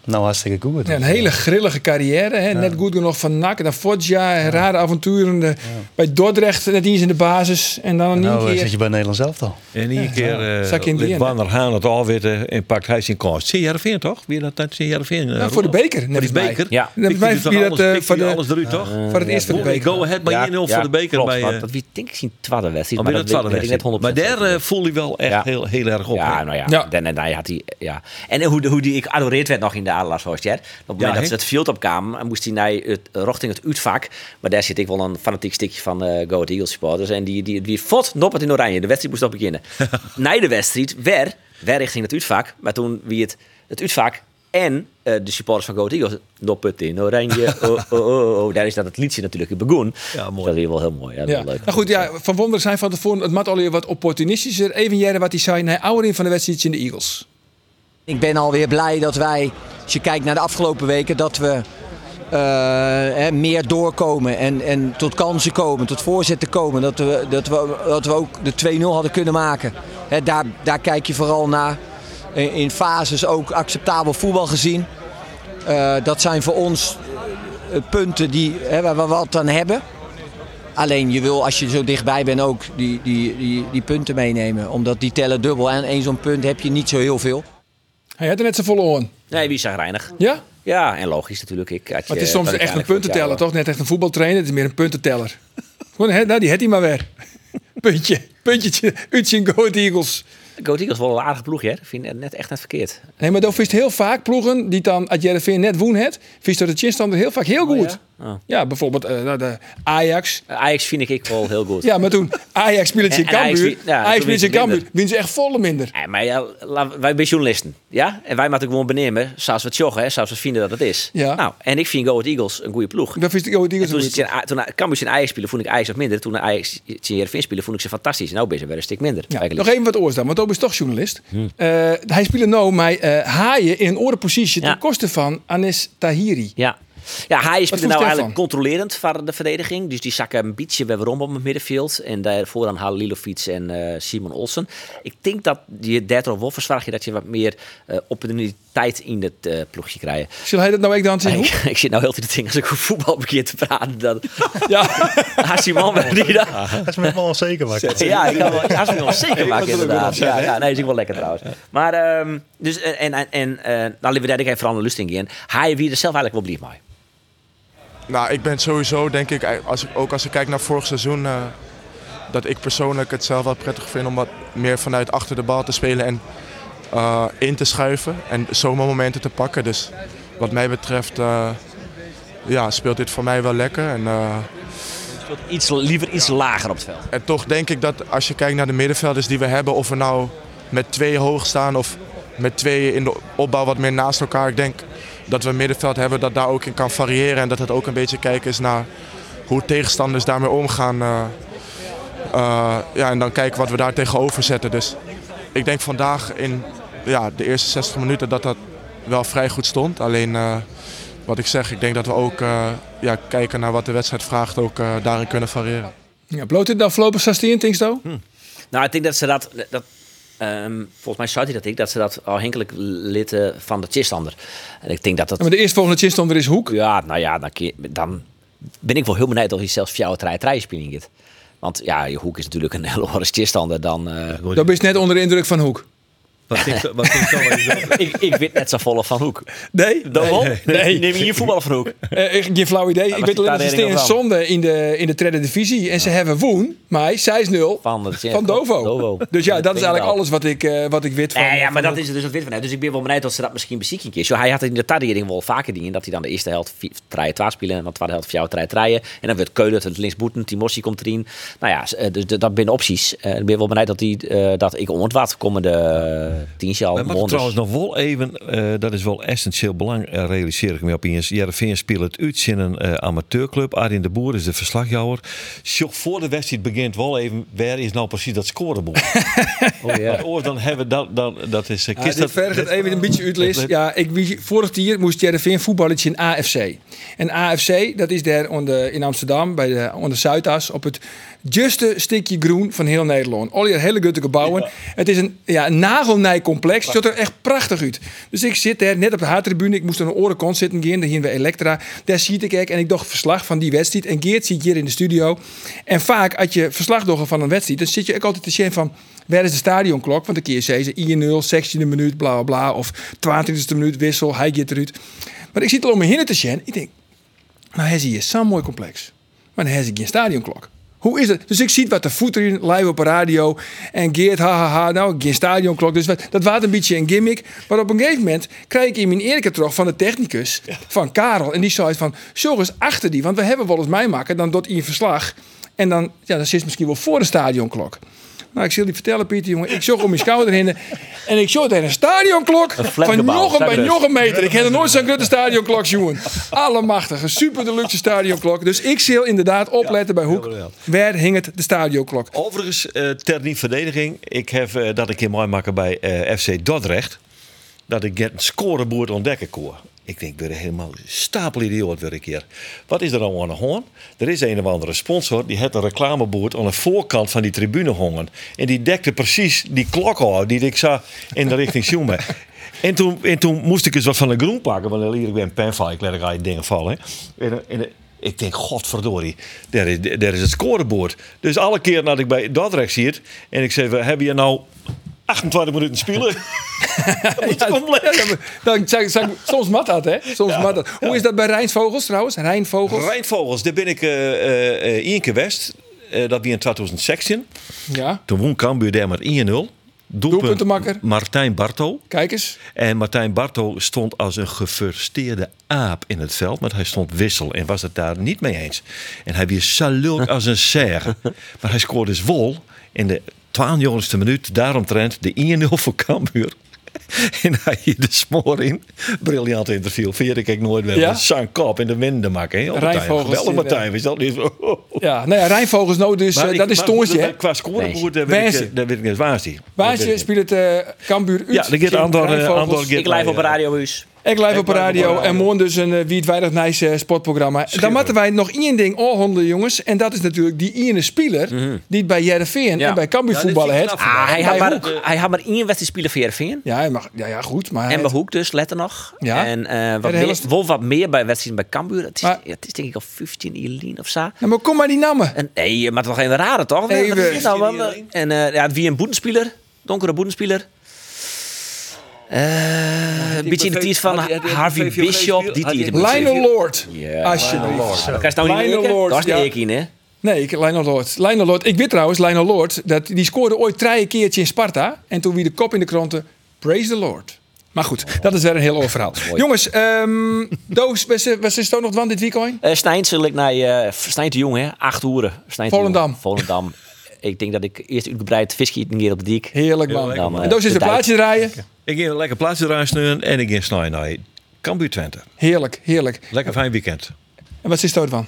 [SPEAKER 5] Nou, hartstikke goed.
[SPEAKER 1] Ja, een hele grillige carrière. Hè? Net goed genoeg van NAC naar Foggia. Rare avonturen. de- Bij Dordrecht net eens in de basis. En dan een
[SPEAKER 5] Nou, eh,
[SPEAKER 1] keer.
[SPEAKER 5] zit je bij Nederland zelf al.
[SPEAKER 4] En hier keer
[SPEAKER 1] Zak in
[SPEAKER 4] eh
[SPEAKER 1] die
[SPEAKER 4] liet
[SPEAKER 1] in.
[SPEAKER 4] Wanner Haan het alwitten en pakt hij zijn kans. CRV toch? Wie dat dan CRV?
[SPEAKER 1] Nou, voor de beker, net
[SPEAKER 4] eh, Voor die
[SPEAKER 1] als mij.
[SPEAKER 4] beker?
[SPEAKER 6] Ja.
[SPEAKER 4] Pikt
[SPEAKER 1] Net als
[SPEAKER 4] hij
[SPEAKER 1] mij
[SPEAKER 4] dus
[SPEAKER 1] wie
[SPEAKER 4] dan
[SPEAKER 1] dat,
[SPEAKER 4] alles,
[SPEAKER 1] eh,
[SPEAKER 4] pikt
[SPEAKER 1] voor
[SPEAKER 4] hij
[SPEAKER 1] de-
[SPEAKER 4] alles eruit toch?
[SPEAKER 1] Voor het eerst van de
[SPEAKER 4] Go-
[SPEAKER 1] beker.
[SPEAKER 4] Go ahead bij 1-0 voor de beker.
[SPEAKER 6] klopt,
[SPEAKER 4] bij,
[SPEAKER 6] maar
[SPEAKER 4] eh,
[SPEAKER 6] dat wie denk ik zien twaalfde wedstrijd,
[SPEAKER 4] alweer
[SPEAKER 6] maar
[SPEAKER 4] dat
[SPEAKER 6] dat weet,
[SPEAKER 4] twaalfde
[SPEAKER 6] weet ik net 100%.
[SPEAKER 4] wedstrijd. Maar daar eh, voel hij wel echt
[SPEAKER 6] Ja.
[SPEAKER 4] heel, heel erg op.
[SPEAKER 6] Ja,
[SPEAKER 4] hè?
[SPEAKER 6] nou ja.
[SPEAKER 1] Ja.
[SPEAKER 6] Dan, dan, dan had hij, ja. En hoe, hoe die ik adoreerd werd nog in de Adelaarshorst. hè. Op het moment
[SPEAKER 4] Ja,
[SPEAKER 6] dat
[SPEAKER 4] hè?
[SPEAKER 6] ze het veld opkwamen, moest hij naar het, rochting het uitvak. Maar daar zit ik wel een fanatiek stikje van eh Go Ahead Eagles supporters. En die, die, die fot noppert in oranje. De wedstrijd moest nog
[SPEAKER 4] <laughs>
[SPEAKER 6] beginnen. Na de wedstrijd, weer, weer richting het uitvak. Maar toen wie het, het uitvak en eh, de supporters van Go Ahead Eagles. Noppert
[SPEAKER 4] <laughs>
[SPEAKER 6] in oranje, oh, oh, oh, oh. Daar is dat het liedje natuurlijk in begoen.
[SPEAKER 4] mooi.
[SPEAKER 6] Dus Dat is wel heel mooi. Ja,
[SPEAKER 1] Ja.
[SPEAKER 6] Wel leuk.
[SPEAKER 1] Nou goed, ja, Van Wonder zijn van tevoren, het mat alweer wat opportunistischer. Even jaren wat hij zei, nee, ouder in van de wedstrijd in de Eagles.
[SPEAKER 9] Ik ben alweer blij dat wij, als je kijkt naar de afgelopen weken, dat we eh, hè, meer doorkomen en, en tot kansen komen, tot voorzetten komen. Dat we, dat we, dat we ook de 2-0 hadden kunnen maken. Hè, daar, daar kijk je vooral naar. In, in fases ook acceptabel voetbal gezien. Eh, dat zijn voor ons eh, punten die, hè, waar we wat aan hebben. Alleen je wil als je zo dichtbij bent ook die, die, die, die punten meenemen. Omdat die tellen dubbel en één zo'n punt heb je niet zo heel veel.
[SPEAKER 1] Hij had er net zo volle oren.
[SPEAKER 6] Nee, wie zag reinig?
[SPEAKER 1] Ja?
[SPEAKER 6] Ja, en logisch natuurlijk. Ik, had je-
[SPEAKER 1] Maar het is soms
[SPEAKER 6] dat ik
[SPEAKER 1] echt een
[SPEAKER 6] eigenlijk vond, ja,
[SPEAKER 1] puntenteller, toch? Net echt een voetbaltrainer, het is meer een
[SPEAKER 6] <laughs>
[SPEAKER 1] puntenteller. Gewoon, hè, nou, die had hij maar weer. Puntje, puntje, Utsin Go Ahead Eagles.
[SPEAKER 6] Go Ahead Eagles wel een aardige ploeg, hè? Ik vind het net echt net verkeerd.
[SPEAKER 1] Nee, maar dan vist heel vaak ploegen die dan uit Jereveen net woen het, vist door de chinstander heel vaak heel goed.
[SPEAKER 6] ja? Oh.
[SPEAKER 1] bijvoorbeeld eh, nou, de Ajax.
[SPEAKER 6] Eh, Ajax vind ik ik wel heel goed.
[SPEAKER 1] Ja, maar toen Ajax speelde in
[SPEAKER 6] <laughs> En- en Ajax
[SPEAKER 1] Cambuur,
[SPEAKER 6] wie- ja,
[SPEAKER 1] Ajax speelde
[SPEAKER 6] toen
[SPEAKER 1] in
[SPEAKER 6] wint ze
[SPEAKER 1] Cambuur,
[SPEAKER 6] minder.
[SPEAKER 1] wint ze echt volle minder.
[SPEAKER 6] Eh, maar ja, laat- wij zijn journalisten, ja? En wij moeten gewoon benemen, zoals we het joggen, hè, zoals we vinden dat het is.
[SPEAKER 1] Ja.
[SPEAKER 6] Nou, en ik vind Go Ahead Eagles een goede ploeg.
[SPEAKER 1] Dat vist Go Ahead
[SPEAKER 6] En
[SPEAKER 1] Eagles
[SPEAKER 6] toen,
[SPEAKER 1] een
[SPEAKER 6] ze
[SPEAKER 1] goeie
[SPEAKER 6] tegen- toen Cambuur in Ajax spelen, vond ik Ajax wat minder. Toen Ajax in Heerenveen spelen, vond ik ze fantastisch. Nou ben ze weer een stuk minder.
[SPEAKER 1] Ja,
[SPEAKER 6] eigenlijk. Hm.
[SPEAKER 1] nog even wat oors dan, want Tobi is toch journalist. Eh, hij speelde nou mij eh haaien in een orenpositie
[SPEAKER 6] Ja.
[SPEAKER 1] ten koste van Anis Tahiri.
[SPEAKER 6] Ja. Ja,
[SPEAKER 1] vond
[SPEAKER 6] Haaien speelde nou
[SPEAKER 1] je
[SPEAKER 6] eigenlijk controlerend voor de verdediging. Dus die zakken een beetje weer rond op het middenveld. En daarvoor dan halen Lilovic en eh, Simon Olsen. Ik denk dat je Dertro Wolfers vraag je dat je wat meer eh opportuniteit in het eh, ploegje krijgt.
[SPEAKER 1] Zal hij dat nou ook dan zien?
[SPEAKER 6] Ik, <laughs> ik zit nou heel de tijd te denken als ik over voetbal begin te praten. Dan <laughs> Ah,
[SPEAKER 1] Ja,
[SPEAKER 6] haast die man bij die dan.
[SPEAKER 5] Dat is me wel onzeker, maar
[SPEAKER 6] Ja, ik kan wel, haast die man zeker maken inderdaad. Ja, ja, nee, is ook wel lekker trouwens. Maar, ehm, dus, eh, en, en, en eh nou, laten we daar even vooral een lust in gaan. Haaien wie er zelf eigenlijk wel blij mee.
[SPEAKER 10] Nou, ik ben sowieso, denk ik, als, ik- ook als ik kijk naar vorig seizoen, eh, dat ik persoonlijk het zelf wel prettig vind om wat meer vanuit achter de bal te spelen en eh, in te schuiven en zomermomenten te pakken. Dus wat mij betreft eh, ja, speelt dit voor mij wel lekker. En, eh,
[SPEAKER 6] Iets, liever iets lager op het veld.
[SPEAKER 10] en toch denk ik dat als je kijkt naar de middenvelders die we hebben, of we nou met twee hoog staan of met twee in de opbouw wat meer naast elkaar. Ik denk dat we een middenveld hebben dat daar ook in kan variëren. En dat het ook een beetje kijken is naar hoe tegenstanders daarmee omgaan. eh, eh, ja, en dan kijken wat we daar tegenover zetten. Dus ik denk vandaag in ja, de eerste 60 minuten dat dat wel vrij goed stond. Alleen eh, wat ik zeg, ik denk dat we ook eh, ja, kijken naar wat de wedstrijd vraagt, ook eh, daarin kunnen variëren.
[SPEAKER 1] ja bloot dit dan voorlopig 16 Tinksto?
[SPEAKER 10] Hm.
[SPEAKER 6] Nou, ik denk dat ze dat. dat ehm, volgens mij zei hij dat ik, dat ze dat afhankelijk litten van de chistander. En ik denk dat dat.
[SPEAKER 1] Maar de eerstvolgende chinstander is Hoek.
[SPEAKER 6] Ja, nou ja, dan, keer- dan ben ik wel heel benieuwd of hij zelfs jouw treinspinning gaat. Want ja, je hoek is natuurlijk een <laughs> hele horre chistander dan. eh,
[SPEAKER 1] Dat is net onder de indruk van Hoek.
[SPEAKER 4] Wat vind je- wat
[SPEAKER 1] <laughs>
[SPEAKER 4] vind je dan?
[SPEAKER 6] ik, ik weet net zo volle van hoek.
[SPEAKER 1] Nee,
[SPEAKER 6] Dan wel? Neem je hier voetballer van hoek?
[SPEAKER 1] Eh, ik- geen flauw idee. ik
[SPEAKER 6] was
[SPEAKER 1] weet
[SPEAKER 6] die
[SPEAKER 1] alleen dat ze
[SPEAKER 6] Tadering
[SPEAKER 1] steen
[SPEAKER 6] ook wel.
[SPEAKER 1] zonde in de, in de derde divisie. En ze hebben woen, maar 6-0
[SPEAKER 6] Van, de
[SPEAKER 1] van Dovo. Dus ja, dat is eigenlijk alles wat ik, eh, wat ik weet van.
[SPEAKER 6] Nee, ja,
[SPEAKER 1] van
[SPEAKER 6] maar dat
[SPEAKER 1] Hoek.
[SPEAKER 6] is het dus dat wit vanuit. Dus ik ben wel benieuwd dat ze dat misschien bezieking is. Zo, hij had het in de tardering wel vaker dingen. Dat hij dan de eerste helft draaien twaar spelen. En dan de tweede helft jou draaien draaien. En dan wordt Keulen het linksboeten. Timossi komt erin. Nou ja, s- eh, dus dat- dat binnen opties. Eh, Ik ben wel benieuwd dat, die, eh, dat ik om het wat komende eh, tien jaar
[SPEAKER 4] Maar mag
[SPEAKER 6] maanden.
[SPEAKER 4] trouwens nog wel even, eh, dat is wel essentieel belang, eh, realiseer ik me op eens. Jereveen speelt het uit in een eh, amateurclub. Arjen de Boer is de verslagjouwer. Sjoch voor de wedstrijd begint begint wel even, waar is nou precies dat scorebord? oh, ja. Want dan hebben we dat, dan, dat is... eh,
[SPEAKER 1] Ja,
[SPEAKER 4] kist
[SPEAKER 1] Ah, dit
[SPEAKER 4] dat,
[SPEAKER 1] vergt even een beetje uitlis.
[SPEAKER 4] dat-
[SPEAKER 1] Ja, ik wie- vorig jaar moest Jereveen voetballetje in AFC. En AFC, dat is daar onder, in Amsterdam, bij de, onder Zuidas, op het juiste stukje groen van heel Nederland. Al die hele gutte gebouwen. Het is een, ja, een nagelnij complex. Het ziet er echt prachtig uit. Dus ik zit daar net op de H-tribune. Ik moest aan een orenkant zitten gaan. Daar gingen we Elektra. Daar zie ik ik. En ik dacht verslag van die wedstrijd. En Geert zit hier in de studio. En vaak, als je verslag doet van een wedstrijd, dan zit je ook altijd te zien van... Waar is de stadionklok? Want een keer zei ze 1-0, 16e minuut, bla bla bla. Of 20e minuut, wissel, hij gaat eruit. Maar ik zit al om me heen te zien. Ik denk, nou hij is hier zo'n mooi complex. Maar dan heb ik geen stadionklok. Hoe is het? Dus ik zie wat de voet erin, live op de radio. En Geert, hahaha, nou, geen stadionklok. Dus wat, dat was een beetje een gimmick. Maar op een gegeven moment krijg ik in mijn eerlijke terug van de technicus, van Karel. En die zei van, zorg eens achter die. Want we hebben wel eens mij maken, dan doet hij een verslag. En dan, ja, dan zit het misschien wel voor de stadionklok. Nou, ik zal die vertellen, Pieter, jongen. Ik zocht om mijn schouder heen en ik zocht er een stadionklok van
[SPEAKER 6] flatgebouw,
[SPEAKER 1] nog een, bij
[SPEAKER 6] zeg dus.
[SPEAKER 1] nog een meter. Ik heb er nooit zo'n grote stadionklok, jongen. Allemachtige, super deluxe stadionklok. Dus ik zal inderdaad opletten bij Hoek.
[SPEAKER 4] wel.
[SPEAKER 1] Waar hing het de
[SPEAKER 4] <laughs>
[SPEAKER 1] stadionklok?
[SPEAKER 4] Overigens, eh ter niet verdediging. Ik heb eh, dat ik in mooi maken bij eh, FC Dordrecht. Dat ik net een scoreboord ontdekken kon. Ik denk, weer helemaal stapel idioot weer ik hier. Wat is er nou aan de hoorn? Er is een of andere sponsor die had een reclameboord aan de voorkant van die tribune hongen. En die dekte precies die klok al die ik zag in de richting Sjoemen. En toen, en toen moest ik eens wat van de groen pakken, want dan leer ik weer een pen vallen. Ik let je dingen vallen. hè. En, en, ik denk, godverdorie, daar is, daar is het scorebord. Dus alle keer dat ik bij Dordrecht zit en ik zeg, we hebben je nou 28 minuten spelen? Dan moet je compleet-
[SPEAKER 1] Dan zeg, zeg, soms mat dat, hè? Soms mat dat. Hoe is dat bij Rijnvogels trouwens? Rijnvogels?
[SPEAKER 4] Rijnvogels, daar ben ik eh, eh, eh, één keer west. Eh, dat weer in 2016.
[SPEAKER 1] Ja,
[SPEAKER 4] Toen won Cambuur daar maar 1-0.
[SPEAKER 1] Doelpuntenmakker.
[SPEAKER 4] Martijn Barto.
[SPEAKER 1] kijk eens.
[SPEAKER 4] En Martijn Barto stond als een gefrustreerde aap in het veld. Want hij stond wissel en was het daar niet mee eens. En hij was salut als een
[SPEAKER 1] <laughs>
[SPEAKER 4] serre. Maar hij scoorde dus wol in de 12e minuut. Daaromtrent de 1-0 voor Cambuur. <laughs> En hij hier de smoor in. Briljant interview. Veer ik nooit wel.
[SPEAKER 1] Ja?
[SPEAKER 4] Ja? Zijn kop in de winden maken. hè, op Martijn.
[SPEAKER 1] Rijnvogels
[SPEAKER 4] Geweldig
[SPEAKER 1] die, eh,
[SPEAKER 4] Martijn. Is dat niet zo?
[SPEAKER 1] Ja, nou ja, Rijnvogels, nou dus,
[SPEAKER 4] Maar
[SPEAKER 1] eh,
[SPEAKER 4] ik-
[SPEAKER 1] dat is
[SPEAKER 4] maar
[SPEAKER 1] Toontje,
[SPEAKER 4] goed,
[SPEAKER 1] hè?
[SPEAKER 4] Qua scoreboard, daar
[SPEAKER 1] Wijnsje.
[SPEAKER 4] weet ik, eh, daar weet ik niet. Waar is die?
[SPEAKER 1] Waar je speelt het eh Cambuur uit.
[SPEAKER 4] Ja, dan gaat
[SPEAKER 1] Geen
[SPEAKER 4] Andor, eh,
[SPEAKER 1] Rijnvogels.
[SPEAKER 4] Andor gaat-
[SPEAKER 6] Ik live op een radiohuis.
[SPEAKER 1] Ik live op de
[SPEAKER 4] live op de
[SPEAKER 1] radio
[SPEAKER 4] radio.
[SPEAKER 1] en morgen dus een uh, Wiet Weinig Nijse sportprogramma. Dan moeten wij nog één ding afhandelen, jongens. En dat is natuurlijk die ene speler die het bij Jereveen
[SPEAKER 6] Ja.
[SPEAKER 1] en bij Cambuur
[SPEAKER 4] Ja, dit
[SPEAKER 1] voetballen
[SPEAKER 4] vind ik
[SPEAKER 1] heeft.
[SPEAKER 4] knap.
[SPEAKER 6] Ah, hij,
[SPEAKER 1] Bij
[SPEAKER 6] had maar,
[SPEAKER 1] Hoek.
[SPEAKER 6] hij had maar één wedstrijd spelen voor Heerenveen.
[SPEAKER 1] Nou, Ja, hij mag, ja, ja, goed. Maar, hij-
[SPEAKER 6] En bij Hoek dus, letter nog.
[SPEAKER 1] Ja.
[SPEAKER 6] En eh,
[SPEAKER 1] de
[SPEAKER 6] wat,
[SPEAKER 1] hele
[SPEAKER 6] meer,
[SPEAKER 1] st-
[SPEAKER 6] wel wat meer bij wedstrijden bij Cambuur. Het is,
[SPEAKER 1] Maar-
[SPEAKER 6] ja, het is denk ik al 15 Ilien of zo.
[SPEAKER 1] Ja, maar kom maar die namen.
[SPEAKER 6] En, nee, maar het was geen rare toch?
[SPEAKER 1] Nee,
[SPEAKER 6] Wat
[SPEAKER 1] we-
[SPEAKER 6] is dit nou, man? en eh, ja, wie een boetenspeler, donkere boetenspeler. Eh, een beetje in de tiers van
[SPEAKER 4] had hij- had hij-
[SPEAKER 6] Harvey
[SPEAKER 4] had hij-
[SPEAKER 6] Bishop.
[SPEAKER 4] had
[SPEAKER 6] Die
[SPEAKER 4] hij-
[SPEAKER 6] tier.
[SPEAKER 1] Lionel Lord. Alsjeblieft.
[SPEAKER 6] Dat kan je nou niet
[SPEAKER 1] Lionel
[SPEAKER 6] maken.
[SPEAKER 1] Lord,
[SPEAKER 6] Dat is
[SPEAKER 1] ja.
[SPEAKER 6] niet ik in, hè?
[SPEAKER 1] Nee, ik, Lionel Lord. Lionel Lord. Ik weet trouwens, Lionel Lord, dat, die scoorde ooit drie keertje in Sparta. En toen wie de kop in de kranten, praise the Lord. Maar goed, dat is weer een heel oor verhaal. Jongens, ehm <laughs> Doos, wat is toch nog van dit weekend?
[SPEAKER 6] Eh Stijn zal ik naar eh Stijn de Jong, hè? Acht hoeren. Stijn de Jong.
[SPEAKER 1] Volendam.
[SPEAKER 6] Volendam. ik denk dat ik eerst uitgebreid vis eet een keer op de dik.
[SPEAKER 1] Heerlijk man.
[SPEAKER 6] lekker, man.
[SPEAKER 1] en Doos is
[SPEAKER 6] De
[SPEAKER 1] een
[SPEAKER 6] dijk.
[SPEAKER 1] plaatje draaien.
[SPEAKER 4] Ik ging een lekker plaatsje eruit sneuren en ik ging snijden naar Cambuur Twente.
[SPEAKER 1] Heerlijk, heerlijk.
[SPEAKER 4] Lekker fijn weekend.
[SPEAKER 1] En wat is het van?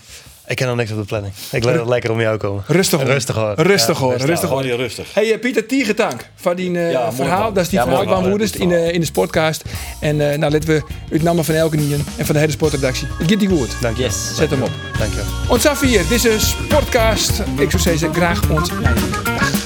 [SPEAKER 5] Ik ken nog niks op de planning. Ik laat het lekker om jou komen.
[SPEAKER 1] Rustig hoor.
[SPEAKER 5] Rustig hoor.
[SPEAKER 1] Rustig hoor, rustig hoor.
[SPEAKER 4] Gewoon hier rustig.
[SPEAKER 1] Hey eh, Pieter Tiegetank van die eh,
[SPEAKER 4] Ja, mooi
[SPEAKER 1] verhaal.
[SPEAKER 4] man.
[SPEAKER 1] Dat is die
[SPEAKER 4] Ja,
[SPEAKER 1] verhaal
[SPEAKER 4] mooi
[SPEAKER 1] van
[SPEAKER 4] man.
[SPEAKER 1] Woeders in, eh, in de sportcast. En eh, nou laten we het namen van elke nien en van de hele sportredactie. Ik geef die goed.
[SPEAKER 5] Dank je.
[SPEAKER 6] Yes.
[SPEAKER 1] Zet hem op.
[SPEAKER 5] Dank je.
[SPEAKER 1] Ons af hier. Dit is een sportcast. Ik zou zeggen graag ons. eigen. Dag.